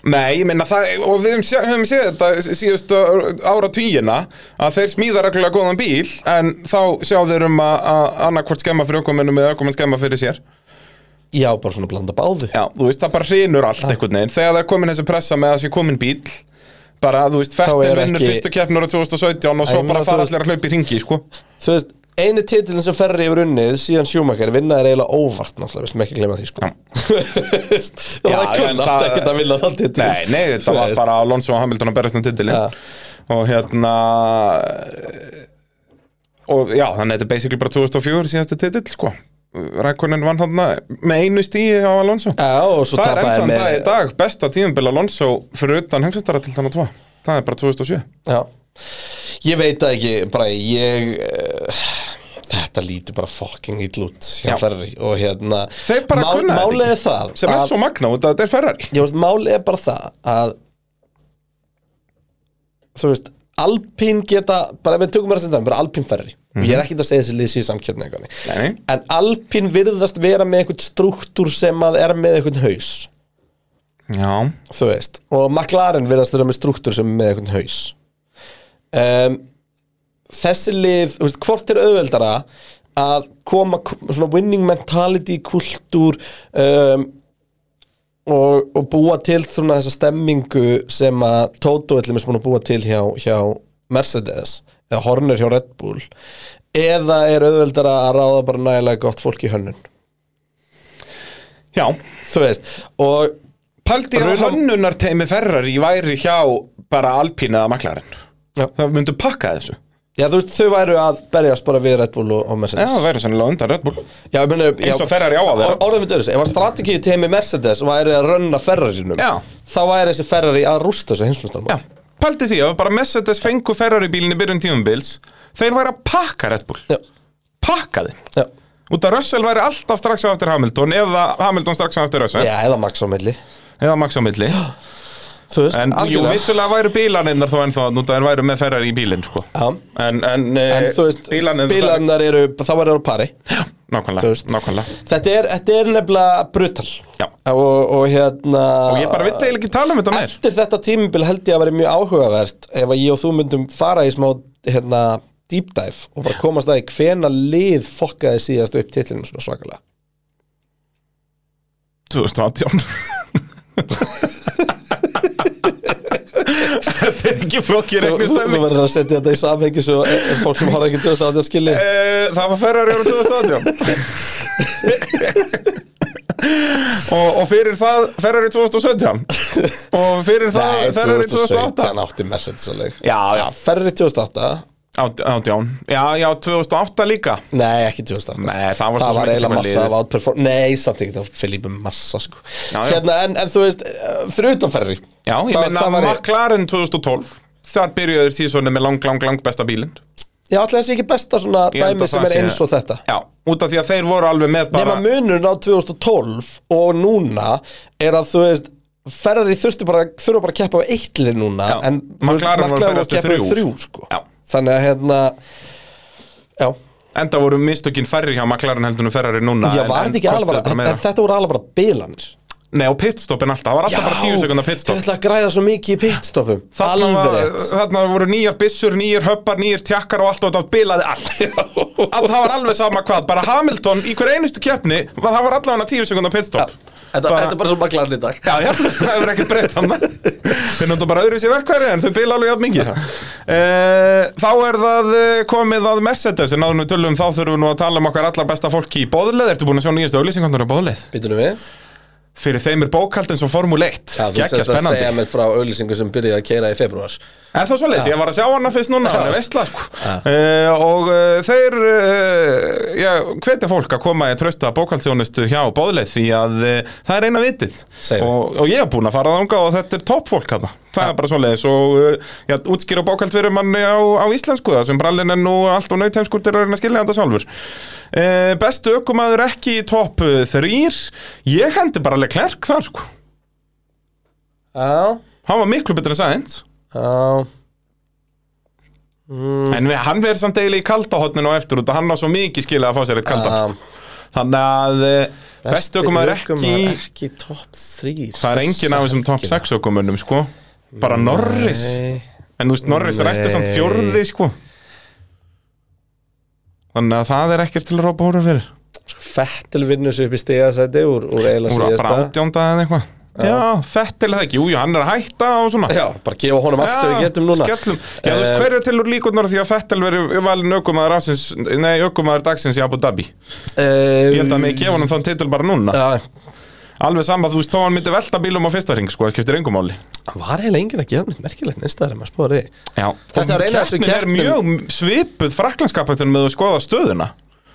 S3: Nei, ég meina það, og við höfum, sé, höfum séð þetta síðustu ára tíina að þeir smíða reglulega góðan bíl en þá sjá þeir um að, að annarkvort skemma fyrir ökumennum eða ökumenn skemma fyrir sér
S2: Já, bara svona blanda báðu
S3: Já, þú veist, það bara hrinur allt einhvern veginn þegar það er komin þessi pressa með að það sé komin bíl bara, þú veist,
S2: er
S3: fettin vinnur
S2: ekki-
S3: fyrstu keppnur á 2017 og svo
S2: Æ, ég meina,
S3: bara fara
S2: þú veist-
S3: allir að hlaupa í ringi, sko
S2: Þú veist, eini titilin sem ferri yfir unnið síðan Schumacher vinna er eiginlega óvart náttúrulega, við sem ekki glemma því sko
S3: Já.
S2: Þú veist, Það
S3: Já,
S2: var
S3: já, en
S2: kunnátt
S3: það-
S2: ekkert að vinna þann titil
S3: Nei, nei, þetta
S2: Þú
S3: var
S2: veist.
S3: bara Alonso og Hamilton að berast um titilin
S2: Ja.
S3: og hérna og já, þannig að þetta er basically bara 2004 síðasti titill, sko Rækonin vann hann með einu stíi á Alonso
S2: Já, og svo
S3: Það er um
S2: tapaði
S3: ennþann
S2: með
S3: dag í dag, besta tíðumbil Alonso fyrir utan heimsvistara til þannig að Það er bara 2007
S2: Já, ég veit það ekki bara ég uh, þetta lítur bara fucking ill út hjá
S3: Já.
S2: ferri og hérna
S3: Þeir bara kunna þetta
S2: Málið
S3: ekki.
S2: er það
S3: sem er
S2: að-
S3: svo magna út að þetta er Ferrari
S2: Ég veist, málið er bara það að þú veist, Alpín geta bara ef við tökum mér að senda, bara Alpín ferri og ég er ekkert að segja þessi lýsi í samkjörni eitthvað
S3: Mhm. Nei,
S2: en Alpín virðast vera með eitthvað struktúr sem að er með eitthvað haus
S3: já,
S2: þú veist, og McLaren virðast vera með struktúr sem er með eitthvað haus um, þessi lið, þú veist, hvort er auðveldara að koma k- svona winning mentality, kultúr um, og, og búa til svona þessa stemmingu sem að Toto er til dæmis búin að búa til hjá, hjá Mercedes eða Horner hjá Red Bull eða er auðveldara að ráða bara nægilega gott fólk í hönnun
S3: já
S2: þú veist, og
S3: Paldi að
S2: Runar-
S3: hönnunarteimi Ferrari væri hjá bara Alpine eða McLaren
S2: Já.
S3: Það myndu pakka þessu
S2: Já, þú veist, þau væru að berjast bara við Red Bull og, og
S3: Já,
S2: Mercedes
S3: það væri sennilega undan Red Bull
S2: Já, ég meina, já,
S3: og Ferrari á að vera.
S2: or- Orðum við dörðis, ef að strategíu teimi Mercedes væri að rönna Ferrarinum
S3: Já.
S2: Þá væri þessi Ferrari að rústa þessu hinsmestarmál
S3: Já, pældi því að bara Mercedes fengu Ferrari bílinni byrjun tímumbils Þeir væri að pakka Red Bull
S2: já,
S3: Pakka þeim
S2: já,
S3: Út að Russell væri alltaf strax á eftir Hamilton Eða Hamilton strax á eftir Russell
S2: já, eða Max á milli
S3: Eða Max á milli
S2: Þú veist,
S3: En jú,
S2: algjörlega
S3: vissulega væru bílaninnar þó ennþá Nú það er væru með Ferrari í bílinn sko.
S2: Já.
S3: En, en,
S2: En
S3: eh,
S2: þú veist,
S3: bílarnir-
S2: bílarnar eru, þá væri á pari þú
S3: Nákvæmlega,
S2: veist.
S3: nákvæmlega
S2: Þetta er, þetta er nefnilega brutal
S3: Já.
S2: og, og hérna
S3: Og ég bara vill eiginlega ekki tala um þetta meir
S2: Eftir þetta tímabil held ég að vera mjög áhugavert ef að ég og þú myndum fara í smá hérna, deep dive og bara komast að í hvena lið fokkaði síðast upp titlinum svona svakalega
S3: 2018 Þetta er ekki flokkir
S2: Þú,
S3: einnig
S2: þú þú
S3: stemming
S2: verður að setja þetta í samhengi svo e, e, fólk sem horfði ekki 2018 skilji
S3: Eh, Það var Ferrari ára 2018 og, og fyrir það Ferrari 2017 Og fyrir það Ferrari 2008
S2: átti Mercedes að leik
S3: Já, já,
S2: Ferrari 2008
S3: át- átján Já, já, 2008 líka
S2: Nei, ekki 2008
S3: Nei, það var svo
S2: það
S3: sem
S2: var
S3: ekki
S2: eiginlega
S3: með
S2: massa
S3: liðið.
S2: af outperform Nei, samt ekki, það var Filipe massa sko.
S3: Já, já.
S2: Hérna, en, en þú veist, eh, fyrir utanferri
S3: Já, ég meina
S2: það var,
S3: McLaren 2012 Þar byrjuðu því svona með lang, lang, lang besta bílinn
S2: Já, alltaf þessi ekki besta svona
S3: Ég held
S2: dæmi
S3: að
S2: sem
S3: það
S2: er
S3: sé-
S2: eins og þetta
S3: Já, út af því að þeir voru alveg með bara
S2: Nema munurinn á 2012 og núna er að þú veist Ferrari þurfti bara, þurfa bara að keppa á eitt lið núna
S3: Já.
S2: en þú veist,
S3: McLaren var að
S2: McLaren var
S3: berjast
S2: að
S3: við
S2: keppa á
S3: þrjú,
S2: þrjú
S3: sko.
S2: sko.
S3: Já.
S2: þannig að hérna já,
S3: Enda voru mistökin færri hjá McLaren heldur en ferrari núna
S2: já
S3: en-
S2: var
S3: en
S2: þetta ekki alveg
S3: kostaði bara
S2: en,
S3: meira.
S2: en þetta voru alveg bara bilanir
S3: Nei, og pitstoppin alltaf, það var alltaf bara 10 sekundar pitstopp
S2: þeir ætla að græða svo mikið í pitstoppum
S3: Þarna,
S2: alveg
S3: var,
S2: rétt
S3: þarna voru nýjar byssur, nýjar höppar, nýjar tjakkar og allt og þetta bilaði allt Allt, Það var alveg sama hvað, bara Hamilton í hver einustu keppni, var- það var allavega 10 sekundar pitstop
S2: Þetta,
S3: Bara-
S2: þetta er bara svo maklarinn í dag
S3: Já, já, það hefur ekkert breytt hann Þeir náttu bara öðru sér verkværi en þau bila alveg jafn mikið e, Þá er það eh, komið að Mercedes en áður en við tölum þá þurfum við nú að tala um okkar allar besta fólki í bóðleð Ertu búin að sjá nýjastu auglýsingarnar á bóðleð?
S2: Býtunum við
S3: Fyrir þeim er bókald eins og Formule 1
S2: Já, þú
S3: Gekkja
S2: sérst að segja
S3: spennandi
S2: mér frá auðlýsingu sem byrjaði að keira í februar
S3: Er það svolítið? Ég var að sjá hana fyrst núna, hann er veistla sko. uh, Og uh, þeir, uh, já, hvetja fólk að koma í trösta bókaldþjónustu hjá bóðleið Því að uh, það er eina vitið
S2: Segðu.
S3: og, og ég er búinn að fara þangað og þetta er topp fólk hana Það er bara svolítið Og uh, já, útskýra bókald fyrir manni á, á íslensku Það sem brallin er nú allt og nautheimskur til að reyna að skilja þetta sjálfur uh, Bestu ökumaður ekki í topp uh, þrýr Ég hendi bara alveg klerk þar sko
S2: Já,
S3: Hann var miklu betur en sæðins
S2: já
S3: En við, hann verður samt eiginlega í kaldahotninu á eftir út að hann á svo mikið skilið að fá sér eitt kaldan
S2: um,
S3: Þannig að eh, besti ökumaður ekki
S2: ökumaður ekki í topp 3
S3: Það er engin af þessum topp 6 ökumönnum sko Bara Norris En þú veist Norris resti samt
S2: Nei.
S3: fjórði sko Þannig að það er ekkert til að rópa hóra fyrir
S2: Fettil Sko, vinnur svo upp í stigasæti úr, úr
S3: Úr
S2: eiginlega
S3: að bara
S2: síðasta
S3: átjónda eða eitthvað Já, fett er það ekki, jújú, hann er að hætta og svona
S2: Já, bara gefa honum allt sem við getum núna Eh.
S3: skellum. Já, þú veist, hver er til úr líkunar því að Fettel verður valin ökumaður, afsins, nei, ökumaður dagsins í Abu Dhabi?
S2: um,
S3: Ég held að mig gefa hann þann titil bara núna
S2: Já,
S3: Alveg sama, þú veist, þá hann myndi velta bílum á fyrsta ring, sko, það skiptir engum máli
S2: hann var eiginlega engin að gera neitt merkilegt nýstaðar en maður spóður því
S3: Já,
S2: Þetta var eiginlega þessu
S3: er mjög svipuð fraklandskapættunum með að skoða stöðuna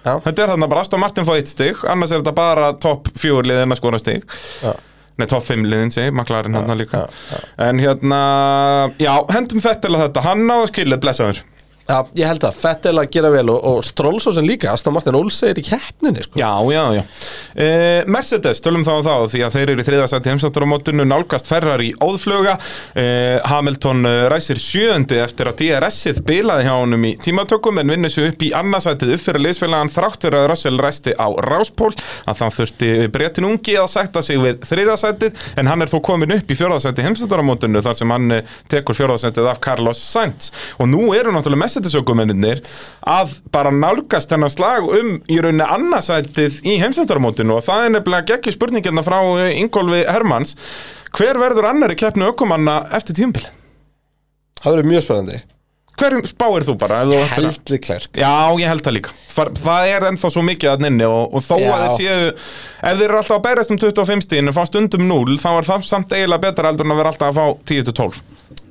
S2: Já.
S3: Þetta er þarna bara Aston Martin fá eitt stig, annars er þetta bara topp fjögur liðin að skora stig
S2: Já.
S3: Nei, topp fimm liðin segi, maklarinn hann líka En hérna, já, hendum Fettel að þetta, hann náða skilið, blessaður
S2: Já, ég held að Fettil að gera vel og, og Strólsósen líka, Aston Martin Olse er í keppninni sko.
S3: Já, já, já e, Mercedes, tölum þá og þá því að þeir eru í þriðastætti heimsátturamótinu nálgast ferrar í óðfluga e, Hamilton eh, ræsir sjöundi eftir að DRS-ið bilaði hjá honum í tímatökum en vinnur svo upp í annarsætið upp fyrir liðsfélagan þrátt fyrir að Russell ræsti á ráspól að þann þurfti breytin ungi að sætta sig við þriðasætið en hann er þó komin upp í fjörðasætti heimsátturamótinu þar sem hann eh, tekur fjörðasætið af Carlos Sainz og nú eru náttúrulega Mercedes-ökumennir að bara nálgast hennar slag um í rauninni annarsætið í heimsveitarmótinu og það er nefnilega geggjur spurningina frá eh, Ingólfi Hermanns hver verður annar í keppnu ökumanna eftir tíumbili?
S2: Það verður mjög spennandi
S3: Hverjum spáir þú bara? ef þú ættir að-
S2: Heldi klærk
S3: Já, ég held það líka Far, Það er ennþá svo mikið að nynni og, og þó að
S2: Já.
S3: þeir séu Ef þeir eru alltaf að bærast um 25 stíðin og fá stundum 0 þá er það samt eiginlega betra heldur en að vera alltaf að fá 10-12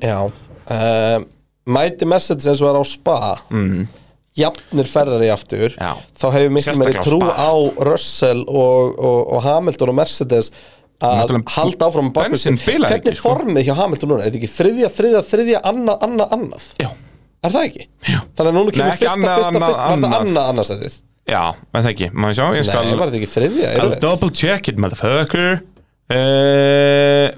S2: Já um, mæti Mercedes eins og er á spa mm. jafnir ferrari aftur
S3: Mhm. Já.
S2: þá hefur miklu meiri
S3: Sérstaklega á
S2: trú
S3: Spa.
S2: á Russell og, og, og Hamilton og Mercedes að
S3: Náttúrulega
S2: halda áfram með bakvið sig.
S3: bensín bilar ekki,
S2: hvernig
S3: sko.
S2: formið hjá Hamilton núna, er þetta ekki þriðja, þriðja, þriðja, annað, annað, annað
S3: Já.
S2: er það ekki? Já. þannig að núna
S3: Nei,
S2: kemur
S3: ekki
S2: fyrsta,
S3: annað,
S2: fyrsta,
S3: annað,
S2: fyrsta var þetta
S3: annað.
S2: annað, annað sætið
S3: Já, en það ekki, maður sjá, ég
S2: nei,
S3: skal
S2: var þetta ekki þriðja?
S3: I'll
S2: yfirleitt?
S3: double check it, motherfucker uh,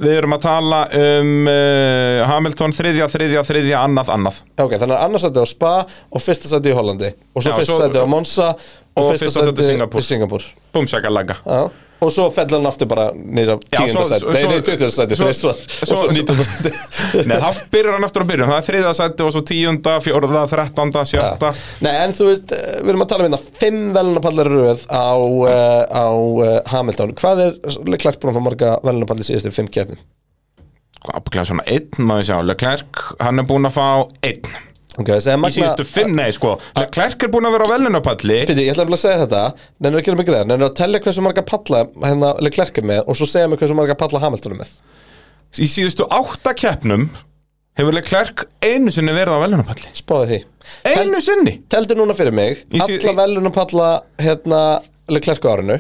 S3: Við erum að tala um uh, Hamilton þriðja, þriðja, þriðja, annað, annað
S2: Ok, þannig að annars sætti á Spa og fyrsta sætti í Hollandi og svo
S3: Já,
S2: fyrsta
S3: svo-
S2: sætti á Monza og,
S3: og fyrsta sæti
S2: fyrsta sætti
S3: í
S2: í
S3: Singapúr.
S2: Singapúr
S3: Búmsjaka laga
S2: Já. og svo fell hann aftur bara nýra tíunda
S3: svo-
S2: sæti,
S3: svo-
S2: nei,
S3: svo-
S2: nei, tjóttjóða sæti
S3: svo-
S2: þrisvar og
S3: svo-
S2: svo nýtjóða sæti
S3: Nei, þá byrjar hann aftur að byrja Það er þriðja sæti og svo tíunda, fjórða, þrettanda, sjötta
S2: Nei, en þú veist, eh, við erum að tala um þetta fimm velunapallar röð á, uh, á uh, Hamilton hvað er Leclerc búin að fá marga velunapallar síðustu fimm kefnum?
S3: Hvað, Sko, ábyggilega svona einn, maður sjá Leclerc, hann er búinn að fá einn
S2: Ok, þessi er
S3: Í síðustu
S2: magna
S3: fimm, nei, sko Leclerc er búinn að vera á velunapalli
S2: Píti, ég ætla að segja þetta, nennir að gera mig greið nennir að tellja hversu marga palla hérna Leclerc er með og svo segja mig hversu marga palla Hamilton er með
S3: Í síðustu átta keppnum Hefur Leclerc einu sinni verið á velunapalli
S2: spáði því Tel-
S3: Einu sinni
S2: Teldu núna fyrir mig
S3: Í sí-
S2: Alla velunapalla hérna Leclerc á árinu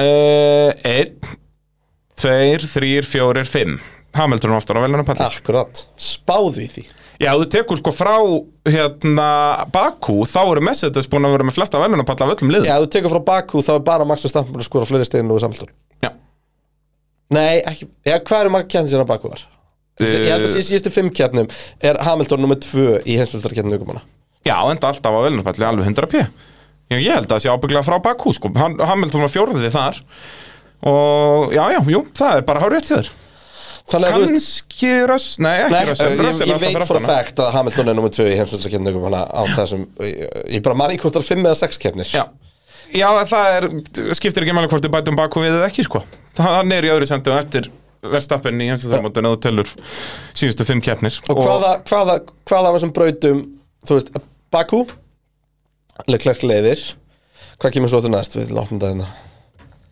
S3: Uh, einn, tveir, þrýr, fjórir, fimm Hamilton er aftur á velunarpalli
S2: Akkurat, spáðu í því
S3: Já, þú tekur sko frá hérna Bakú, þá eru Mercedes búin að vera með flesta velunarpalli af öllum liðum
S2: Já, ef þú tekur frá Bakú þá er bara Max og Stampur að skora fleiri stegin og samlítun
S3: Já.
S2: Nei, ekki, já, hvað eru marga kjæðin sér að Bakú var? Ég held að í síðustu fimm kjæfnum er Hamilton nummer tvö í heimsvöldarkjæfnum aukumanna
S3: Já, enda alltaf á velunarpalli alveg 100 p Já, ég held að það sé ábygglega frá Bakú sko. Ham- Hamilton var fjóraðið þar og já, já, jú, það er bara hárið til þér
S2: Þannig að þú veist
S3: Kanski röss, nei,
S2: Nei,
S3: ekki röss
S2: ég, ég veit for a fact að Hamilton er nummer tvö í heimsvöldarkjæfnum aukumanna á þessum Ég, ég bara manni hvort það er fimm eða sex kjæfnir
S3: Já, já það er, skiptir ekki máli hvort þið bætum baku við eða ekki sko Hann er í öðru sendu eftir verðstappinni í heimsumþarmótun eða þú telur síðustu fimm keppnir
S2: Og hvaða, hvaða, hvaða af þessum brautum Þú veist, Bakú Leclerc leiðir Hvað kemur svo til næst við lóknum dagina?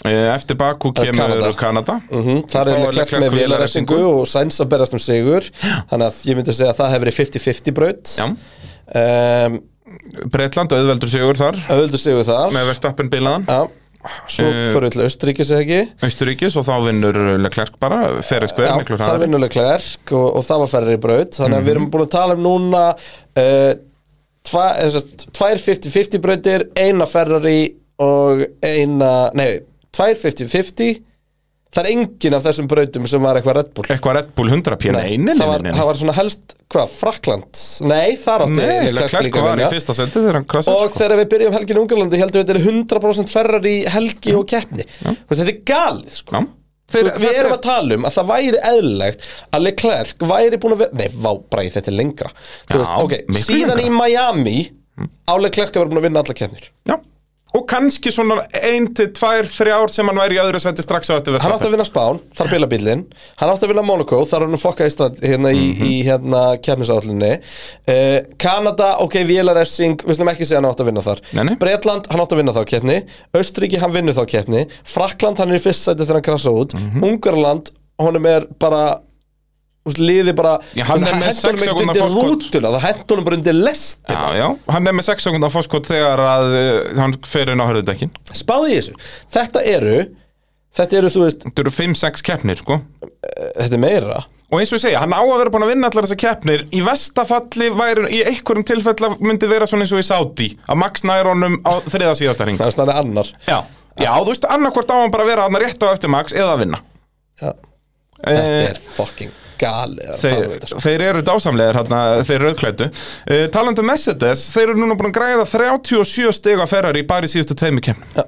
S3: e, Eftir baku
S2: Eh,
S3: kemur
S2: Kanada.
S3: Kanada,
S2: Mm Þar
S3: Þá
S2: er
S3: er
S2: Leclerc
S3: Leclerc
S2: með
S3: með
S2: vélarefsingu
S3: vélarefsingu.
S2: og Sainz að berast um sigur Þannig að ég myndi að segja að það hefur verið 50-50 braut
S3: Já,
S2: um,
S3: Breitland, auðveldur sigur þar
S2: Öðuldu sigur þar
S3: með verðstappin bilaðan
S2: Já, Svo
S3: Eh,
S2: fyrir við til Austuríkis eða ekki
S3: Austuríkis og þá vinnur Leclerc bara ferið
S2: Já,
S3: skver, miklu Mhm.
S2: þar
S3: hraðar
S2: vinnur Leclerc og, og það var færri braut Þannig að við erum búin að tala um núna uh, tva, eða sem sagt, Tvær 50-50 brautir Eina Ferrari og eina Nei, tvær 50-50 Það er engin af þessum brautum sem var eitthvað Red Bull
S3: Eitthvað Red Bull 100 p Nei, nei, nei,
S2: það, var,
S3: nei,
S2: það
S3: nei.
S2: var svona helst, hvað, Frakland? Nei, þar átti
S3: Nei, Leclerc
S2: líka að
S3: var í
S2: vinna.
S3: fyrsta sko. sendi þegar hann krasið
S2: Og þegar við byrjum helgin í Ungarlandi heldum við þetta er 100% ferrar í helgi og keppni Þú veist, Þetta er galið sko.
S3: Já,
S2: Þú
S3: þeir,
S2: veist, Við erum að tala um að það væri eðlilegt að Leclerc væri búin að vera Nei, vá, bræði þetta er lengra
S3: Já,
S2: Þú veist, okay,
S3: miklu
S2: Síðan
S3: lengra. Mm.
S2: í Miami á Leclerc að vera búin að vinna alla keppnir
S3: Já, og kannski svona ein til tvær, þrjár sem hann væri í öðru sendi strax á þetta
S2: Hann
S3: verðstappin
S2: átti að vinna Spán, þar bila bílinn Hann átti að vinna Monaco, þar hann fokkaði strand hérna í,
S3: Mhm.
S2: í hérna keppnisállunni uh, Kanada, ok, VLRF-sing Við slum ekki segja hann átti að vinna þar
S3: Nei, nei.
S2: Bretland, hann átti að vinna þá keppni Austuríki, hann vinnur þá keppni Frakland, hann er í fyrst sæti þegar hann krasa út
S3: Mhm.
S2: Ungarland, honum er bara þú veist, liði bara
S3: Já, hann
S2: þú veist,
S3: er með
S2: hentu honum
S3: sex
S2: ekkert
S3: sekúndna
S2: undir
S3: forskot.
S2: rútuna, Það hendur honum bara undir lestin
S3: Já, já, hann er með 6 sekundar fórskot þegar að uh, hann fer inn á hörðudekkin
S2: Spáði í þessu Þetta eru, þetta eru, þú veist,
S3: Þetta eru 5-6 keppnir, sko
S2: þetta er meira
S3: Og eins og ég segja, hann á að vera búin að vinna allar þessar keppnir Í vestafalli væri, í einhverjum tilfella myndi vera svona eins og í Saudi Að Max nær honum á þriða síðasta hring
S2: Það er stannir annar
S3: Já, já, þú veist, annarkvort á hann bara að vera hann rétt á eftir Max eða að vinna
S2: Já. Þetta
S3: Eh,
S2: er fucking galið að tala um
S3: Þeir,
S2: þetta sko.
S3: þeir eru dásamlegar hérna, þeir rauðklættu uh, Talandi um Mercedes, þeir eru núna búin að græða 37 stig á Ferrari bara í síðustu tveimur keppnum
S2: Já.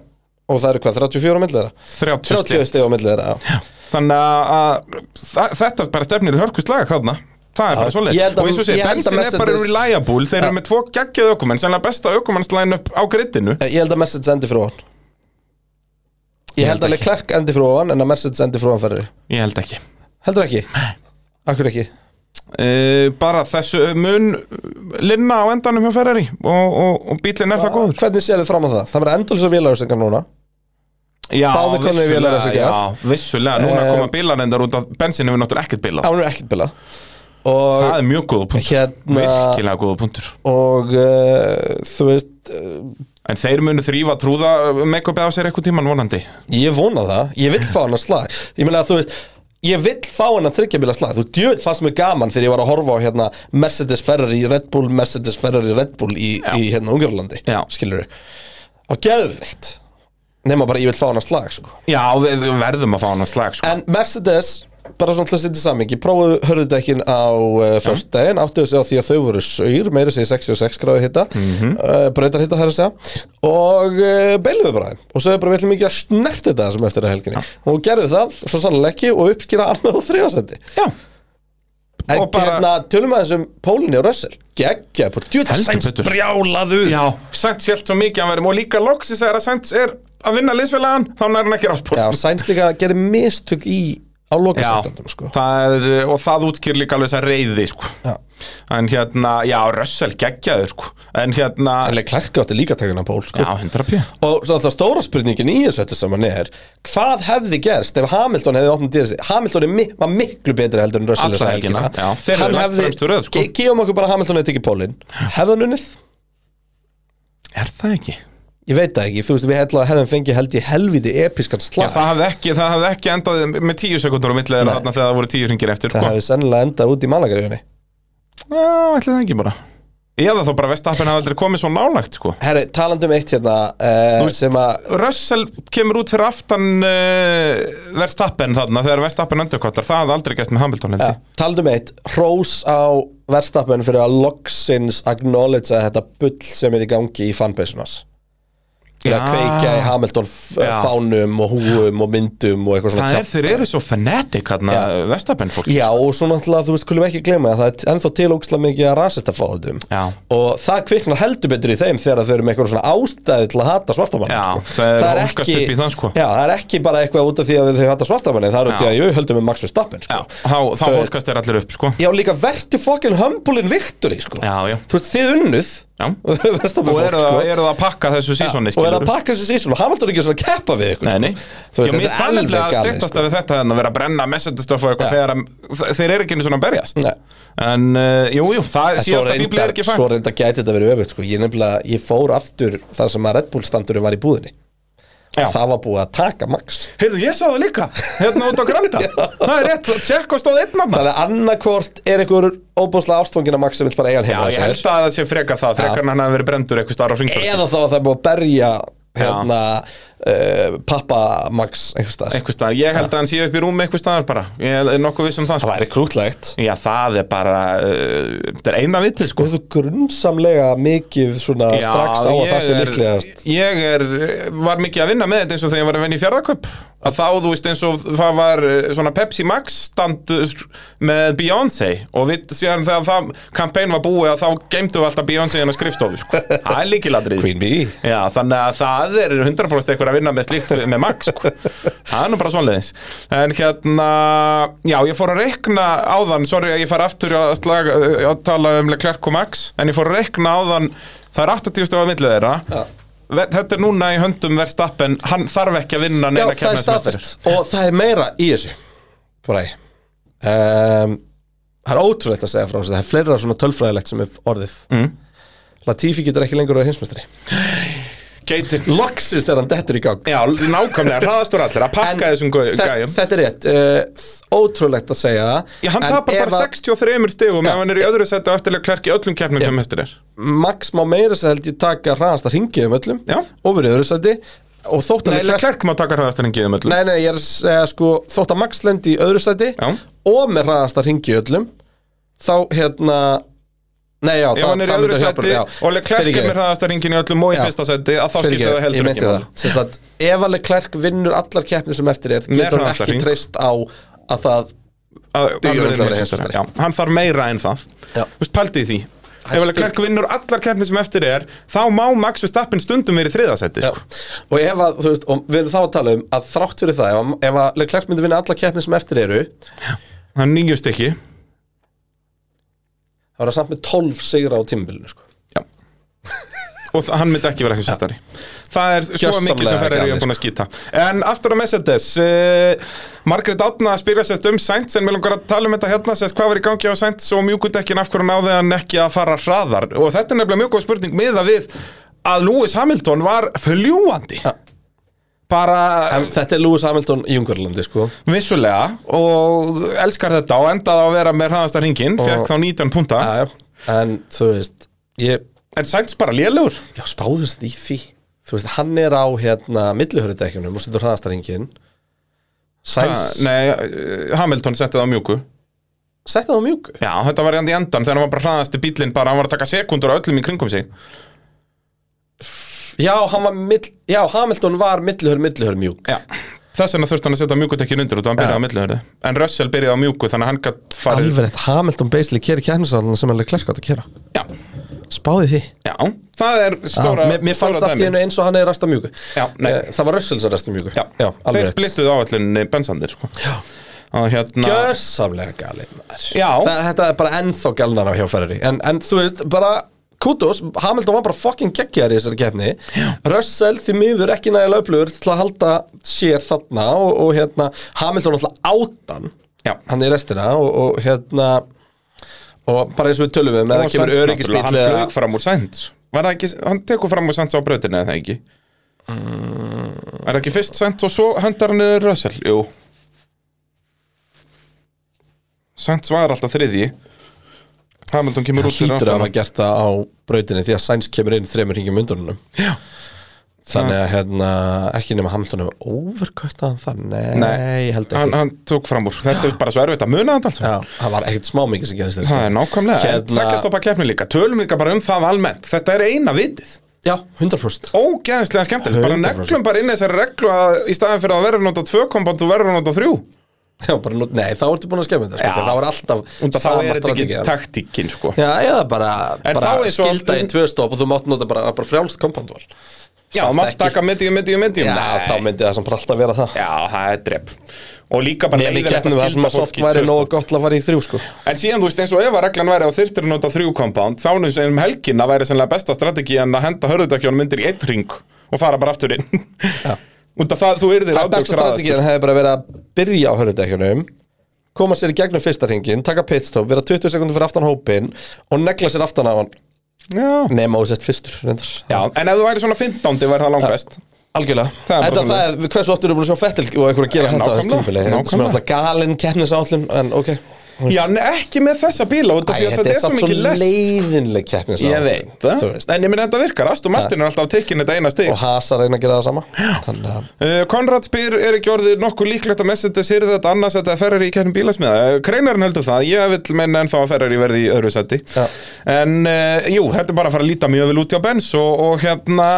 S2: Og það eru hvað, 34 á milli þeirra?
S3: 30 stig
S2: 30 steg á milli þeirra já.
S3: Þannig að, að þa- þetta bara stefnir í hörkustlaga þarna Það er bara
S2: Já,
S3: svoleið
S2: ég held að-
S3: Og eins og sé,
S2: ég held að
S3: bensin er bara
S2: Mercedes-
S3: reliable Þeir eru
S2: Já.
S3: með tvo geggjað ökumenn Sennilega besta ökumannslæn upp á grittinu
S2: Eh, Ég held að Mercedes endi frá hann Ég
S3: held
S2: held að
S3: ekki.
S2: Leclerc endi frá hann en að Mercedes endi frá hann ferri
S3: Ég held ekki
S2: Heldur ekki? Nei Akkur ekki?
S3: uh, Bara þessu mun linna á endanum hjá Ferrari Og, og, og bílinn er það góður
S2: Hvernig sér þið fram á það? Það verður endalisa vélagustengar núna
S3: Já,
S2: Báðir konur í vélarefsingar.
S3: já, vissulega Núna
S2: Eh,
S3: koma bílarendar út að bensin hefur náttúrulega ekkert bílað
S2: Án er ekkert bila og,
S3: það er mjög góða punktur
S2: Hérna-
S3: virkilega góða punktur
S2: og uh, þú veist uh,
S3: en þeir munu þrýfa trúða make-upið af sér eitthvað tíman vonandi
S2: ég vona það, ég vill fá hann að slag ég meina að þú veist Ég vill fá hann að þryggja bíla slag Þú djöfull fannst mér gaman þegar ég var að horfa á hérna, Mercedes Ferrari Red Bull Mercedes Ferrari Red Bull í, í hérna Ungarlandi
S3: Já.
S2: Skilur við Og geðvikt Nefna bara ég vill fá hann að slag sko.
S3: já, við við verðum að fá hann að slag sko.
S2: En Mercedes, bara svona til að setja samingi prófuðu hörðudekkin á uh, föstudaginn, áttuðu sig á því að þau voru saur meira sig 66 gráði hitta mm
S3: Mhm.
S2: -hmm. uh, breytar hitta þar að segja og uh, beiluðu bara þeim og sögðu bara við ætlum ekki að snert þetta sem eftir að helginni og gerðu það, svo sannlega ekki og uppskýra annað og þriðasendi
S3: já,
S2: en
S3: Og bara-
S2: hérna, tölum aðeins um Pólinni og Russell, geggja, bara djúta
S3: Heldur
S2: sæns
S3: betur.
S2: brjálaðu
S3: já. Sainz hjælt svo mikið að verðum og líka loksis er að Sainz er að vinna liðsfélagan þá er hann ekki rátt
S2: Já, sæns líka gerir mistök í á lokasektandum sko
S3: það er, og það útkýr líka alveg þess að reyði sko.
S2: Já.
S3: en hérna, já, Russell geggjaður sko. en hérna
S2: En Leclerc átti líka takina Pól sko
S3: já, 100p
S2: Og svo alltaf stóra spurningin í þessu öllu saman er Hvað hefði gerst ef Hamilton hefði opnað dýrasi Hamilton er mi var miklu betri heldur en Russell
S3: Alla
S2: þessa
S3: helgina, já. Þeir eru
S2: Hann
S3: næst fremstu röð, sko.
S2: Ge- Gefum okkur bara að Hamilton hefði tekið pólinn Hefði hann unnið?
S3: er það ekki?
S2: Ég veit það ekki, þú veist við hefðum, hefðum fengið held í helviti episkan
S3: Já,
S2: slag
S3: það hafði ekki, það hafði ekki endað með tíu sekundur á milli þeirra
S2: Nei.
S3: þarna þegar það voru tíu hringir eftir
S2: Það
S3: sko.
S2: hefði sennilega endað út í malagarjöfunni
S3: Já, ætli það ekki bara Eða þá bara Vestapen hafði aldrei komið svo nálægt sko.
S2: Herri, talandum eitt hérna uh, sem að
S3: Russell kemur út fyrir aftan uh, Verstappen þarna þegar Verstappen endurkottar, það hafði aldrei gæst með Hamilton
S2: ja,
S3: lendi
S2: Talandum eitt, hrós á verðstappen fyrir að loksins acknowledge að þetta bull sem er í gangi í fanbase til að kveikja í Hamilton f-
S3: Já.
S2: fánum og húum og myndum og eitthvað svona
S3: Það er,
S2: kjaft.
S3: þeir eru svo fanatic hérna,
S2: Já.
S3: Verstappen fólk
S2: Já, og svo náttúrulega, þú veist, kulum ekki gleyma það, það er ennþá til ógislega mikið að rasista fáðum
S3: Já.
S2: og það kviknar heldur betur í þeim þegar þau eru með eitthvað svona ástæði til að hata svartamann
S3: Já,
S2: sko.
S3: það er ólgast upp í það, sko.
S2: Já, það er ekki bara eitthvað út af því að þau hata svartamanni, það er út
S3: Já.
S2: í að við höldum með Max Verstappen
S3: Já,
S2: sko.
S3: þá, þá
S2: Þau-
S3: hólkast þeir allir upp sko.
S2: Já, líka vertu fokkin hömbulinn Viktor í, sko
S3: Já, já,
S2: Þú veist, þið unnuð
S3: já
S2: Verstappen
S3: Og
S2: fólk,
S3: eru það,
S2: sko.
S3: eru það að pakka þessu sísoni
S2: og er að pakka þessu sísun og Hamilton er ekki svona að keppa við ykkur
S3: Nei,
S2: sko.
S3: nei
S2: Þú
S3: Ég
S2: veist,
S3: minnst
S2: þetta
S3: það
S2: er alveg
S3: nefnilega að
S2: galið, sko.
S3: styrtast af við þetta en að vera að brenna messendastoff og eitthvað
S2: Já.
S3: þegar að- þeir eru ekki einu svona að berjast
S2: Nei.
S3: En, uh, jú, jú, það
S2: En svo
S3: síðast að fíbli er
S2: reyndar,
S3: ekki
S2: svo
S3: fæn
S2: reyndar gæti þetta verið öfugt sko. ég nefnilega, ég fór aftur þar sem að Red Bull standurinn var í búðinni
S3: Já.
S2: og það var búið að taka Max
S3: Heyrðu, ég sá það líka, hérna út á Granda Það er rétt, tjekk og stóð einn annan
S2: þannig að annarkvort er einhver óbúðslega ástfangin að hérna, Max sem vil fara eigan
S3: Já,
S2: heima
S3: ég
S2: hjá
S3: held
S2: sér.
S3: að það sé frekar það, frekar en hann hafi verið brendur eitthvað starf á hringtorgi
S2: eða þá að það er búið að berja hérna, uh, pappa Max einhvers staðar
S3: Eitthvað staðar, ég held að hann sé upp í rúmi eitthvað staðar bara Ég er nokkuð viss um það
S2: það
S3: sko.
S2: væri krútlegt
S3: Já, það er bara, uh, þetta er eina vitið sko
S2: Þú veist þú grunnsamlega mikið svona
S3: Já,
S2: strax á að
S3: ég
S2: það sé
S3: er-
S2: líklegast
S3: Ég er, var mikið að vinna með þetta eins og þegar ég var að vinna í fjárðaköp að þá, þú veist, eins og það var eh, svona Pepsi Max standur með Beyoncé og við síðan þegar það kampæn var búið að þá geymdu við alltaf Beyoncé hérna á skrifstofu, sko. það er líkiladrið
S2: Queen Bee
S3: Já, þannig að það er 100% eitthvað að vinna með slíkt með Max sko. Það er nú bara svonleðins En hérna, já, ég fór að rekna áðan Sorry að ég far aftur að, slag, að tala um Leclerc og Max En ég fór að rekna áðan Það er 80 stöða millið þeirra
S2: Já.
S3: Ver- Þetta er núna í höndum Verstappen Hann þarf ekki að vinna
S2: Já,
S3: neina
S2: það er
S3: keppnismeistara.
S2: staðfest og það er meira í þessu Bræ um, Það er ótrúlegt að segja frá þessu Það er fleira svona tölfræðilegt sem er orðið mm. Latifi getur ekki lengur að hinsmestri
S3: Geitin
S2: Loksist er hann dettur í gang
S3: Já, nákvæmlega, hraðastur allir að
S2: En
S3: pakka þessum gau-
S2: þe-
S3: gæjum
S2: Þetta er rétt uh, Ótrúlegt að segja það
S3: Já, hann
S2: En
S3: tapar
S2: ef
S3: bara
S2: að
S3: 63 stigum
S2: Já.
S3: ef hann er í öðru seti og eftirlega klerk í öllum keppnum sem eftir er
S2: Max má meira sér held ég taka hraðast að ringið um öllum
S3: Já.
S2: Og verið öðru sæti Og þótt að
S3: Nei,
S2: Leclerc-
S3: Leclerc má taka um hraðastæringiðum öllum
S2: Nei, nei, ég er að segja sko Þótt að Max lendi í öðru sæti
S3: Já.
S2: Og með hraðasta hringi öllum Þá hérna Nei, já,
S3: Ef hann er í öðru seti og Leclerc er
S2: Fyrirgefðu.
S3: með hraðasta ringin í öllum og í
S2: Já.
S3: fyrsta seti að þá skiptir
S2: Fyrirgefðu,
S3: það
S2: ég
S3: heldur
S2: meinti
S3: ekki
S2: það.
S3: máli.
S2: Sem sagt, Ef að Leclerc vinnur allar keppni sem eftir er
S3: Með
S2: Getur hann
S3: hraðasta
S2: ekki
S3: hring.
S2: treyst á að það
S3: Að-
S2: Dugur
S3: hann verður
S2: örugglega að vera
S3: heimsmeistari.
S2: heimsmeistari.
S3: Já, Hann þarf meira en það
S2: Já.
S3: Þú veist, pældi því Ef
S2: Hæst-
S3: Leclerc vinnur allar keppni sem eftir er þá má Max Verstappen stundum verið í þriða seti
S2: Já.
S3: sko.
S2: Og ef að, þú veist, og við erum þá að tala um að þrátt fyrir það, ef að, ef að Leclerc myndi vinna allar keppni sem eftir eru þá
S3: Það er nýju stykki
S2: er það samt með 12 sigra á tímabilinu, sko
S3: og þa- hann myndi ekki vera heimsmestari það er svo
S2: Gjörsamlega
S3: mikið sem Ferrari
S2: galið,
S3: er búin að skýta en aftur á Mercedes uh, Margrét Átna spyrja sérst um Sainz en mér langar að tala um þetta hérna sérst hvað var í gangi á Sainz og mjúkudekkin af hverju náði hann ekki að fara hraðar og þetta er nefnilega mjög góð spurning miða við að Lewis Hamilton var fljúandi
S2: Ja.
S3: bara
S2: En þetta er Lewis Hamilton í Ungarlandi sko
S3: vissulega og elskar þetta og endaði á að vera með hraðasta hringin fekk þá 19 punta
S2: Já, já. En þú veist ég,
S3: en Sainz bara lélegur
S2: Já, spáðust í því Þú veist, hann er á hérna millihörðudekkjunum og setur hraðastaringin Sæns,
S3: Ha, Ah, Nei, eh, Hamilton setti það á mjúku
S2: setja það á mjúku
S3: Já, þetta var hérna í endan þegar hann var bara hraðasti bílinn bara, hann var að taka sekundur á öllum í kringum sig
S2: Já, hann var mill, já, Hamilton var millihörð, millihörð mjúk
S3: Já Þess vegna þurfti hann að setja mjúkutekkin undir og hann byrjaði á millihörðu En Russell byrjaði á mjúku þannig að hann gætt farið
S2: Alveg rétt, Hamilton basically keri kjærnisálan sem hann er klerk átt að kera
S3: Já,
S2: Spáði því
S3: já, það er stóra
S2: mér, mér fannst
S3: stóra
S2: allt í
S3: dæmi.
S2: hennu eins og hann er rast á mjúku
S3: Já, nei.
S2: Eh, Það var Russell sem rast á mjúku
S3: Já,
S2: alveg
S3: þeir
S2: rétt.
S3: splittuð áallin bensandir sko. Já Og hérna
S2: Gjörsamlega galið maður
S3: Já.
S2: Þa- Þetta er bara ennþá galnar á hjá Ferrari en, en þú veist, bara kudos Hamilton var bara fucking geggjar í þessari keppni Russell því miður ekki nægilega upplöfur til að halda sér þarna og, og hérna, Hamilton alltaf átan
S3: Já.
S2: hann í restina og, og hérna og bara eins og við tölum við með
S3: Og
S2: það kemur
S3: Sainz
S2: öryggisbíl
S3: náttúrulega, Hann
S2: eða-
S3: flög fram úr Sainz Var það ekki, hann tekur fram úr Sainz á brautinu eða ekki Er það ekki fyrst Sainz og svo hendar hann niður Russell, jú Sainz var alltaf þriðji Hamilton kemur út fyrir
S2: hlýtur að
S3: aftan
S2: hafa gert það á brautinni því að Sainz kemur inn þremur hringjum undanunum
S3: Já.
S2: þannig að hérna, ekki nema Hamilton hefur overkvætt hann þar, nei, ég held ekki
S3: hann, hann tók fram úr, þetta er bara svo erfitt að muna þetta alltaf
S2: Já, það var ekkert smá mikið sem gerist
S3: Það er nákvæmlega,
S2: Hérna-
S3: hérna... þekkjastoppa keppni líka Tölum líka bara um það almennt, þetta er eina vitið
S2: Já, 100%
S3: ógeðslega skemmtilegt, bara
S2: 100%.
S3: neglum bara inn þessari reglu að í staðin fyrir að verður nota tvö kompant þú verður nota þrjú
S2: Já, bara, nú- Nei, þá ertu búin að skemmu þetta
S3: Já.
S2: sko, Það var alltaf
S3: og þá
S2: sama
S3: er þetta ekki
S2: strategía.
S3: taktíkin sko
S2: Já, eða bara,
S3: En
S2: bara
S3: þá eins og-
S2: skilda í tvö stopp og þú mátt nota bara, bara frjálst kompandval
S3: Já, maður taka medium, medium, medium
S2: Já,
S3: Nei.
S2: þá myndi það samt alltaf vera það
S3: Já, það er drepp og líka bara
S2: Nefnir
S3: leiðilegt
S2: keppnum það sem að soft
S3: fólki
S2: væri
S3: tvö
S2: nógu
S3: stopp.
S2: gott til að fara í þrjú sko
S3: En síðan, þú veist, eins og ef að reglan væri að þyrftir að nota þrjú kompant þá eins og um helgina væri sennilega besta strategi en að henda hörðutakjónum undir í einn ring og fara bara aftur inn
S2: Já.
S3: Út af það, þú yrðir
S2: Það besta strategíðan hefði bara verið að byrja á hörðutekjunum koma sér í gegnum fyrsta hringin, taka pitstop, vera 20 sekundum fyrir aftan hópin og negla sér aftan á hann
S3: Já.
S2: nema og sett fyrstur reyndar.
S3: Já, en ef þú væri svona 15, væri það langbest
S2: Algjörlega,
S3: Það er bara
S2: þetta það
S3: svoleiðis.
S2: er hversu oft eru búin að sjá Fettil og einhver að gera
S3: Já,
S2: þetta á þessu
S3: nákvæmlega,
S2: tímpili sem er
S3: nákvæmlega.
S2: alltaf galinn keppnisállin en ok,
S3: Já, nei, ekki með þessa bíla út af
S2: Æ,
S3: því að þetta er svo
S2: samt svo
S3: mikið lest
S2: leiðinleg keppnisállin
S3: Ég veit það, en ég minn þetta virkar Aston Martin er alltaf tekinn þetta eina stig
S2: og Hasa reyna að gera það sama þannig að
S3: Uh, Konrad spyr, er ekki orðið nokkuð líklegt að Mercedes sér þetta annars að þetta Ferrari í kernum bílasmiða? Uh, Kreinarinn heldur það, ég vil menna ennþá að Ferrari verði í öðru seti
S2: Já.
S3: En uh, jú, þetta er bara að fara að líta mjög vel út hjá Benz og, og hérna,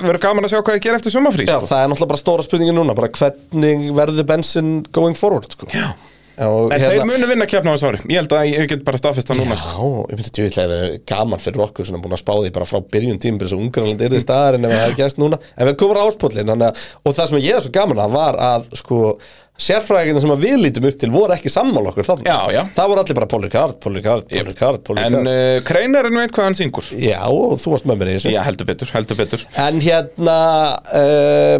S3: verður gaman að sjá hvað þið gera eftir sumafrís
S2: já, það er náttúrulega bara stóra spurningin núna bara hvernig verður bensin going forward sko. já, og, hérna-
S3: En þeir munu vinna keppna á þessu ári, ég held að ég get bara staðfesta núna sko.
S2: Já, ég myndi tjóðlega að vera gaman fyrir okkur svona búin að spá því bara frá byrjun tíma þess að Ungarland er í staðarinn ef það er gæst núna en við komum áspóllin að, og það sem ég er svo gaman að var að sko sérfræðingina sem að við lítum upp til voru ekki sammála okkur þannig
S3: Já, já.
S2: það voru allir bara Polikard, Polikard, Polikard,
S3: En
S2: Polikard
S3: uh, Kreinarinn veit hvað hann syngur
S2: Já, og þú varst með mér í þessu
S3: Já, heldur betur, heldur betur
S2: En hérna uh,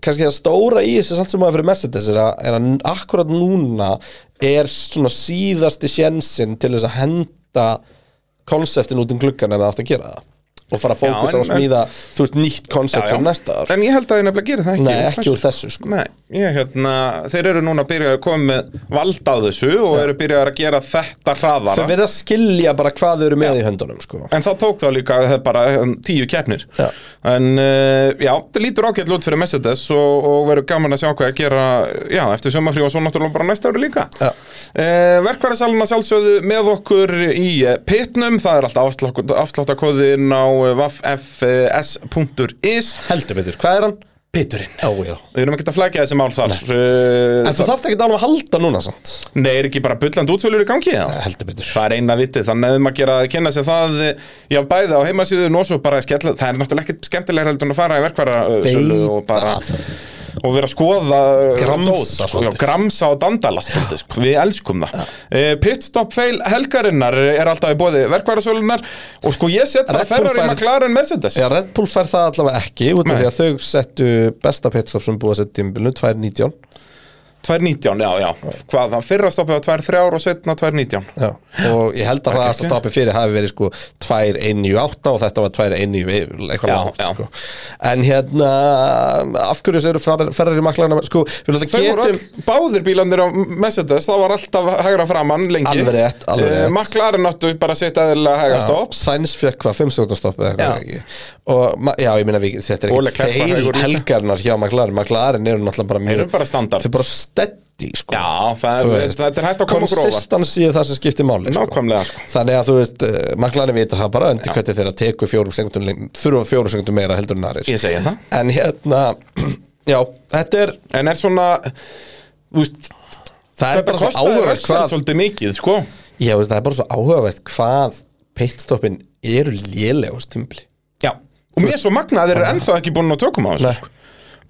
S2: kannski það stóra í þessu samt sem maður fyrir Mercedes er að, er að akkurat núna er svona síðasti sjensinn til þess að henda konseptin út um gluggan ef það átt að gera það og fara að
S3: Já,
S2: fókusa á
S3: en-
S2: að smíða þú veist nýtt
S3: Já,
S2: konsept
S3: já.
S2: fyrir næsta ár
S3: En ég held að ég nefnilega gera það ekki
S2: Nei,
S3: úr
S2: ekki úr þessu sko
S3: Nei, ég, hérna, þeir eru núna að byrja að koma með vald á þessu og eru byrjað að gera þetta
S2: Þau
S3: hraðara
S2: verða að skilja bara hvað þau eru með í höndunum sko
S3: En það tók þá líka það er bara um, tíu keppnir
S2: Já.
S3: En uh, já, það lítur ágætt út fyrir Mercedes og, og verður gaman að sjá hvað að gera Já, eftir sömafrí og svo náttúrulega bara næsta ári líka
S2: Já.
S3: uh, Verkværisalina sjálfsögðu með okkur í eh, pitnum Það er alltaf afsláttakóðin á eh, vaffs.is
S2: Heldur betur, hvað er hann? Biturinn Ó, já.
S3: Við erum ekki að flækja þessi mál þar
S2: En þú
S3: Nei,
S2: þarft ekki að að halda núna samt
S3: Nei er ekki bara bullandi útvölur í gangi? Já.
S2: Heldur betur
S3: Það er eina vitið, þannig að um að gera að kynna sér það eh, Já, bæði á heimasíðu og svo bara að skella Það er náttúrulega ekkit skemmtilega heldur en að fara í verkvara uh,
S2: Veit
S3: sölu og bara
S2: það.
S3: og vera að skoða eh,
S2: Gramsa
S3: dót, sko, já,
S2: svolítið.
S3: gramsa og dandalast svolítið, sko. við elskum það uh, pitstop fail helgarinnar er alltaf í bóði verkværasölunar og sko ég set bara
S2: Red Bull
S3: Ferrari,
S2: færð-
S3: McLaren, Mercedes
S2: Já, Red Bull fær það allavega ekki út af
S3: Nei.
S2: því að þau settu besta pitstop sem búið að setja tímbilinu, 2.19
S3: 2.19, já, já, hvað það fyrra stoppið var 2.3 og setna 2.19
S2: Já. og ég held að
S3: Það er
S2: það að
S3: ekki.
S2: stoppi fyrir hafi verið sko 2.198 og þetta var 2.19 eitthvað
S3: Já,
S2: langt
S3: já.
S2: sko. en hérna, af hverju þessu eru Ferrari- Ferrari maklarna, sko, við lóta
S3: Þau voru
S2: getum
S3: all, báðir bílandir á Mercedes, það var alltaf hægra framann lengi
S2: Alveg rétt, alveg
S3: Eh,
S2: rétt.
S3: McLaren áttu bara að setja eðlilega hægra stopp
S2: Sainz fekk hvað 5 sekundar stoppið
S3: Já.
S2: eitthvað ekki og ma- já, ég meina við, þetta er
S3: Og
S2: ekkert
S3: Leclerc var hægur
S2: feil
S3: líka.
S2: helgarnar hjá McLaren McLaren eru náttúrulega bara
S3: Þeir eru bara standard.
S2: þau eru bara steady sko.
S3: Já, það
S2: Þú
S3: er,
S2: veist,
S3: þetta er hægt að koma grófa
S2: Consistency er það sem skiptir máli
S3: Nákvæmlega, sko.
S2: Þannig að þú veist, uh, McLaren vita það bara undir hvernig þeirra teku fjórum sekundum leng- þurfa fjórum sekundum meira heldur en aðrir
S3: Ég segja það
S2: En hérna, já, þetta er
S3: En er svona, þú veist,
S2: það er
S3: þetta
S2: bara svo
S3: kostaði
S2: áhugavert
S3: Russell
S2: hvað,
S3: svolítið mikið, sko
S2: já, veist, það er bara svo áhugavert hvað pitstoppin eru lélega á stimpli
S3: Já, og mér er svo magna að þeir eru ennþá ekki búin að tökum á þessu,
S2: Nei.
S3: sko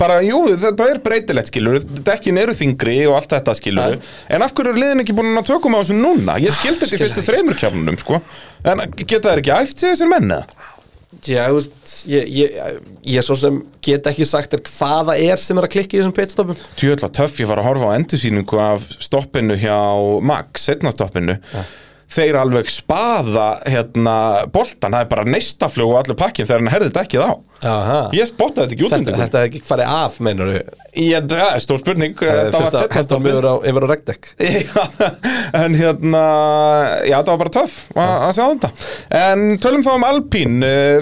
S3: Bara, jú, þetta er breytilegt skilur Dekkin eru þingri og allt þetta skilur En af hverju er liðin ekki búin að tökum á þessu núna? Ég skildi þetta í
S2: Skil
S3: fyrstu
S2: það
S3: þreymur kjafnunum, sko En geta þeir ekki æft sig þessir menn, eða?
S2: Já, þú veist, ég, ég, ég svo sem get ekki sagt þér hvað það er sem er að klikka í þessum pitstoppum
S3: Tjöðla töff, ég var að horfa á endursýningu af stoppinu hjá Max, setna stoppinu Þeir alveg spaða hérna, boltan, það er bara neistaflug og allur pakkin þegar hann herði þetta ekki þá
S2: Aha.
S3: Ég spottaði þetta ekki
S2: Þetta,
S3: útlendingu
S2: þetta er ekki farið af, meinar þú?
S3: Ég, það er stór spurning, þetta var
S2: Fyrst að
S3: setna
S2: hendur
S3: stoppinu
S2: mjögur á, yfir á regdekk
S3: Já, en hérna já, það var bara töff að að sjá þetta en tölum þá um Alpín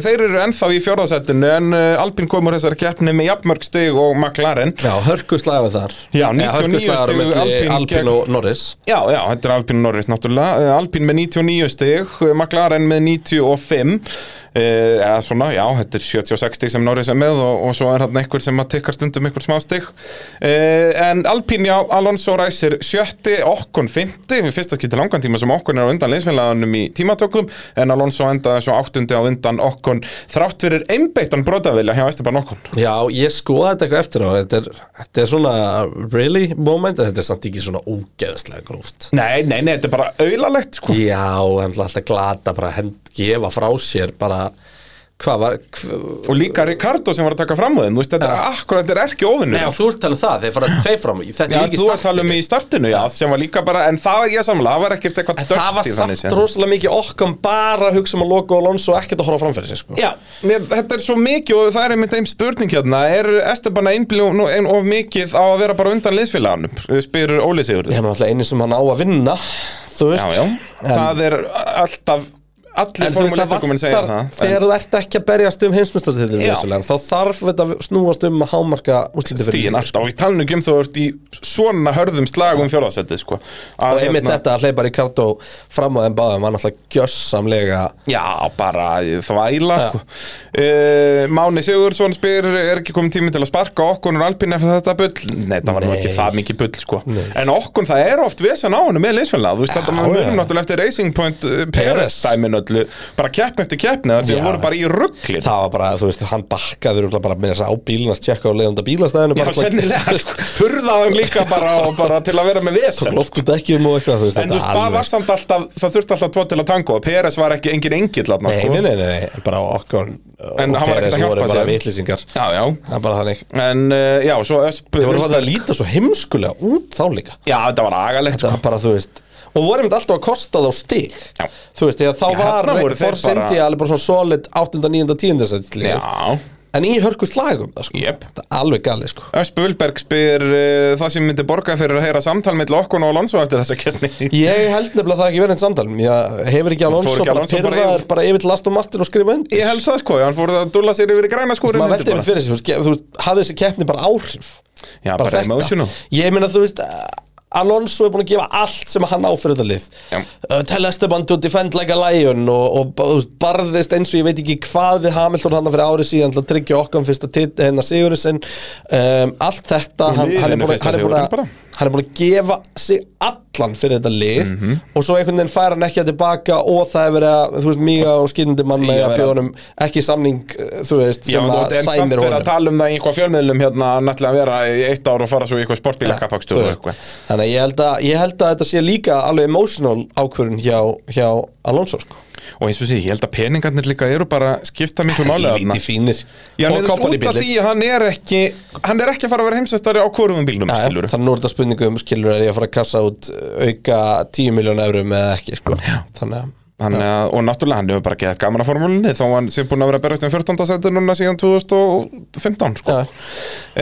S3: þeir eru ennþá í fjórðasettinu en eh, Alpín komur þessari keppni með jafnmörg stig og McLaren
S2: Já, hörkuslagur þar
S3: Já,
S2: Eh,
S3: 99
S2: hörkuslagur á
S3: stigu
S2: milli
S3: Alpine gegn-
S2: Alpine og Norris
S3: Já, já, þetta er Alpín Norris náttúrulega Eh, Alpín með 99 stig, eh, McLaren með 95 eh, eða svona, já, þetta er 76 stig sem Norris er með og, og svo er hann einhver sem að tikkar stundum einhver smá stig eh, en Alpín, já, Alonso ræsir sjötti, Okkon 50 við fyrsta skipti langan tíma sem Okkon er á undan leinsfélaganum í tímatökum en Alonso endaði svo áttundi á undan Okkon þrátt fyrir einbeittan brotavilja hjá Esteban Okkon
S2: Já, ég skoða þetta eitthvað eftir á þetta er, þetta er svona really moment en þetta er samt ekki svona ógeðslega gróft
S3: Nei, nei, nei, þetta er bara auðalegt sko
S2: Já, hann ætla alltaf glata bara að hend, gefa frá sér bara hvað var hv-
S3: og líka Ricardo sem var að taka fram á þeim, þú veist, þetta er akkurat, þetta er ekki óvinnur
S2: Nei, og þú ert talað um það, þeir fara tvei fram í. Þetta
S3: Já,
S2: er ekki
S3: þú að
S2: start
S3: tala um í startinu, já, sem var líka bara, en það er ég samla, það var ekkert eitthvað
S2: En það var
S3: dörft í um þannig
S2: samt rosalega mikið okkur bara að hugsa um að loka og lóns og ekkert að horfa framfyrir sig sko.
S3: Já, mér, þetta er svo mikið og það er einmitt einn spurning hérna, er Esteban að einblíu nú ein of mikið á að vera bara undan liðsfélaganum, spyr Óli Sigurður.
S2: Ég er náttúrulega einu sem hann á að vinna
S3: Já,
S2: Þú veist Eh,
S3: já, það er alltaf, allir
S2: En þú veist, það
S3: formuleittakumenn segja
S2: vantar,
S3: það.
S2: þegar þú ert ekki að berjast um heimsmyndstartitil
S3: Já.
S2: þá þarf þetta að snúast um að hámarka útlítið fyrir
S3: stíðin alltaf og í talinu um þú ert í svona hörðum slagum fjórðasettið sko að,
S2: og einmitt þetta að hleypa Ricardo fram á þeim báðum var náttúrulega gjössamlega
S3: Já, bara þvæla sko. uh, Máni Sigurðsson spyr er ekki komið tími til að sparka okkur og alpinn eftir þetta bull Nei, það var nú
S2: Nei.
S3: ekki það mikið bull sko. En okkur, það er oft vesen á honum með leysfélagið, þú veist þetta maður munum
S2: já.
S3: náttúrulega eftir Racing Point uh, Peres
S2: Perez.
S3: dæmin öllu, bara keppn eftir keppni þar sem
S2: Já.
S3: voru bara í rugglir
S2: það var bara, þú veist, hann bakkaði örugglega bara með þess að á bílunast tjekka og leiðanda bílastæðinu
S3: Já,
S2: bara
S3: sennilega, sko. hurðaðum líka bara, og bara til að vera með vesen
S2: lofkund ekki um og eitthvað þú veist,
S3: En þú veist, það var samt alltaf, það þurfti alltaf tvo til að tango Peres var ekki engin engill þarna,
S2: nei,
S3: sko.
S2: nei, nei, nei, nei, bara okkur
S3: En hann
S2: og
S3: var ekkert
S2: Peres
S3: að hjálpa
S2: voru bara
S3: sér.
S2: vitlýsingar
S3: Já, já
S2: það er bara þannig
S3: En uh, já, svo Ösp
S2: það voru það að líta svo heimskulega út þá líka
S3: Já, þetta var agalegt
S2: það var bara, þú veist og voru einmitt alltaf að kosta þá stig
S3: Sko. Já.
S2: þú veist, þegar þá
S3: Já,
S2: var
S3: þarna voru þeir
S2: Force
S3: bara-
S2: India alveg bara svona solid 8. 9. 10. setli
S3: Já.
S2: en í hörku slagum það sko
S3: Jep.
S2: það er alveg galið sko
S3: Ösp Ulberg spyr uh, það sem myndi borga fyrir að heyra samtal með Lokkon og Alonso eftir þessa kjörni
S2: ég held nefnilega það ekki verið einn samtal ég hefur ekki
S3: Fór
S2: Alonso
S3: ekki
S2: bara
S3: Alonso bara
S2: pyrraður
S3: yfir?
S2: bara yfir til Aston Martin og skrifa undir
S3: Ég held það sko, hann fór að dulla sér yfir í græna skúrin
S2: maður veldi einmitt fyrir sig, þú veist, ge- þú veist, hafði þessi keppni bara áhrif
S3: Já, bara
S2: þetta.
S3: emotional.
S2: ég meina þú veist eh, Alonso er búin að gefa allt sem hann á fyrir þetta lið
S3: Já.
S2: uh, Tell Esteban to defend like a lion og, og ba- þú veist, barðist eins og ég veit ekki hvað við Hamilton hann fyrir árið síðan til að tryggja okkar fyrsta tit- hérna sigurinn sinn um, allt þetta, hann, hann, er
S3: liðinu
S2: búin, að-
S3: fyrsta
S2: hann, er búin
S3: sigurinn bara.
S2: að, hann er búin að gefa sig allan fyrir þetta lið
S3: Mhm.
S2: og svo einhvern veginn fær hann ekki að tilbaka og það er verið að, þú veist, mýga og skýrndi mann
S3: Í
S2: með
S3: að
S2: að
S3: vera-
S2: bjóðunum ekki samning, eh, þú veist,
S3: Já,
S2: sem
S3: þú
S2: að
S3: ert enn samt
S2: sæmir
S3: verið
S2: honum
S3: að tala um það í eitthvað fjölmiðlum hérna nættilega að vera í eitt ár og fara svo í eitthvað
S2: Þú
S3: sportbílakappakstur og
S2: veist,
S3: eitthvað
S2: Þannig að ég held að, ég held að þetta sé líka alveg emotional ákvörun hjá, hjá Alonso sko.
S3: og eins og sé, ég held að peningarnir líka eru bara skipta miklu máli þarna
S2: Lítið fínir
S3: Já,
S2: Og
S3: hann er út
S2: Kompany
S3: af
S2: bíllinn.
S3: því að hann er ekki hann er ekki að fara að vera heimsveistari á hvorum bílnum
S2: Já, já,
S3: skilur
S2: Þannig nú er þetta spurningu um skilur er ég að fara að kassa út uh, auka 10 miljón eurum eða ekki sko. Þannig að
S3: hann, eh, og náttúrulega hann hefur bara geðað gaman að formúlinni þó hann sé búin að vera að berast um 14. seti núna síðan 2015 sko.
S2: Já.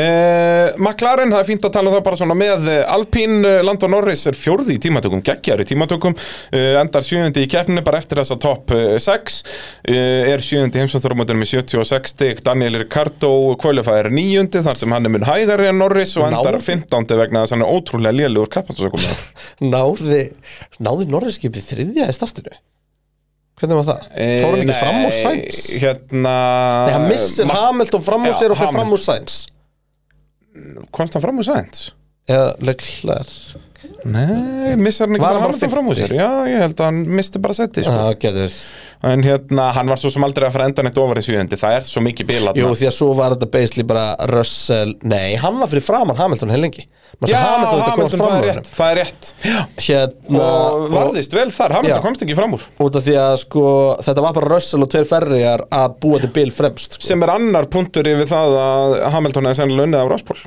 S3: eh, McLaren, það er fínt að tala um það bara svona með eh, Alpine, eh, Landon Norris er fjórði í tímatökum, geggjar í tímatökum eh, endar sjöundi í keppninu bara eftir þessa top 6 eh, er sjöundi heimsvæmþorumöndunum með 76 stig Daniel Ricardo kvölifaðir níundi þar sem hann er mun hægari en Norris og endar
S2: Náð.
S3: 15. vegna þess að hann er ótrúlega lélugur kappansökum
S2: náði, náði Norreskipið þriðja í startinu Hvernig var það?
S3: Eh,
S2: Fór hann ekki
S3: nei,
S2: fram úr sæns?
S3: Hérna
S2: Nei, hann missir Hamilton fram úr
S3: Já,
S2: sér og fyrir
S3: Hamilton.
S2: fram úr sæns
S3: Komst hann fram úr Sainz?
S2: Eða leiklar
S3: Nei, missar hann ekki
S2: Var
S3: bara
S2: hann bara
S3: Hamilton fram úr sér Já, ég held að hann misti bara seti sko.
S2: Það getur verið
S3: En hérna, hann var svo sem aldrei að fara endan eitt ofar í sjöðundi Það er svo mikið bil
S2: Jú,
S3: þarna
S2: því að svo var þetta basically bara Russell, nei, hann var fyrir framann Hamilton heilengi.
S3: Já,
S2: Hamilton, þetta komst
S3: Hamilton,
S2: fram
S3: það
S2: úr
S3: er
S2: honum.
S3: rétt, það er rétt.
S2: Hérna,
S3: Og varðist vel þar, Hamilton
S2: Já.
S3: komst ekki fram úr
S2: út af því að sko, þetta var bara Russell og tveir ferriðar að búa til bil fremst sko.
S3: Sem er annar punktur yfir það að Hamilton hefði sennilega unnið á Ráspól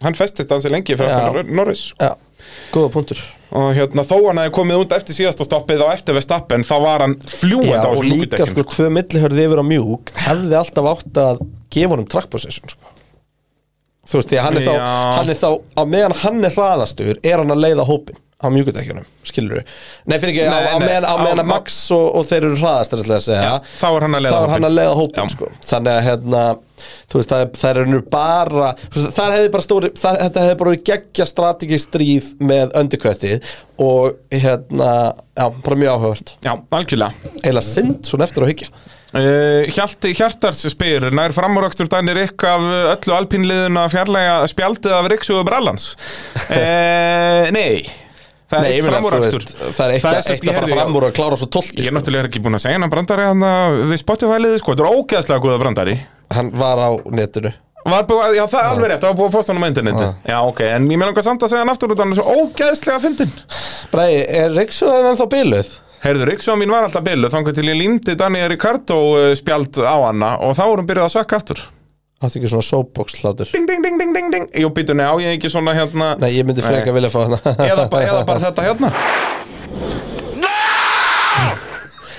S3: Hann festist hans í lengi fyrir
S2: Já.
S3: aftan Norris sko.
S2: Já, góða punktur
S3: Og hérna, þó hann hefði komið út eftir síðasta stoppið og eftir Vestappen Þá var hann fljúandi
S2: Já,
S3: á
S2: og
S3: þessum
S2: líka
S3: lúkudekkjum
S2: sko tvö millihörði yfir á mjúk hefði alltaf átt að gefa honum track possession sko. Þú veist, því að hann er, þá,
S3: Já.
S2: hann er þá á meðan hann er hraðastur er hann að leiða hópin á mjúkudækjunum, skilur við Nei, fyrir ekki,
S3: Nei,
S2: á, á
S3: nei,
S2: meðan, á
S3: á-
S2: meðan að Max og, og þeir eru hraðastur ætla ég að segja,
S3: þá er hann að leiða
S2: þá
S3: hópinn.
S2: er hann að leiða hópin sko. Þannig að hérna, þú veist, það er, það er nú bara þú veist, það hefði bara stóri, það, þetta hefði bara verið geggja strategistríð með undirköttið og hérna, já, bara mjög áhugavert
S3: Já, algjörlega
S2: eiginlega synd svona eftir að hyggja
S3: Uh, Hjalti Hjartars spyr Nær framúröktur Danir Rikk af uh, öllu alpínliðun að fjarlæga spjaldið af Rikksjóðu Brallans uh, Nei Það
S2: Nei, ég meina, þú
S3: framúröktur
S2: veist, það er eitt,
S3: Það er
S2: að,
S3: sem
S2: eitt
S3: ég
S2: að fara
S3: heyrði,
S2: fram úr og klára svo tólki
S3: Ég er
S2: sko.
S3: náttúrulega ekki búin að segja hann brandari hann við Spotify-liði sko, þetta er ógeðslega góða brandari
S2: Hann var á netinu
S3: Var búið, já það er alveg rétt, það var búið að posta hann á interneti Já ok, en ég með langar samt að segja hann aftur út af hann er svo ógeðslega fyndin
S2: Bræði, er Ríksjóðan ennþá biluð?
S3: Heyrðu, Ríksjóða mín var alltaf byllu þangar til ég límdi Daniel Ricardo uh, spjald á hanna og þá vorum byrjuð að sökka aftur
S2: Áttu ekki svona soapbox hlátur
S3: Ding, ding, ding, ding, ding, ding Jú, býtu, nei, á ég ekki svona hérna
S2: Nei, ég myndi freka vilja fá hana
S3: eða, ba eða bara þetta hérna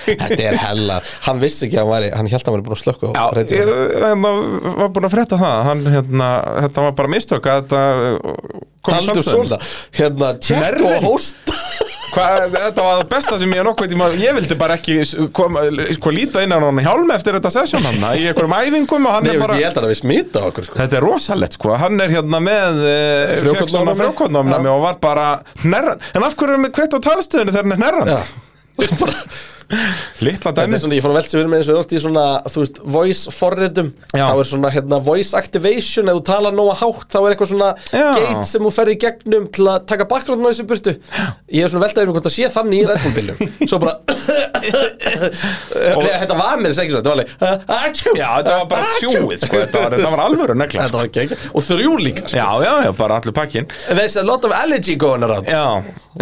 S2: Þetta er hella Hann vissi ekki að hann væri, hann held að hann væri búin að slökka á
S3: Já, ég
S2: reyndinu
S3: hérna, var búin að frétta það hann, hérna, Þetta var bara mistök að þetta uh, kom í
S2: Taldur
S3: samstöðun.
S2: svona Hérna, tjekk
S3: Nervin.
S2: og hósta
S3: Hvað, Þetta var það besta sem ég nokkuð tíma Ég vildi bara ekki s- koma, sko, líta inn á hann í hjálmi eftir þetta sesjón hann í einhverjum æfingum og hann
S2: Nei,
S3: er
S2: bara...
S3: bara
S2: ég held að hann við smita okkur sko.
S3: Þetta er rosalegt sko, hann er hérna með
S2: Frjókornaofnæmi.
S3: frjókotnámnami og var bara hnerran, en af hverju er hann með kveitt á talstöðinu þegar hann er hnerran?
S2: Já Bara-
S3: Litla
S2: Þetta
S3: dæmi
S2: er svona, ég fór að velta sér fyrir mér eins og er oft í svona, þú veist, voice forritum
S3: Já.
S2: Þá er svona, hérna, voice activation Ef þú talar nóga hátt, þá er eitthvað svona
S3: Já.
S2: gate sem þú ferð í gegnum til að taka background noise í burtu Ég er svona veltaðið mér hvort það sé þannig í reddbúlbílum Svo bara Nei, þetta var mér þess ekki svo, þetta var alveg "Ah, atjú,
S3: Já, þetta var bara
S2: ah, atjú."
S3: tjúið sko, þetta var, þetta var alvöru negla
S2: Þetta var ekki ekki, og þrjú líka sko.
S3: Já, já, já, bara allir pakkin
S2: There's a lot of allergy going around
S3: Já,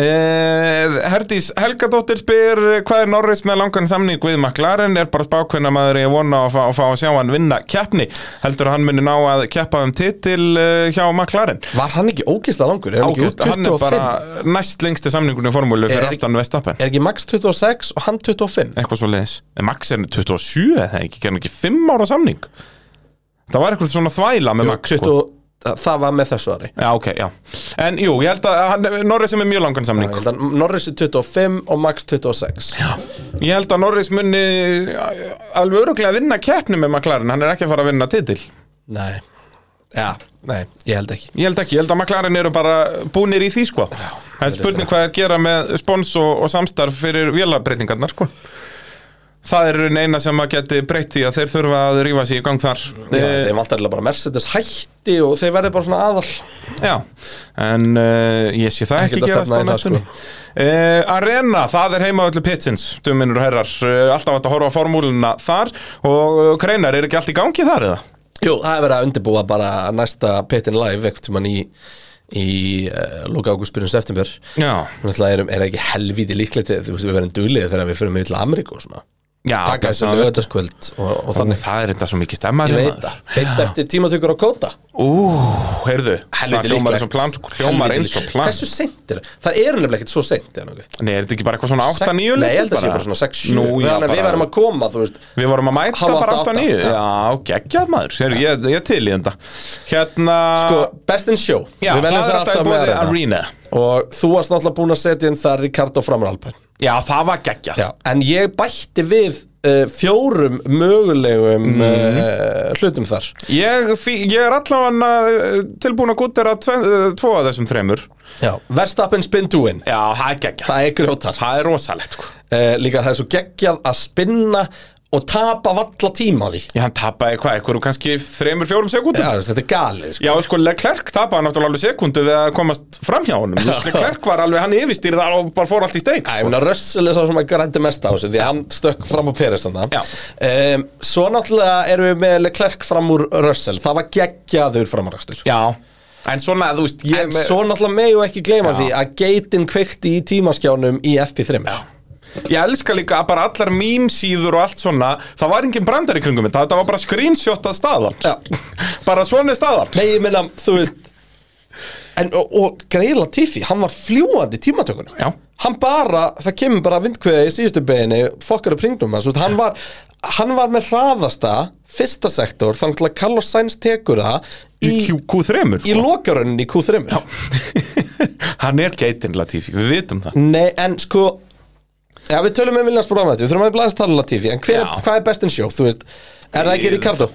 S3: eh, Herdís Helgadóttir spyr eh, hvað er Norris með langan samning við McLaren er bara spákveðna maður ég vona að fá, að fá að sjá hann vinna keppni heldur að hann muni ná að keppa um titil eh, hjá McLaren
S2: Var hann ekki ógeðslega langur? Er hann ekki úr
S3: Ágúst, hann er
S2: 25?
S3: bara næst lengsti samningunni í formúlu
S2: Er
S3: fyrir
S2: ekki-
S3: aftan Vestappen
S2: Er ekki Max 26 og hann 25?
S3: eitthvað svo leiðis Max er 27 eða ekki, gerðan ekki 5 ára samning það var eitthvað svona þvæla með Max sko.
S2: 20, það var með þessu ári
S3: Já, ok, já. En jú, ég held að hann- Norris er með mjög langan samning.
S2: Ég held að Norris er 25 og Max 26 Já,
S3: Ég held að Norris muni uh, alveg öruglega vinna keppni með McLaren, hann er ekki að fara að vinna titil.
S2: nei. Já, nei, ég held ekki
S3: Ég held ekki, ég held að McLaren eru bara búnir í því sko. Það er spurning hvað er að gera með spons og, og samstarf fyrir vélabreitingarnar sko. það er í raun eina sem að geti breytt því að þeir þurfa að rífa sig í gang þar
S2: Já,
S3: Eh,
S2: þeim vantar eiginlega bara Mercedes hætti og þeir verði bara svona aðal
S3: Já, en uh, ég sé það ekki
S2: Ekkert að
S3: gerast á
S2: stefna í það,
S3: næstunni
S2: sko.
S3: uh, Arena, það er heima öllu pitsins, duminur og herrar uh, alltaf hægt að horfa á formúluna þar og uh, Kreinar, er ekki allt í gangi þar eða?
S2: Jú, það er verið að undirbúa bara næsta Pitin Live ekkert tímann í, í uh, loka ágúst byrjun september
S3: Já,
S2: Náttúrulega erum, er það ekki helvíti líklegt þú veist við verðum duglið þegar við fyrir með til Ameríku og svona
S3: já
S2: Taka þessu
S3: það-
S2: lögataskvöld og, og þannig
S3: Það er þetta svo mikið stemmar
S2: Ég veit það, beint eftir tímatökur á kóta
S3: Ú, heyrðu, það
S2: Helviti
S3: hljómar
S2: líklegt
S3: eins og plan, sko. hljómar
S2: Helvíti
S3: eins og
S2: líklegt.
S3: plan
S2: Hversu seint er það? Það er nefnilega ekkert svo seint er nokkuð
S3: Nei, er þetta ekki bara eitthvað svona 8-9
S2: Nei,
S3: litið
S2: ég held að sé bara svona 6-7
S3: Nú, já,
S2: Þannig að við
S3: bara-
S2: verðum að koma, þú veist
S3: Við vorum að mæta
S2: Hálf
S3: bara
S2: átta,
S3: 8-9
S2: átta.
S3: Já, geggjað maður, Heyrðu, ég, ég til í þetta Hérna
S2: Sko, best in show
S3: Já,
S2: Við
S3: það
S2: veljum
S3: er alltaf í
S2: með
S3: bóði
S2: arena.
S3: Arena
S2: Og þú varst náttúrulega búin að setja inn það Ricardo framar Alpine
S3: Já, það var geggjað
S2: Já, en ég bætti við uh, fjórum mögulegum
S3: Mhm.
S2: uh, hlutum þar
S3: Ég, fí- ég er allavega uh, tilbúin að gútera tve- uh, tvo af þessum þremur
S2: Já, Verstappen spin to win
S3: Já, það er geggjað
S2: Það er grjótast
S3: Það er rosalegt sko.
S2: uh, Líka það er svo geggjað að spinna og tapa valla tíma á því
S3: Já, hann tapaði hvað, eitthvað kannski þremur, fjórum sekundum
S2: Já, þú veist, þetta er galið sko.
S3: Já, sko, Leclerc tapaði náttúrulega alveg sekundu við að komast fram hjá honum Þú veist, Leclerc var alveg, hann yfirstýrði þar og bara fór allt í steik
S2: Æ, ég meina, Russell er sá sem að grændi mest á þessu því að hann stökk fram á Peres þannig
S3: Já.
S2: um, Svo náttúrulega erum við með Leclerc fram úr Russell það var geggjaður framarakstur
S3: Já, en svona, þú veist, ég
S2: En svo náttúrulega megum við ekki gleyma
S3: Já.
S2: því að geitin kveikti í tímaskjánum í FP3 Já,
S3: Ég elska líka að bara allar mýmsýður og allt svona Það var engin brandar í kringum þetta, þetta var bara screenshot að staðan
S2: Já.
S3: Bara svona er staðan
S2: Nei, ég meina, þú veist En, og, og Greila Tiffy, hann var fljúandi í tímatökunum
S3: Já.
S2: Hann bara, það kemur bara vindkveða í síðustu beginni Fokkar upp ringdum hans, þú veist, hann var Hann var með hraðasta, fyrsta sektor Þannig til að Carlos Sainz tekur það Í,
S3: Í Q- Q3
S2: í lokarunni í Q3 Já.
S3: Hann er geitin Latifi, við vitum það
S2: Nei, en sko Já, við tölum með Viljans Bróðan Við þurfum að blæðast tala um Latifi En hver,
S3: Já.
S2: hvað er best in show, þú veist Er það ekki
S3: Ég-
S2: Ricardo?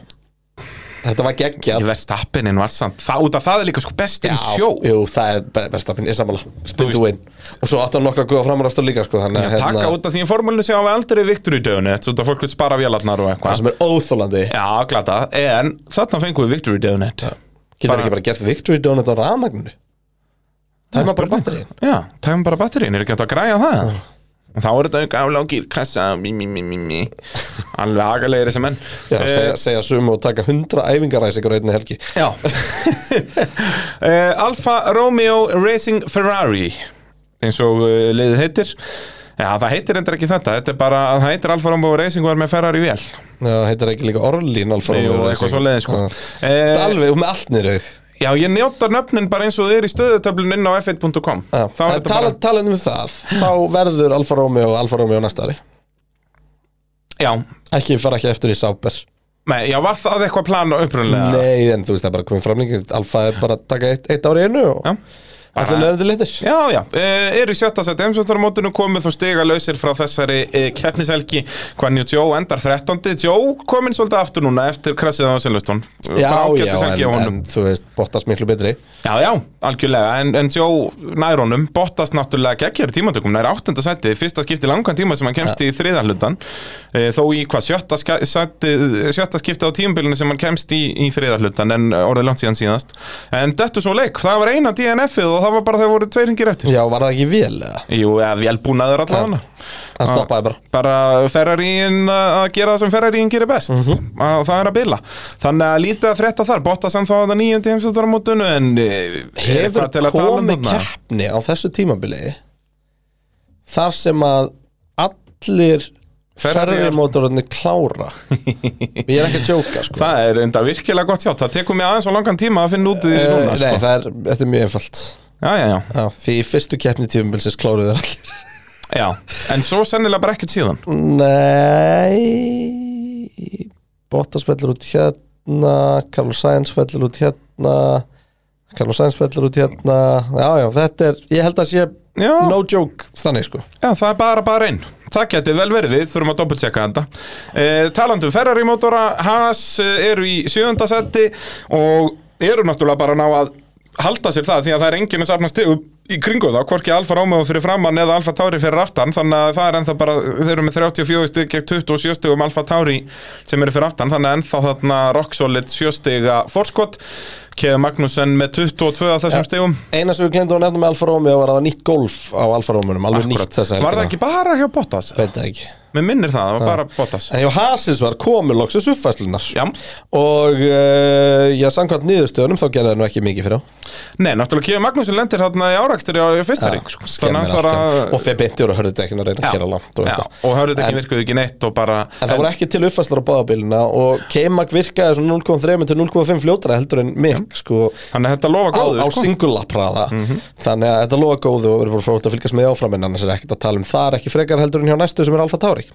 S2: Þetta var geggjað
S3: Verstappinin var samt, það, út af það er líka sko bestin
S2: Já,
S3: sjó
S2: Jú, það er verðstapin, ég sammála Spin
S3: Þú
S2: to win
S3: veist.
S2: Og svo átti hann nokkra góða framarastur líka sko, þannig, að,
S3: Taka út af því í formúlinu sem hafa aldrei viktur í dögunni Þetta er út af fólk vil spara vélarnar og
S2: Það
S3: eitthvað
S2: sem er óþólandi
S3: Já, glata, en þarna fengum við Victory Donut
S2: Getur
S3: bara-
S2: ekki bara gert Victory Donut á rafmagninu Það er maður bara batterið
S3: Já, tæmum bara batterín, er ekki hægt að græja það? Og þá er þetta auka aflágir, kassa, mí, mí, mí, mí, mí Alveg agalegir þessi menn
S2: Já, segja, segja sumu og taka 100 æfingaræsingur einni helgi
S3: já. Eh, Alfa Romeo Racing Ferrari eins og eh, liðið heitir Já, það heitir endur ekki þetta, þetta er bara það heitir Alfa Romeo Racing og er með Ferrari vél
S2: Það heitir ekki líka Orlín Alfa
S3: Jú,
S2: Romeo
S3: eitthvað
S2: Racing.
S3: svo leiðin sko
S2: Já. Þetta er
S3: eh,
S2: Alveg með allt niður aug
S3: Já, ég njóta nöfnin bara eins og þau eru í stöðutöflun inn á f1.com Þá er
S2: En
S3: þetta
S2: tala,
S3: bara
S2: talandi um það Þá verður Alfa Romeo og Alfa Romeo næsta ári
S3: Já,
S2: Ekki fara ekki eftir í Sáber
S3: Nei, já, var það eitthvað plan upprunalega?
S2: Nei, en þú veist það er bara komið framlengið Alfa er bara að taka eitt, eitt ári einu og
S3: Já.
S2: Allir nöðrandi litir
S3: Já, já, eh, eru í sjötta seti heimsvæmstaramótinu komið þó stiga lausir frá þessari eh, keppnishelgi hvernig Jó endar 13. Jó komin svolítið aftur núna eftir krasið á Silveston
S2: Já, já,
S3: helgi á
S2: en, en
S3: honum
S2: þú veist, Bottas miklu betri
S3: Já, já, algjörlega, en, en Jó nær honum bóttast náttúrulega geggjari tímatökum nær 8. seti, fyrsta skipti langan tíma sem hann kemst í þriðahlutan eh, þó í hvað, sjötta, ska- sæti, sjötta skipti á tímabilinu sem hann kemst í, í þriðahlutan en orðið langt síðan síðast en dettu svo leik, það var eina DNF-ið og það var bara þegar voru tveir hringir eftir
S2: Já, var það ekki vel eða?
S3: Jú, eða vélbúnaður allavega
S2: Hann
S3: Ah.
S2: stoppaði bara
S3: Bara Ferrarín uh, að gera það sem Ferrarín gerir best mm
S2: Mhm.
S3: Það er að bila Þannig að lítið að frétta þar Bottas en þá að það nýjöndi heimsvöldarmótinu En eh, er
S2: Hefur
S3: eitthvað til að tala um
S2: komið
S3: þarna?
S2: keppni á þessu tímabili Þar sem að allir
S3: Ferrari-
S2: ferrimótorarnir klára Ég er ekki að jóka sko
S3: Það er enda virkilega gott sjátt Það tekur mig aðeins og langan tíma að finna út í
S2: Eh,
S3: núna
S2: Nei,
S3: sko.
S2: það er, þetta er mjög einfalt
S3: Já, já, já,
S2: Já, Því í fyrstu keppni tímabilsins kláruðu þeir allir
S3: já En svo sennilega bara ekkert síðan
S2: Nei Bottas fellur út hérna Carlos Sainz fellur út hérna Carlos Sainz fellur út hérna Já, já, þetta er, ég held að sé
S3: Já,
S2: no joke þannig sko
S3: já það er bara bara einn Það geti vel verið við, þurfum að doppeltjekka þetta eh, Talandum Ferrari mótora Haas eh, eru í sjöunda seti og eru náttúrulega bara að ná að halda sér það því að það er enginn að safna stigum í kringum þá, hvorki Alfa Romeo fyrir framann eða Alfa Tauri fyrir aftan þannig að það er ennþá bara, þeir eru með 34 stig gegn 27 stigum Alfa Tauri sem eru fyrir aftan, þannig að ennþá þarna rock solid 7 stiga fórskot Keða Magnúsen með 22 af þessum stigum
S2: Eina sem við glemdum að nefna með Alfa Romeo var að það var nýtt golf á Alfa Romeoum, alveg nýtt þessa
S3: Var það ekki bara hjá Bottas?
S2: Veit það ekki
S3: Mér minnir það, það var bara Bottas
S2: En hjá Hasins var komið loksins uppfæslunar
S3: Já.
S2: Og uh, já, samkvæmt niðurstöðunum þá gerði það nú ekki mikið fyrir á
S3: Nei, náttúrulega Keða Magnúsen lendir þarna í árakstri á fyrsta ring sko.
S2: Skemmir
S3: að
S2: allt
S3: það
S2: já. Og fyrir beinti voru að hörðu dekkin að reyna að gera langt og
S3: Já,
S2: eitthvað
S3: og hörðu þetta
S2: En-
S3: ekki virkuð ekki neitt og bara
S2: En það voru ekki til uppfæslar á báðabilina og K-Mag virkaði svona 0,3 til 0,5 fljótara heldur en mig sko,
S3: Þannig að þetta lofa
S2: á,
S3: góðu
S2: á
S3: sko. Mhm.
S2: singulapraða þannig að þetta lofa góðu og við erum bara frótt að fylgjast með áfram en annars er ekkert að tala um það er ekki frekar heldur en hjá næstu sem er Alfa Tauri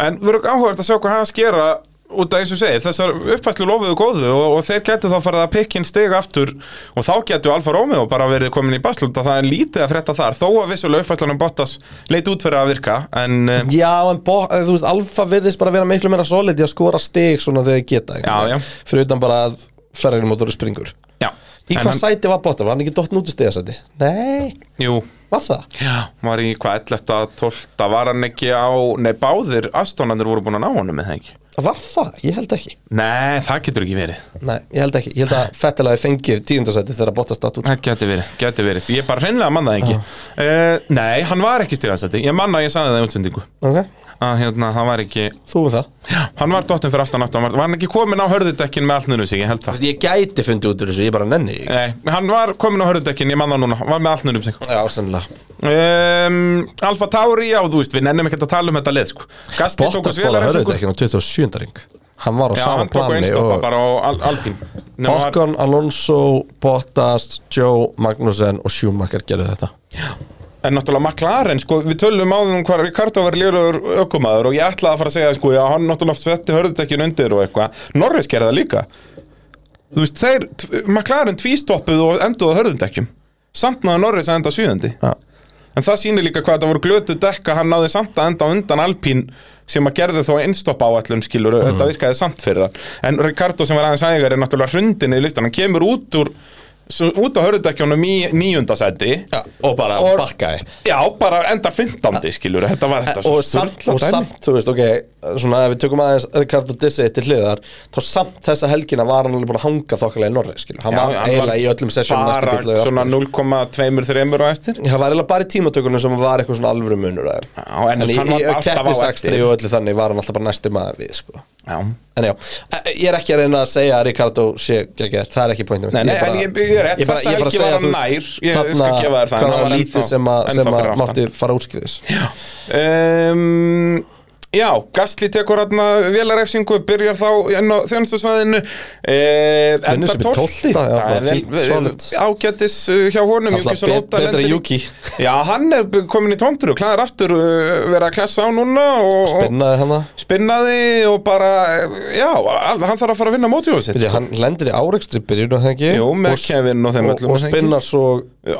S3: En verður áhugavert að sjá hvað hans gera út af eins og segir, þessar uppfæslu lofuðu góðu og, og þeir getur þá farið að pikkin stiga aftur og þá getur Alfa Romeo bara verið komin í baslund að það er lítið að frétta þar þó að vissulega uppfæslanum Bottas leit út fyrir að virka en eh,
S2: Já, en bo, eh, þú veist, Alfa virðist bara vera miklu meira solid í að skora stig svona þegar þeir geta einhvern
S3: Já,
S2: veginn. fyrir utan bara að ferrari mótoru springur
S3: já
S2: Í
S3: En
S2: hvað
S3: hann-
S2: sæti var Bottas? Var hann ekki dottn út í stigasæti? Nei,
S3: Jú,
S2: var það?
S3: já, var í hvað 11. 12. var hann ekki á nei, báðir Astonandir voru búin að ná honum með það ekki
S2: Var það? Ég held ekki
S3: Nei, það getur ekki verið
S2: Nei, ég held ekki, ég held að Fettel hafi fengið tíundasæti þegar Bottas datt út
S3: Það geti verið, geti verið, ég bara hreinlega manna það ekki uh, Nei, hann var ekki stigansætti, ég manna að ég sagði það í útsendingu
S2: Ok,
S3: að hérna, hann var ekki
S2: þú um það
S3: Já, hann var dottinn fyrir aftan aftan, var hann ekki komin á hörðudekkin með allt nöðnum sig, ég held það
S2: Ég gæti fundið út úr þessu, ég bara nenni því.
S3: Nei, hann var komin á hörðudekkin, ég manna núna, var með allt nöðnum sig
S2: Já, sennilega
S3: um, Alfa Tauri, já, þú veist, við nennum ekkert að tala um þetta lið, sko Gasti tók
S2: Bottas
S3: oss
S2: fór að
S3: vélar
S2: hörðu þetta ekki á 27. ring Hann var á
S3: Já,
S2: sama
S3: hann tók á
S2: plani
S3: einstoppa
S2: og
S3: bara á Al Alpín Nema var-
S2: Ocon, Alonso, Bottas, Joe, Magnussen og Schumacher gerðu þetta
S3: En náttúrulega McLaren, sko, við tölum áðum um hvað Ricardo var lýraður ökumaður og ég ætlaði að fara að segja, sko, já, hann náttúrulega svetti hörðutekkin undir og eitthvað. Norris gerði það líka. Þú veist, þeir, t- McLaren tvístoppuð og enduðu hörðutekjum. Samt náðu Norris að enda sjöðandi.
S2: Já.
S3: En það sýnir líka hvað þetta voru glötu dekka, hann náði samt að enda á undan Alpín sem að gerði þó einstopp áallum skilur,
S2: Mhm.
S3: þetta virkaði samt fyrir hann. En Ricardo sem var aðeins ægar er náttúrulega hrundin í listan, hann kemur út úr, svo- út á hörðutekjunum í níundasæti.
S2: Já, og bara
S3: Og-
S2: bakkaði
S3: Já, bara endar 15. skilur, þetta var þetta
S2: Eh,
S3: svo
S2: og samt,
S3: sturlað
S2: og
S3: dæmi.
S2: samt, þú veist, ok svona ef við tökum aðeins Ricardo Dissi til hliðar þá samt þessa helgina var hann alveg búin að hanga þokkalega í Norri, skilur hann
S3: Já,
S2: var
S3: hann
S2: eiginlega í öllum sessjónum næstu
S3: bara
S2: bíllega
S3: svona 0,2-3 á eftir
S2: Það var eiginlega bara í tímatökunum sem var eitthvað svona alvöru munur aðeim.
S3: Já, en
S2: í,
S3: hann
S2: í
S3: var alltaf á
S2: kettisakstri
S3: eftir.
S2: og öllu þannig var hann alltaf bara næsti maður við sko.
S3: Já.
S2: En já, e- ég er ekki að reyna að segja að Ricardo sé geggjær, það er ekki pointum
S3: Nei, nei, en ég- ég er rétt, þessa helgi var hann nær, ég skal gefa þér það, en
S2: Hvað
S3: hann
S2: var
S3: var
S2: lítið
S3: ennþá-
S2: sem að,
S3: ennþá
S2: sem að
S3: fyrir aftan.
S2: mátti fara útskriðis
S3: Um, já, Gastli tekur hérna vélarefsingu, byrjar þá inn á þjónustusvæðinu eh, Enda
S2: Vinnur sem í
S3: 12.
S2: 12., já, bara
S3: Það er vel-
S2: fínt,
S3: vel-
S2: solid.
S3: Ágætis uh, hjá honum
S2: Alltaf
S3: Júkisson
S2: bet-
S3: Óta
S2: betra
S3: lendir í-
S2: Juki.
S3: Já, hann er komin í tómtur og klæðir aftur uh, verið að klessa á núna og, og
S2: Spennaði hann það
S3: spinnaði og bara, já, all- hann þarf að fara að vinna mótjóðu sitt
S2: Veitir, hann lendir í árekstri byrjun og þengi
S3: Jú, með
S2: og s-
S3: Kevin og þeim
S2: og,
S3: öllum,
S2: og
S3: er það ekki?
S2: spinnar svo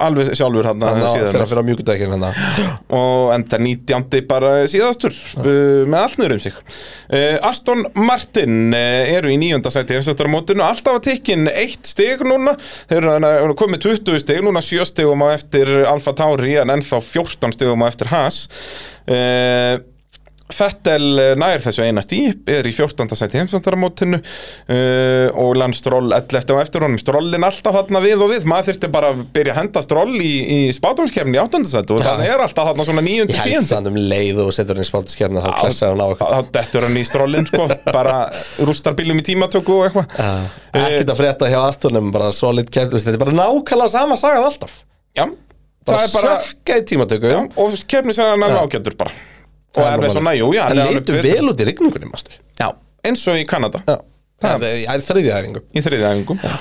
S3: alveg sjálfur hann
S2: hann á- þegar
S3: síðan
S2: hann fyrir á hérna. mjúkudækin hann
S3: og enda nýtjandi bara síðastur uh, með allt nöður um sig uh, Aston Martin uh, eru í nýjönda sæti heimsættarmótinu alltaf að tekinn eitt stig núna þeir eru þarna eh, komið 20 stig núna 7 stigum á eftir Alfa Tauri en ennþá 14 stigum á eftir Haas uh, Fettel eh, nær þessu eina stíp, er í 14. seti heimsvöndaramótinu uh, og Lance Stroll 11. og eftir honum Strollin alltaf hann við og við, maður þyrfti bara að byrja að henda Stroll í, í spátumskefni í 8. seti og
S2: Já.
S3: það er alltaf hann svona 9.
S2: Ég held
S3: 10.
S2: það um leið og setur hann í spaltiskerna þá klessar hann á eitthvað
S3: þá dettur hann í Strollin sko, bara rústar bílum í tímatöku og eitthvað
S2: Já, Ah.
S3: Eh.
S2: ekkert að frétta hjá Astonum bara solid kæft, þetta er bara nákvæmlega sama sagan alltaf
S3: Já, það
S2: bara,
S3: er bara
S2: sökka í tímatöku
S3: já, og kefni sem hann er ágættur bara og
S2: Það er
S3: er
S2: bara
S3: við svona,
S2: málið.
S3: jú, já
S2: hann
S3: er alveg
S2: leitu
S3: betur.
S2: vel út í rigningunni mástu
S3: Já, eins og í Kanada
S2: já, það er- það er þriðja æfingu
S3: í þriðja æfingu uh,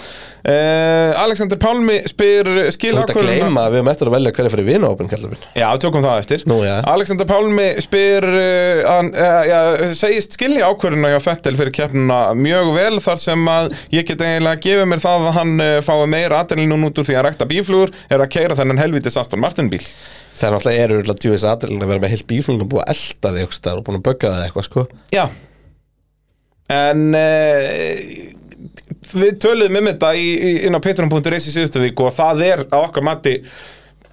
S3: Alexander Pálmi spyr skil
S2: Þú ert að
S3: ákvörðunina-
S2: gleyma að við erum eftir að velja hverja fyrir vinahópin kallar minn
S3: Já, tökum það eftir
S2: Nú, já.
S3: Alexander Pálmi spyr uh, hann, uh, já, segist skilja ákvörðuna hjá Fettel fyrir keppnuna mjög vel þar sem að ég get eiginlega gefið mér það að hann uh, fái meira adrenaline út úr því að rækta bíflugur er að keira þennan helvítis Aston Martin bíl
S2: Það er náttúrulega eru öll að djúvis aðrilin að vera með heilt bílflunum búið að elda þig einhvers staðar og búin að bögga þig eitthvað sko
S3: Já En uh, við töluðum um þetta í, í, inn á patreon.is í síðustu viku og það er á okkar mati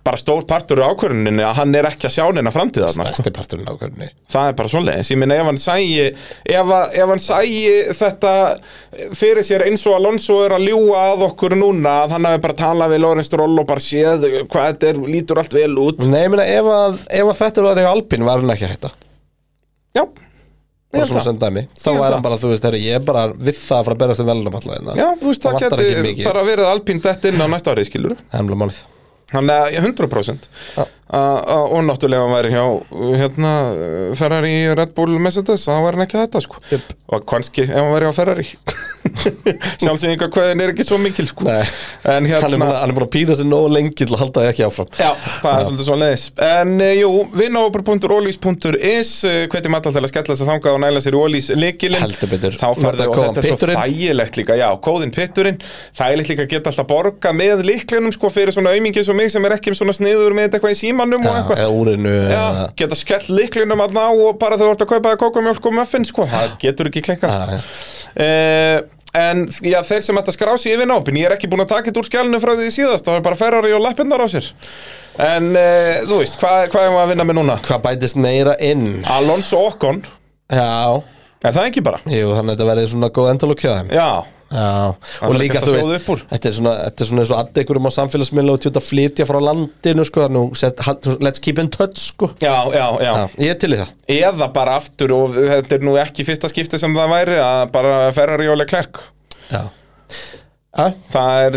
S3: bara stór partur á ákvöruninni að hann er ekki að sjá neina framtíð þarna sko.
S2: Stærsti parturinn á hvernig
S3: það er bara svoleiðis, ég minna ef hann sægi ef, að- ef hann sægi þetta fyrir sér eins og Alonso er að ljúga að okkur núna að hann hafi bara talað við Lorenz Stroll og bara séð hvað þetta er, lítur allt vel út
S2: Nei, ég meina, ef, að, ef að þetta var í Albin var hann ekki að hætta
S3: já, ég
S2: bara
S3: held
S2: svona
S3: það
S2: sem dæmi,
S3: Ég
S2: þá
S3: held
S2: er
S3: það.
S2: hann bara, þú veist, herri, ég er bara við það að fara að berast um velunum alltaf hérna
S3: já, þú veist, það
S2: vantar ekki
S3: getur
S2: mikið
S3: bara verið alpín þetta inn á næsta árið skilur
S2: hemla málið
S3: Þannig að ég- 100%
S2: Já.
S3: ja. og náttúrulega hann væri hjá hérna, uh, Ferrari, Red Bull, Mercedes þá var hann ekki að þetta sko
S2: Jöp.
S3: og kannski ef hann væri hjá Ferrari sjálfsögninga hvaðin er ekki svo mikil sko
S2: Nei.
S3: en
S2: hann, er búin
S3: hérna
S2: að, hann er búin að pína sér nógu lengi til að halda þið ekki áfram
S3: Já, það er svolítið svo leiðis En uh, jú, vinnaopur.olís.is Hvernig eh, maður til að skella þess að þanga og næla sér í Olís leikilinn
S2: Heldur betur.
S3: Þá færðu
S2: Nota
S3: og
S2: kóðan
S3: þetta er svo
S2: pitturinn.
S3: þægilegt líka Já, kóðin pitturinn Þægilegt líka að geta alltaf borga með líklinum sko fyrir svona aumingi eins og mig sem er ekki svona sniður með þetta eitthvað í símanum og eitthvað
S2: eða úrinu
S3: Já,
S2: eða-
S3: geta skell líklinum að ná og bara þau vart að kaupa þér kókumjólk og muffin sko, það getur ekki klinkað
S2: Já, já.
S3: sko. uh, En já, þeir sem ætta að skrá sig yfir nápin, ég er ekki búin að taka þetta úr skjálinu frá því síðast, það er bara ferrari og lappinnar á sér En uh, þú veist, hvað hva er maður að vinna með núna?
S2: hvað bætist meira inn
S3: Alonso Ocon,
S2: já,
S3: er það ekki bara?
S2: jú, þannig að þetta verði svona góð endalok hjá þeim
S3: Já,
S2: Já, og
S3: þarf ekki
S2: líka
S3: alltaf
S2: þú
S3: að
S2: veist
S3: sjóða upp úr.
S2: þetta er svona, þetta er svona eins og allir ykkurum á samfélagsmiðla og tjóta að flytja frá landinu sko, nú, set, hald- let's keep in touch sko.
S3: já, já, já,
S2: Já, ég er til í það
S3: Eða bara aftur og þetta er nú ekki fyrsta skipti sem það væri að bara ferrari og leiklerk
S2: Já, já
S3: Það er,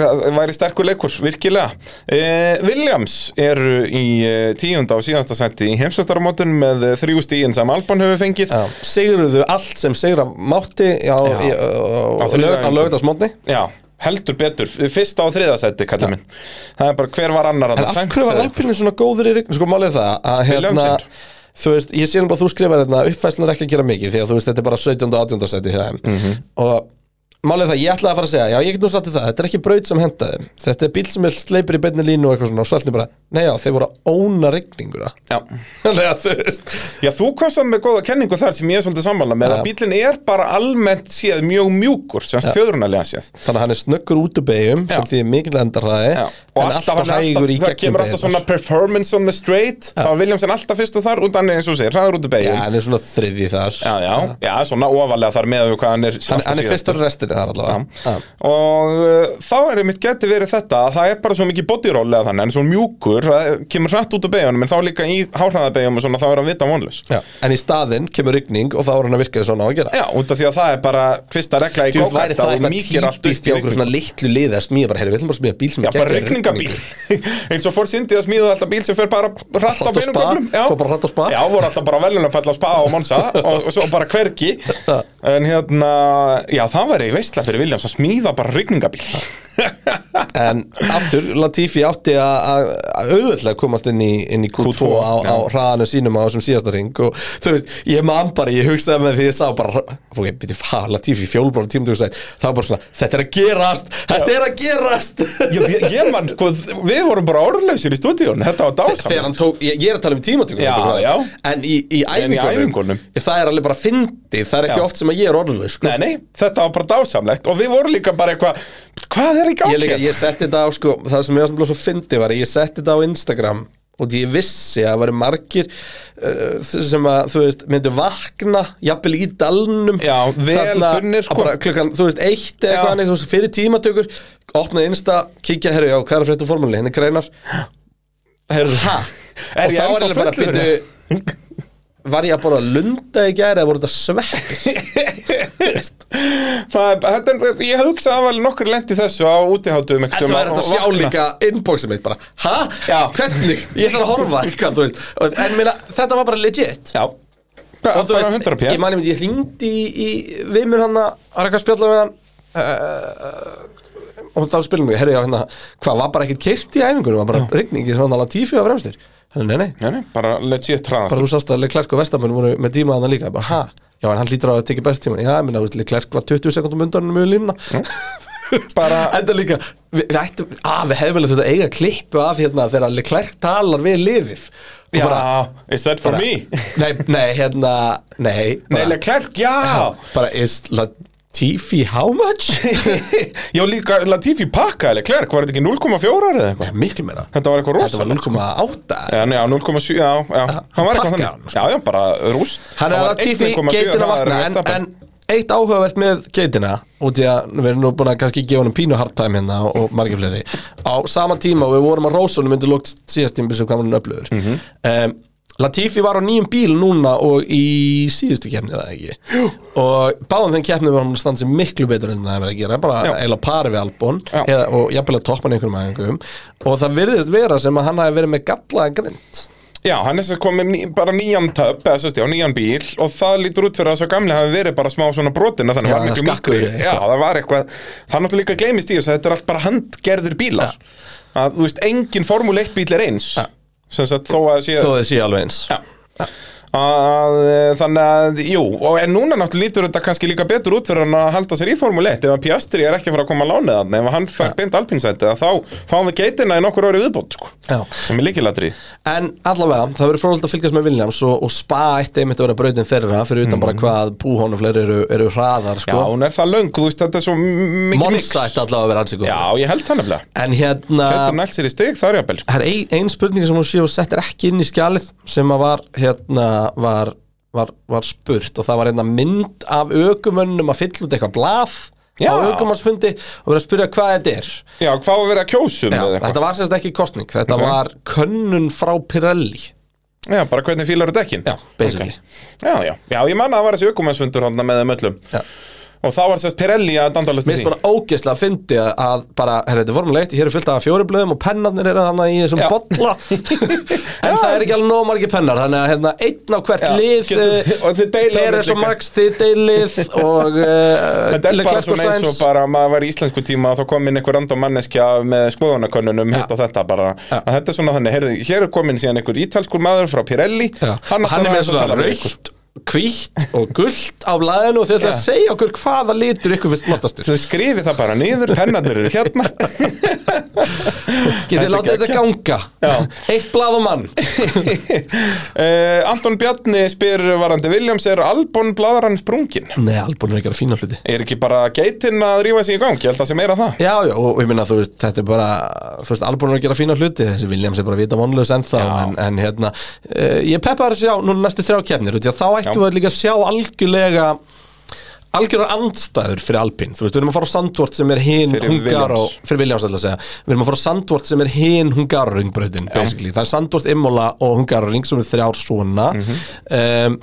S3: uh, væri sterkur leikur, virkilega. Uh, Williams eru í uh, tíunda og síðasta seti í heimsvöldaramótun með uh, þrjú stíin sem Alban hefur fengið.
S2: Já, sigruðu allt sem sigra mátti á,
S3: Já.
S2: í, á, á,
S3: Á þriðja
S2: lög, á
S3: æfingu.
S2: lögðarsmótni
S3: Já, heldur betur. Fyrsta og þriða seti, kallar minn. Það er bara hver var annar
S2: En af hverju var Alpinu svona góður í rign Sko málið er það að hérna
S3: Williamsson.
S2: Þú veist, ég sé nú bara að þú skrifar hérna Uppfæslan er ekki að gera mikið því að þú veist Þetta er bara 17. og 18. seti hjá þeim
S3: Mhm.
S2: Og málið er það, ég ætlaði að fara að segja Já, ég get nú satt í það, þetta er ekki braut sem hendaði þeim. Þetta er bíl sem er sleipur í beinni línu og eitthvað svona Og svolítið bara, nei já, þeir voru að óna rigninguna
S3: Já.
S2: Þannig að þú veist
S3: Já, þú komst það með góða kenningu þar sem ég er svolítið sammála með
S2: Já.
S3: að bílinn er bara almennt séð mjög mjúkur, sem ja. fjöðrunarlega séð.
S2: Þannig að hann er snöggur út úr beigjum
S3: Já.
S2: sem því er mikill endarraði
S3: Já.
S2: en alltaf
S3: hann er
S2: hægur í
S3: það
S2: gegnum
S3: kemur alltaf
S2: beigjum
S3: svona performance on the straight, þá er Williamson alltaf fyrst og þar, og hann er eins og segir, hraður út í
S2: Já,
S3: beigum.
S2: hann er svona þriði þar
S3: já, já, já, svona ofalega þar með við hvað hann er
S2: Hann, hann er
S3: aftur síðastur.
S2: fyrstur í restinni þar allavega Já.
S3: og uh, þá er einmitt geti verið þetta að það er bara svo mikið bodyroll eða þannig en svo mjúkur, það kemur hrætt út á beigunum en þá líka í háhraðabeigunum og svona þá er hann vita vonlaus
S2: Já, en í staðinn kemur rigning og þá er hann að virka svona á að gera
S3: Já, út af því að það er bara fyrsta regla í
S2: Þú veist,
S3: góðkvært
S2: væri það
S3: að þú
S2: eitthvað
S3: mýkir allt upp í
S2: típist í okkur
S3: rigningu.
S2: svona litlu lið að smíða bara, heyrðu, við ætlum bara að smíða bíl sem
S3: Já,
S2: er
S3: bara
S2: geggjaður í
S3: regningabíl eins og fór syndið að smíða alltaf bíl sem fer bara hratt á
S2: Hratt á
S3: beinum
S2: spa,
S3: göflum Já,
S2: fór bara hratt á spa.
S3: Já, voru alltaf bara velunarpall á spa og monsa og, og svo bara hvergi En hérna, já, það væri veistla fyrir Williams að smíða bara regningabíl
S2: En aftur, Latifi átti að- að að auðvitað komast inn í, inn í Q2,
S3: Q2,
S2: á,
S3: já.
S2: á hraðanum sínum á þessum síðasta ring og þú veist, ég man bara, ég hugsaði með því ég sá bara, ok, býtti, ha, Latifi fjólbráð tíma þú sagði, það var bara svona, þetta er að gerast, þetta er að gerast
S3: Ég, ég, ég mann, sko, við vorum bara orðlausir í stúdíun Þetta var
S2: þegar
S3: dásamt
S2: hann tók, ég, ég er að tala um tímatökum
S3: Já, já.
S2: en í, í
S3: En í
S2: æfingunum,
S3: æfingunum.
S2: það er alveg bara fyndið, það er ekki
S3: Já.
S2: oft sem að ég er orðlaug sko.
S3: Nei, nei, þetta var bara dásamlegt Og við vorum líka bara eitthvað Hvað er í
S2: ég,
S3: gangi? hérna?
S2: líka, ég setti þetta á sko, það sem ég var sem blóð svo fyndið var að ég setti þetta á Instagram og því ég vissi að það væri margir uh, sem að, þú veist, myndu vakna jafnvel í dalnum
S3: Já, vel þunnir, sko.
S2: að bara klukkan, þú veist, eitt eða
S3: Já.
S2: eitthvað annað, þú veist, fyrir tímatökur opnaði Insta, kíkja, herru, já, hvað er að frétta úr formúlunni, henni greinar
S3: Herðu,
S2: og
S3: er
S2: þá
S3: ég
S2: er
S3: ennþá
S2: bara
S3: fullur? hérna?
S2: býtu Var ég að borða lunda í gæri eða voru þetta sveppi?
S3: Það er, þetta er, ég hugsa að vel nokkur lendi þessu á útihátum
S2: En þú er þetta að sjá líka inboxið mitt bara Hæ?
S3: Já.
S2: Hvernig? Ég þarf að horfa eitthvað, þú veist Og- En minna, þetta var bara legit
S3: Já
S2: Og þú
S3: Bara
S2: veist,
S3: 100
S2: Ég mani mynd, ég hringdi í, í vimur hann að Það er eitthvað að spjalla við hann uh, Og þá spilum við, herri, já, hérna Hvað, var bara ekkert keirt í æfingunum Var bara rigningi, svona alveg tífi á fremstir Þannig, nei, nei,
S3: Nei, nei, bara legit hraðast
S2: bara þú sást að Leclerc og Vestamann voru með tíma þannig líka, bara ha, já en hann hlýtur á að tekja best tíman, já, ég minna, Leclerc var 20 sekundum undanum með línuna bara, enda líka, við, við ættum að við hefum vel þetta eiga klippu af hérna þegar Leclerc talar við liðið og
S3: Já,
S2: bara,
S3: is that for
S2: bara
S3: me?
S2: nei, nei, hérna, nei
S3: Nei,
S2: bara,
S3: Leclerc, já
S2: bara is la, Tifi, how much?
S3: Já, líka Latifi pakka eða Klerk, var þetta ekki 0,4 eða eitthvað?
S2: Nei, miklu meira
S3: Þetta var eitthvað
S2: Þetta var
S3: rosalegt
S2: 0,8
S3: Já, nei, já, 0,7, já, já, hann var eitthvað
S2: pakkaði
S3: þannig
S2: hann,
S3: Já, já, bara rúst
S2: Hann er
S3: var
S2: að Tifi
S3: 1,7
S2: geitin að
S3: hraðari en
S2: vakna en,
S3: Verstappen.
S2: en eitt áhugavert með geitina út í að við erum nú búin að kannski gefa honum pínu hard time hérna og, og margir fleiri á sama tíma og við vorum að rósa honum undir lókt síðast tíma sem kamerun upplöður mm
S3: Mhm.
S2: Latifi var á nýjum bíl núna og í síðustu kemni það ekki Jú. og báðum þeim keppnum var hann að standa sig miklu betur en það hefur verið að gera bara
S3: Já.
S2: eiginlega pari við Albon
S3: Já.
S2: eða, og jafnvel að toppa hann í einhverjum aðeingum og það virðist vera sem að hann hafi verið með gallaða grind
S3: Já, hann er sem komið ný, bara nýjan töpp eða sérst, já, nýjan bíl og það lítur út fyrir að svo gamli hafi verið bara smá svona brotina þannig
S2: Já,
S3: var miklu
S2: skakkur,
S3: miklu Já,
S2: eitthvað.
S3: það var eitthvað Það náttúrulega líka gleymist í þess að þetta er allt bara handgerðir bílar að, Þú veist, engin Formule 1 bíl er eins
S2: Já.
S3: sem sagt, þó að sé
S2: þó þið sé alveg eins
S3: Já Að, eh, þannig að, jú, og en núna náttúrulega lítur þetta kannski líka betur út fyrir hann að halda sér í Formule 1 ef að Piastri er ekki að fara að koma að lánið hann ef hann fær beint alpinsætti þá fáum við geitina í nokkur orðið viðbót sko,
S2: Já.
S3: sem er líkilatri
S2: En allavega, það verður frólægt að fylgjast með Williams og, og spa eitt einmitt að vera brautin þeirra fyrir utan bara hvað búhón og fleiri eru, eru hraðar
S3: Mhm. Já,
S2: sko.
S3: hún er það löng, þú veist, þetta er svo m- mikið mix.
S2: Monsa eitt allavega að vera ansið góð
S3: Já, ég held það nefnilega
S2: En hérna,
S3: Þetta er nælt sér í stig, það er jafnvel sko.
S2: það er ein, ein spurning sem hún sé og settir ekki inn í skjalið sem að var, hérna, var, var, var spurt og það var hérna mynd af ökumönnum að fylla út eitthvað blað
S3: Já.
S2: á ökumannsfundi og verið að spyrja hvað þetta er
S3: Já, hvað var verið að kjósum
S2: Já,
S3: eða eitthvað? Mhm.
S2: Þetta var sérst ekki kostning, þetta
S3: Ok.
S2: var könnun frá Pirelli
S3: Já, bara hvernig fílar þetta ekki
S2: Já, basically
S3: já, já, já, ég manna að það var þessi aukumannsfundur hann með þeim öllum
S2: Já.
S3: Og þá var sérst Pirelli að dandalast
S2: Mér finnst bara ógeðslega að fyndi að- að bara, herri, þetta er formuleitt, hér er fullt af fjórublöðum og pennarnir eru þannig í þessum
S3: Já.
S2: bolla en það er ekki alveg nóg margir pennar þannig að hérna, einn á hvert
S3: Já,
S2: lið
S3: getur-
S2: eh,
S3: og þið deila á
S2: Peres
S3: milli
S2: og
S3: ykkar.
S2: Max, þið deilið og uh,
S3: Þetta er bara svona eins og bara að maður var í íslensku tíma og þá kom inn einhver random manneskja með skoðanakönnunum hitt og þetta bara að þetta er svona þannig, heyrðu, hér er komin síðan einhver ítalskur maður frá Pirelli ætlar
S2: hann, er með
S3: aðeins að
S2: svona
S3: tala við ykkur.
S2: raukt, hvítt og gullt á blæðinu og þið ætla að segja okkur hvaða litur ykkur finnst flottastur
S3: Þau skrifið það bara niður, pennarnir eru hérna
S2: Getið
S3: Þetta er
S2: látið þetta ganga Eitt blað og mann
S3: uh, Anton Bjarni spyr varandi Williams, er Albon blaðarann sprungin?
S2: Nei, Albon er ekki að fína hluti
S3: Er ekki bara geitin að rífa sig í gang? Ég held að sé meira það
S2: Já, já, og ég minna, þú veist, þetta er bara þú veist, Albon er að gera fína hluti, þessi Williams er bara vita vonlaus ennþá, en, en hérna uh, ég peppa þar að sjá, núna næstu þrjá kefnir þá ættum
S3: Já.
S2: við líka að sjá algjörlega algjörlega andstæður fyrir Alpín, þú veist, við erum að fara á Sandvort sem er hinn
S3: Fyrir
S2: Hungaró,
S3: Williams.
S2: fyrir Williams ætla að segja við erum að fara á Sandvort sem er hinn Hungaró ringbrautin, basically, það er Sandvort, Immola og Hungaró ring sem er þrjár svona
S3: Mhm.
S2: um,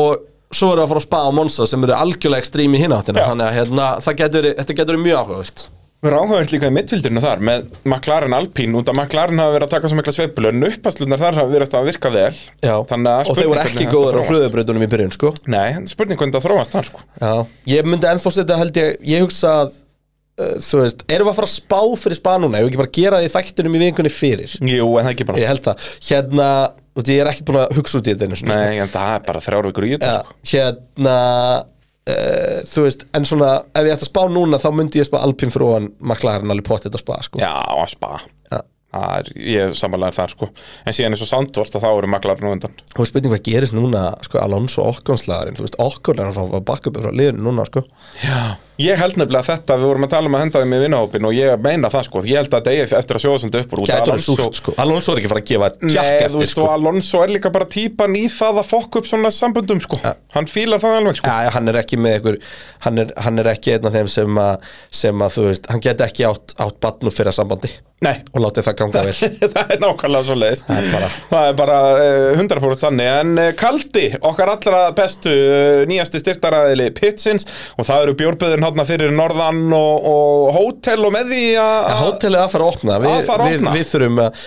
S2: og svo erum við að fara á Spa og Monza sem eru algjörlega ekstrím í hináttina,
S3: Já.
S2: þannig að hérna, það getur, þetta getur verið mjög áhugavert
S3: Við erum áhugaður líka í mittfildinu þar með McLaren Alpine út að McLaren hafa verið að taka svo mikla sveiflu en uppaslunar þar hafa verið að virka vel
S2: Já,
S3: Þannig að
S2: og þeir
S3: spurning
S2: voru
S3: hvernig
S2: ekki
S3: þetta
S2: góður á
S3: þróast.
S2: flöðubröðunum í byrjun sko
S3: Nei, en spurning hvernig það þróast þar sko
S2: Já. Ég myndi ennþá setja held ég, ég hugsa að uh, þú veist, erum við að fara að spá fyrir spá núna, ef við ekki bara gera því þættunum í vikunni fyrir,
S3: Jú, en það ekki bara
S2: ég held það hérna, þú veist, ég er ekkert búin að hugsa út í þetta einu sinni,
S3: Nei, en það er bara þrjár vikur í
S2: sko.
S3: þetta
S2: Já,
S3: sko.
S2: hérna uh, þú veist, en svona ef ég ætti að spá núna, þá myndi ég spá Alpín fyrir ofan McLaren alveg potið að spá sko.
S3: Já, að spa
S2: Já.
S3: Það er, ég samanlega þar sko En síðan eins og Sandvolt að þá eru McLaren nú undan
S2: og spurning hvað gerist núna, sko, Alonso okkonslaðarinn, þú veist, okkur er að fá að bakka upp frá liðinu núna, sko
S3: Já. Ég held nefnilega þetta, við vorum að tala um að henda þeim í vinnahópin og ég meina það sko, ég held að þetta eigi eftir að sjóða sem þetta upp úr út af
S2: Gætur er
S3: Alonso-
S2: súrt, sko, Alonso er ekki að fara að gefa
S3: Nei,
S2: tjakk
S3: þú
S2: eftir,
S3: veist,
S2: sko
S3: og Alonso er líka bara típan í það að fokk upp svona samböndum sko, hann fílar það alveg sko
S2: Já, hann er ekki með ykkur hann er, hann er ekki einn af þeim sem að, sem að þú veist, hann geti ekki átt, átt batn úr fyrra sambandi
S3: Nei,
S2: og látið það ganga vel
S3: það er nákvæmlega svo leiðis
S2: Það er bara-
S3: Það er bara eh, 100% þannig En eh, Kaldi, okkar allra bestu eh, nýjasti styrtaræðili Pitsins Og það eru bjórböðin hátna fyrir norðan og, og hótel og með því að
S2: Hótelið að fara að opna, Vi,
S3: Að fara að opna.
S2: Við, við þurfum að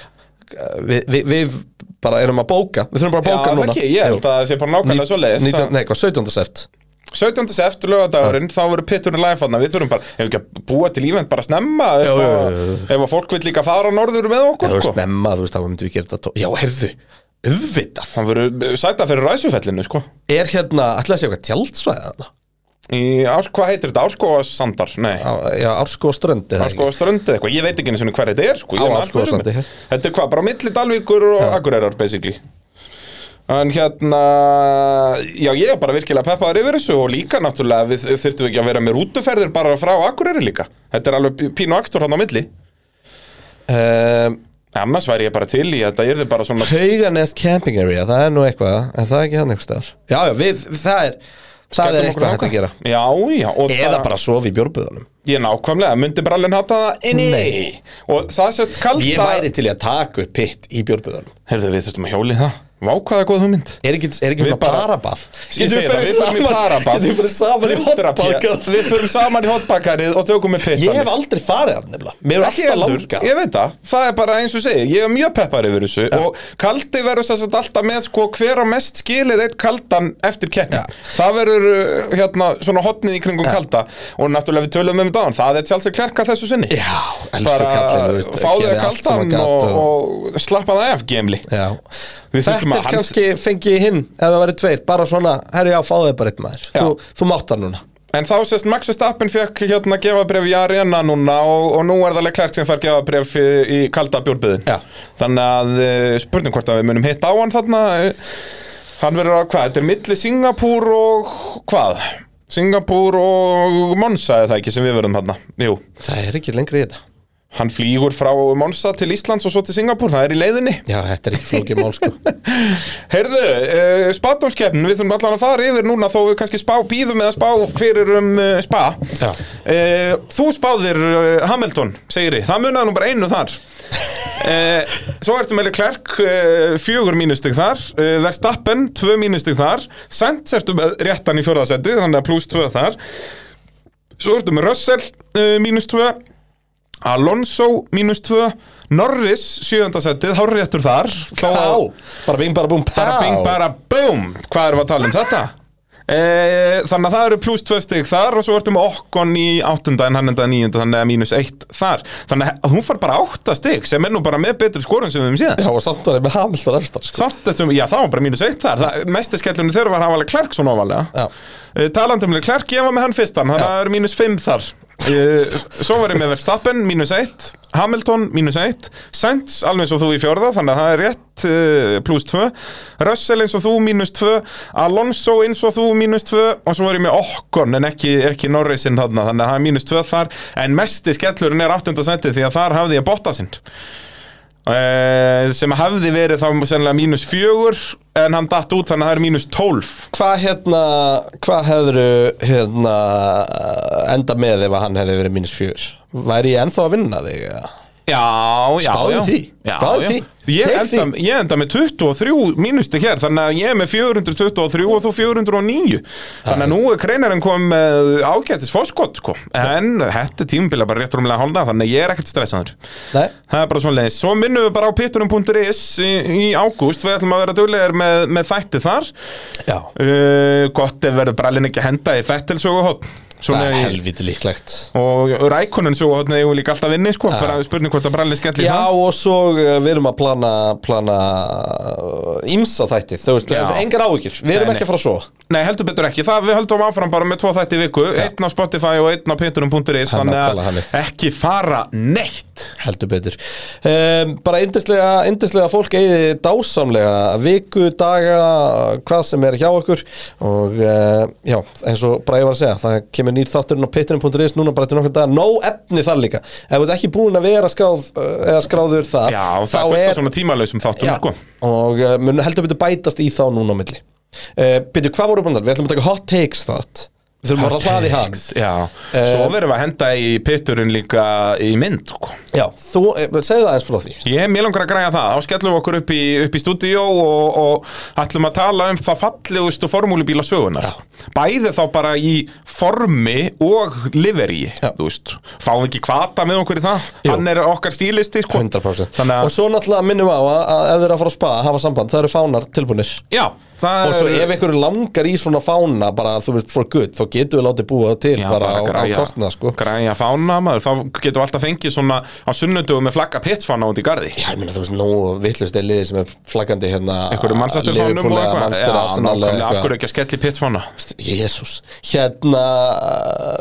S2: við, við, við bara erum að bóka við þurfum bara að
S3: Já,
S2: bóka
S3: það
S2: núna
S3: ekki, ég held
S2: Jú.
S3: að það sé bara nákvæmlega svo leiðis
S2: 19, Nei, hvað, 17. seft
S3: 17. eftir lögadagurinn, þá verður pitturinn live hann Við þurfum bara, ef við ekki að búa til ívend bara snemma Ef,
S2: Jú, jú,
S3: að-
S2: jú,
S3: ef að fólk vil líka fara norður með
S2: Það
S3: okkur
S2: var
S3: sko.
S2: snemma, þú veist, þá myndum við gera þetta tó- Já, heyrðu, auðvitað
S3: Það verður eh, sæta fyrir ræsufellinu sko.
S2: Er hérna, ætlaði að sé eitthvað tjaldsvæða þarna?
S3: Í, árs, hvað heitir þetta? Árskóasandar? Nei,
S2: Á- Já, Árskó og Ströndi
S3: Árskóaströndi eitthvað Ég veit ekki eins og hver þetta er sko. Ég
S2: Á
S3: man
S2: Árskógaströndi.
S3: aldrei um þetta. Þetta er hvað, bara milli Dalvíkur og Akureyrar basically En hérna, já ég er bara virkilega peppaður yfir þessu og líka náttúrulega við þurftum ekki að vera með rútuferðir bara frá Akureyri líka. Þetta er alveg pínu akstur hann á milli.
S2: um,
S3: Annars væri ég bara til í að það yrði bara svona...
S2: Hauganest Camping Area, það er nú eitthvað Er það ekki hann einhvers staðar? Já, já, við, það er Það er
S3: Skellum okkur
S2: eitthvað hægt
S3: þangað.
S2: að gera
S3: Já, já. og
S2: Eða
S3: það-
S2: bara sofa í bjórbúðunum
S3: Ég nákvæmlega, myndi brallin hata það? Nei. Og það sést kalda...
S2: Ég væri til í að taka upp pitt í bjórbúðunum
S3: Heyrðu, við þurftum að hjóli það. Vá, hvað er góð hugmynd?
S2: Er ekki, er ekki
S3: Við
S2: svona
S3: bara-
S2: parabað?
S3: Ég segi það, við förum í parabað.
S2: Getum við fyrir saman í
S3: 100 pjö.
S2: hotbakað
S3: Við förum saman í hotbakkarið og tökum með pitt.
S2: Ég hef aldrei farið hann nefnilega Mér er
S3: Ekki
S2: alltaf
S3: heldur,
S2: langað
S3: ég veit það, það er bara eins og segi, ég er mjög peppar yfir þessu og kaldi verður þess að alltaf með sko hver á mest skilið eitt kaldan eftir keppni, það verður uh, hérna svona hotnið í kringum kalda og náttúrulega við tölum um þetta, áðan, það er tjálsir klerka þessu sinni
S2: Já, elsku
S3: bara
S2: kallinu, þú veist
S3: fáðu
S2: gerði
S3: þér
S2: allt sem hann
S3: kaldan
S2: gat
S3: og, og slappa það af gemli
S2: Já,
S3: Við þurftum að
S2: þetta er
S3: hann-
S2: kannski fengi ég hinn ef það væri tveir, bara svona, herri já, fáðu þér bara eitt maður þú, þú mátt það núna
S3: En þá sést Max Verstappen fekk hérna gefabref í Arena núna og, og nú er það Leclerc sem fær gefabref í, í kalda bjórbyðin.
S2: Já.
S3: Þannig að eh, spurning hvort að við munum hitta á hann þarna. eh, Hann verður að hvað? Þetta er milli Singapúr og hvað? Singapúr og Monsa er það ekki sem við verðum þarna. Jú,
S2: Það er ekki lengri í þetta
S3: hann flýgur frá Monsa til Íslands og svo til Singapúr, það er í leiðinni.
S2: Já, þetta er ekki flókið mál sko
S3: Heyrðu, uh, spátumskeppn, við þurfum allan að fara yfir núna þó við kannski spá, býðum með að spá fyrir um uh, spa
S2: Já.
S3: uh, Þú spáðir uh, Hamilton, segir ég, það munaði nú bara einu þar uh, Svo ertu með Leclerc, uh, fjögur mínustig þar uh, Verstappen, tvö mínustig þar Sainz ertu með réttan í fjórðasetti, þannig að pluss tvö þar Svo ertu með Russell, uh, mínus tvö Alonso, mínus tvö Norris, sjööndasettið, hárréttur þar þó
S2: Pá,
S3: að-
S2: bara bing, bara búm, pá
S3: bara bing, bara boom Hvað erum við að tala um þetta? E, þannig að það eru pluss tvö stig þar og svo ertum við okkon í áttunda en hann enda nýjunda þannig að mínus eitt þar þannig að hún far bara átta stig sem er nú bara með betri skorun sem við höfum síðan
S2: Já, og samt var ég með Hamilton efstar sko
S3: Samt eftir, já það var bara mínus eitt þar það, mestu skellunni þeirra var hafalega Klerk svona ofalega
S2: Já.
S3: e, talandi um Klerk, ég var með hann fyrstan þannig að það eru mínus fimm þar e, svo var ég með Verstappen, mínus eitt Hamilton, mínus eitt Sainz, alveg eins og þú í fjórða, þannig að það er rétt e, pluss tvö, Russell eins og þú mínus tvö, Alonso eins og þú mínus tvö og svo var ég með Okkon en ekki, ekki Norrisinn þarna, þannig að það er mínus tvö þar, en mesti skellurinn er áttundasætti því að þar hafði ég Bottasinn Eh, sem hafði verið þá sennilega mínus fjögur en hann datt út þannig að það er mínus tólf
S2: Hvað hérna, hvað hefur hérna enda með ef að hann hefði verið mínus fjör? Væri ég ennþá að vinna þig? eða?
S3: Já, já,
S2: Spáðu
S3: já.
S2: því,
S3: já,
S2: spáðu
S3: já.
S2: því.
S3: Ég
S2: Tek
S3: enda, ég enda með 23 mínusti hér þannig að ég er með 423 og þú 409 þannig að nú er kreinarinn kom með ágættis fórskott sko. en þetta tímabila bara rétt rúmlega hálna þannig að ég er ekkert stressaður
S2: Nei,
S3: Það er bara svona leiðis. Svo minnum við bara á pittunum.is í, í ágúst. Við ætlum að vera duglegar með, með þætti þar.
S2: já
S3: Uh, gott ef verður brælinn ekki að henda í fettilsögu hótt
S2: Það er
S3: og
S2: helviti líklegt
S3: rækunin sögu hótt eða líka alltaf inni sko, bara spurning hvort að brælinn skellir
S2: Já
S3: það
S2: og svo uh, við erum að plana, plana ímsa þætti þú veist,
S3: Já.
S2: engar áhyggjur, við
S3: Nei,
S2: erum
S3: nei.
S2: ekki að fara svo
S3: Nei, heldur betur ekki, það við höldum áfram bara með tvo þætti í viku, einn á Spotify og einn á pittunum.is,
S2: Hann
S3: þannig
S2: nákvæmlega
S3: að
S2: þannig.
S3: ekki fara neitt
S2: heldur betur um, bara yndislega, yndislega fólk eigið dásamlega viku, daga hvað sem er hjá okkur og uh, já, eins og bara ég var að segja það kemur nýr þátturinn á pitturinn.is núna bara til nokkur daga, nóg efni þar líka ef þú ert ekki búin að vera skráð, uh, eða skráður þar,
S3: Já, það er fullt af svona tímalausum þáttum
S2: Já,
S3: sko.
S2: og uh, mun heldur betur bætast í þá núna á milli uh, Byrju, hvað voru búin þar? Við ætlum að taka hot takes þátt Við þurfum að fara að hlaði hann Eh.
S3: Já, svo verðum við að henda í pitturinn líka í mynd sko.
S2: Já, þú, eh, segðu það eins frá því
S3: Ég er mjög langar að græja það, þá skellum við okkur upp í, upp í stúdíó og, og ætlum að tala um það fallegustu formúlubíla sögunar. Bæði þá bara í formi og livery,
S2: Já.
S3: þú veist. Fáum við ekki kvata með okkur í það,
S2: Jú.
S3: hann er okkar stílisti, sko.
S2: 100%
S3: Þannig
S2: Og
S3: að,
S2: svo náttúrulega minnum á að, að ef þeir eru að fara að spa hafa samband, það eru fánar tilbúinir
S3: já, það
S2: Og svo ef ykkur langar í svona fána bara, þú veist, for good, þá getum við látið búa það til
S3: Já,
S2: bara, á, á kostnað, sko
S3: græja fána maður, þá getum við alltaf fengið svona á sunnudögu með flagga pitsfána út í garði
S2: Já, ég meina þú veist, nógu vittlust er liðið sem er flaggandi hérna
S3: einhverju mannsætturfánum
S2: Liverpool
S3: og
S2: eða
S3: eitthvað
S2: Manchester, Arsenal eða
S3: nákvæmlega, af
S2: eitthvað.
S3: hverju ekki að skelli pitsfána
S2: Jésús Hérna uh,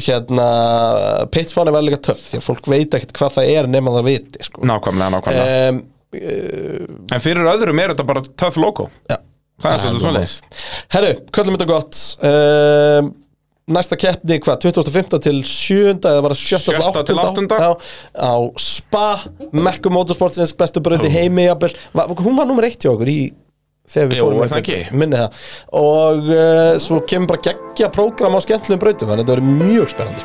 S2: Hérna Pittsfáni var líka töff Því að fólk veit ekkert hvað það er nema það viti sko.
S3: nákvæmlega, nákvæmlega
S2: um,
S3: En fyrir öðrum er þetta bara töff logo
S2: ja,
S3: Það er svolítið svolítið
S2: Herru, köllum þetta gott um, Næsta keppni, hvað, 25. til 7. eða var það 7. til
S3: 7.
S2: 8.
S3: til 8..
S2: Já, á Spa, Mekku Motorsportsins bestu bröndi heimi jafnvel. Va- Hún var nummer 1 hjá okkur í þegar við
S3: Jú,
S2: fórum
S3: er það
S2: yfir.
S3: ekki?
S2: minni það og uh, svo kemur bara geggja prógram á skemmtlum brautum þannig að þetta verður mjög spennandi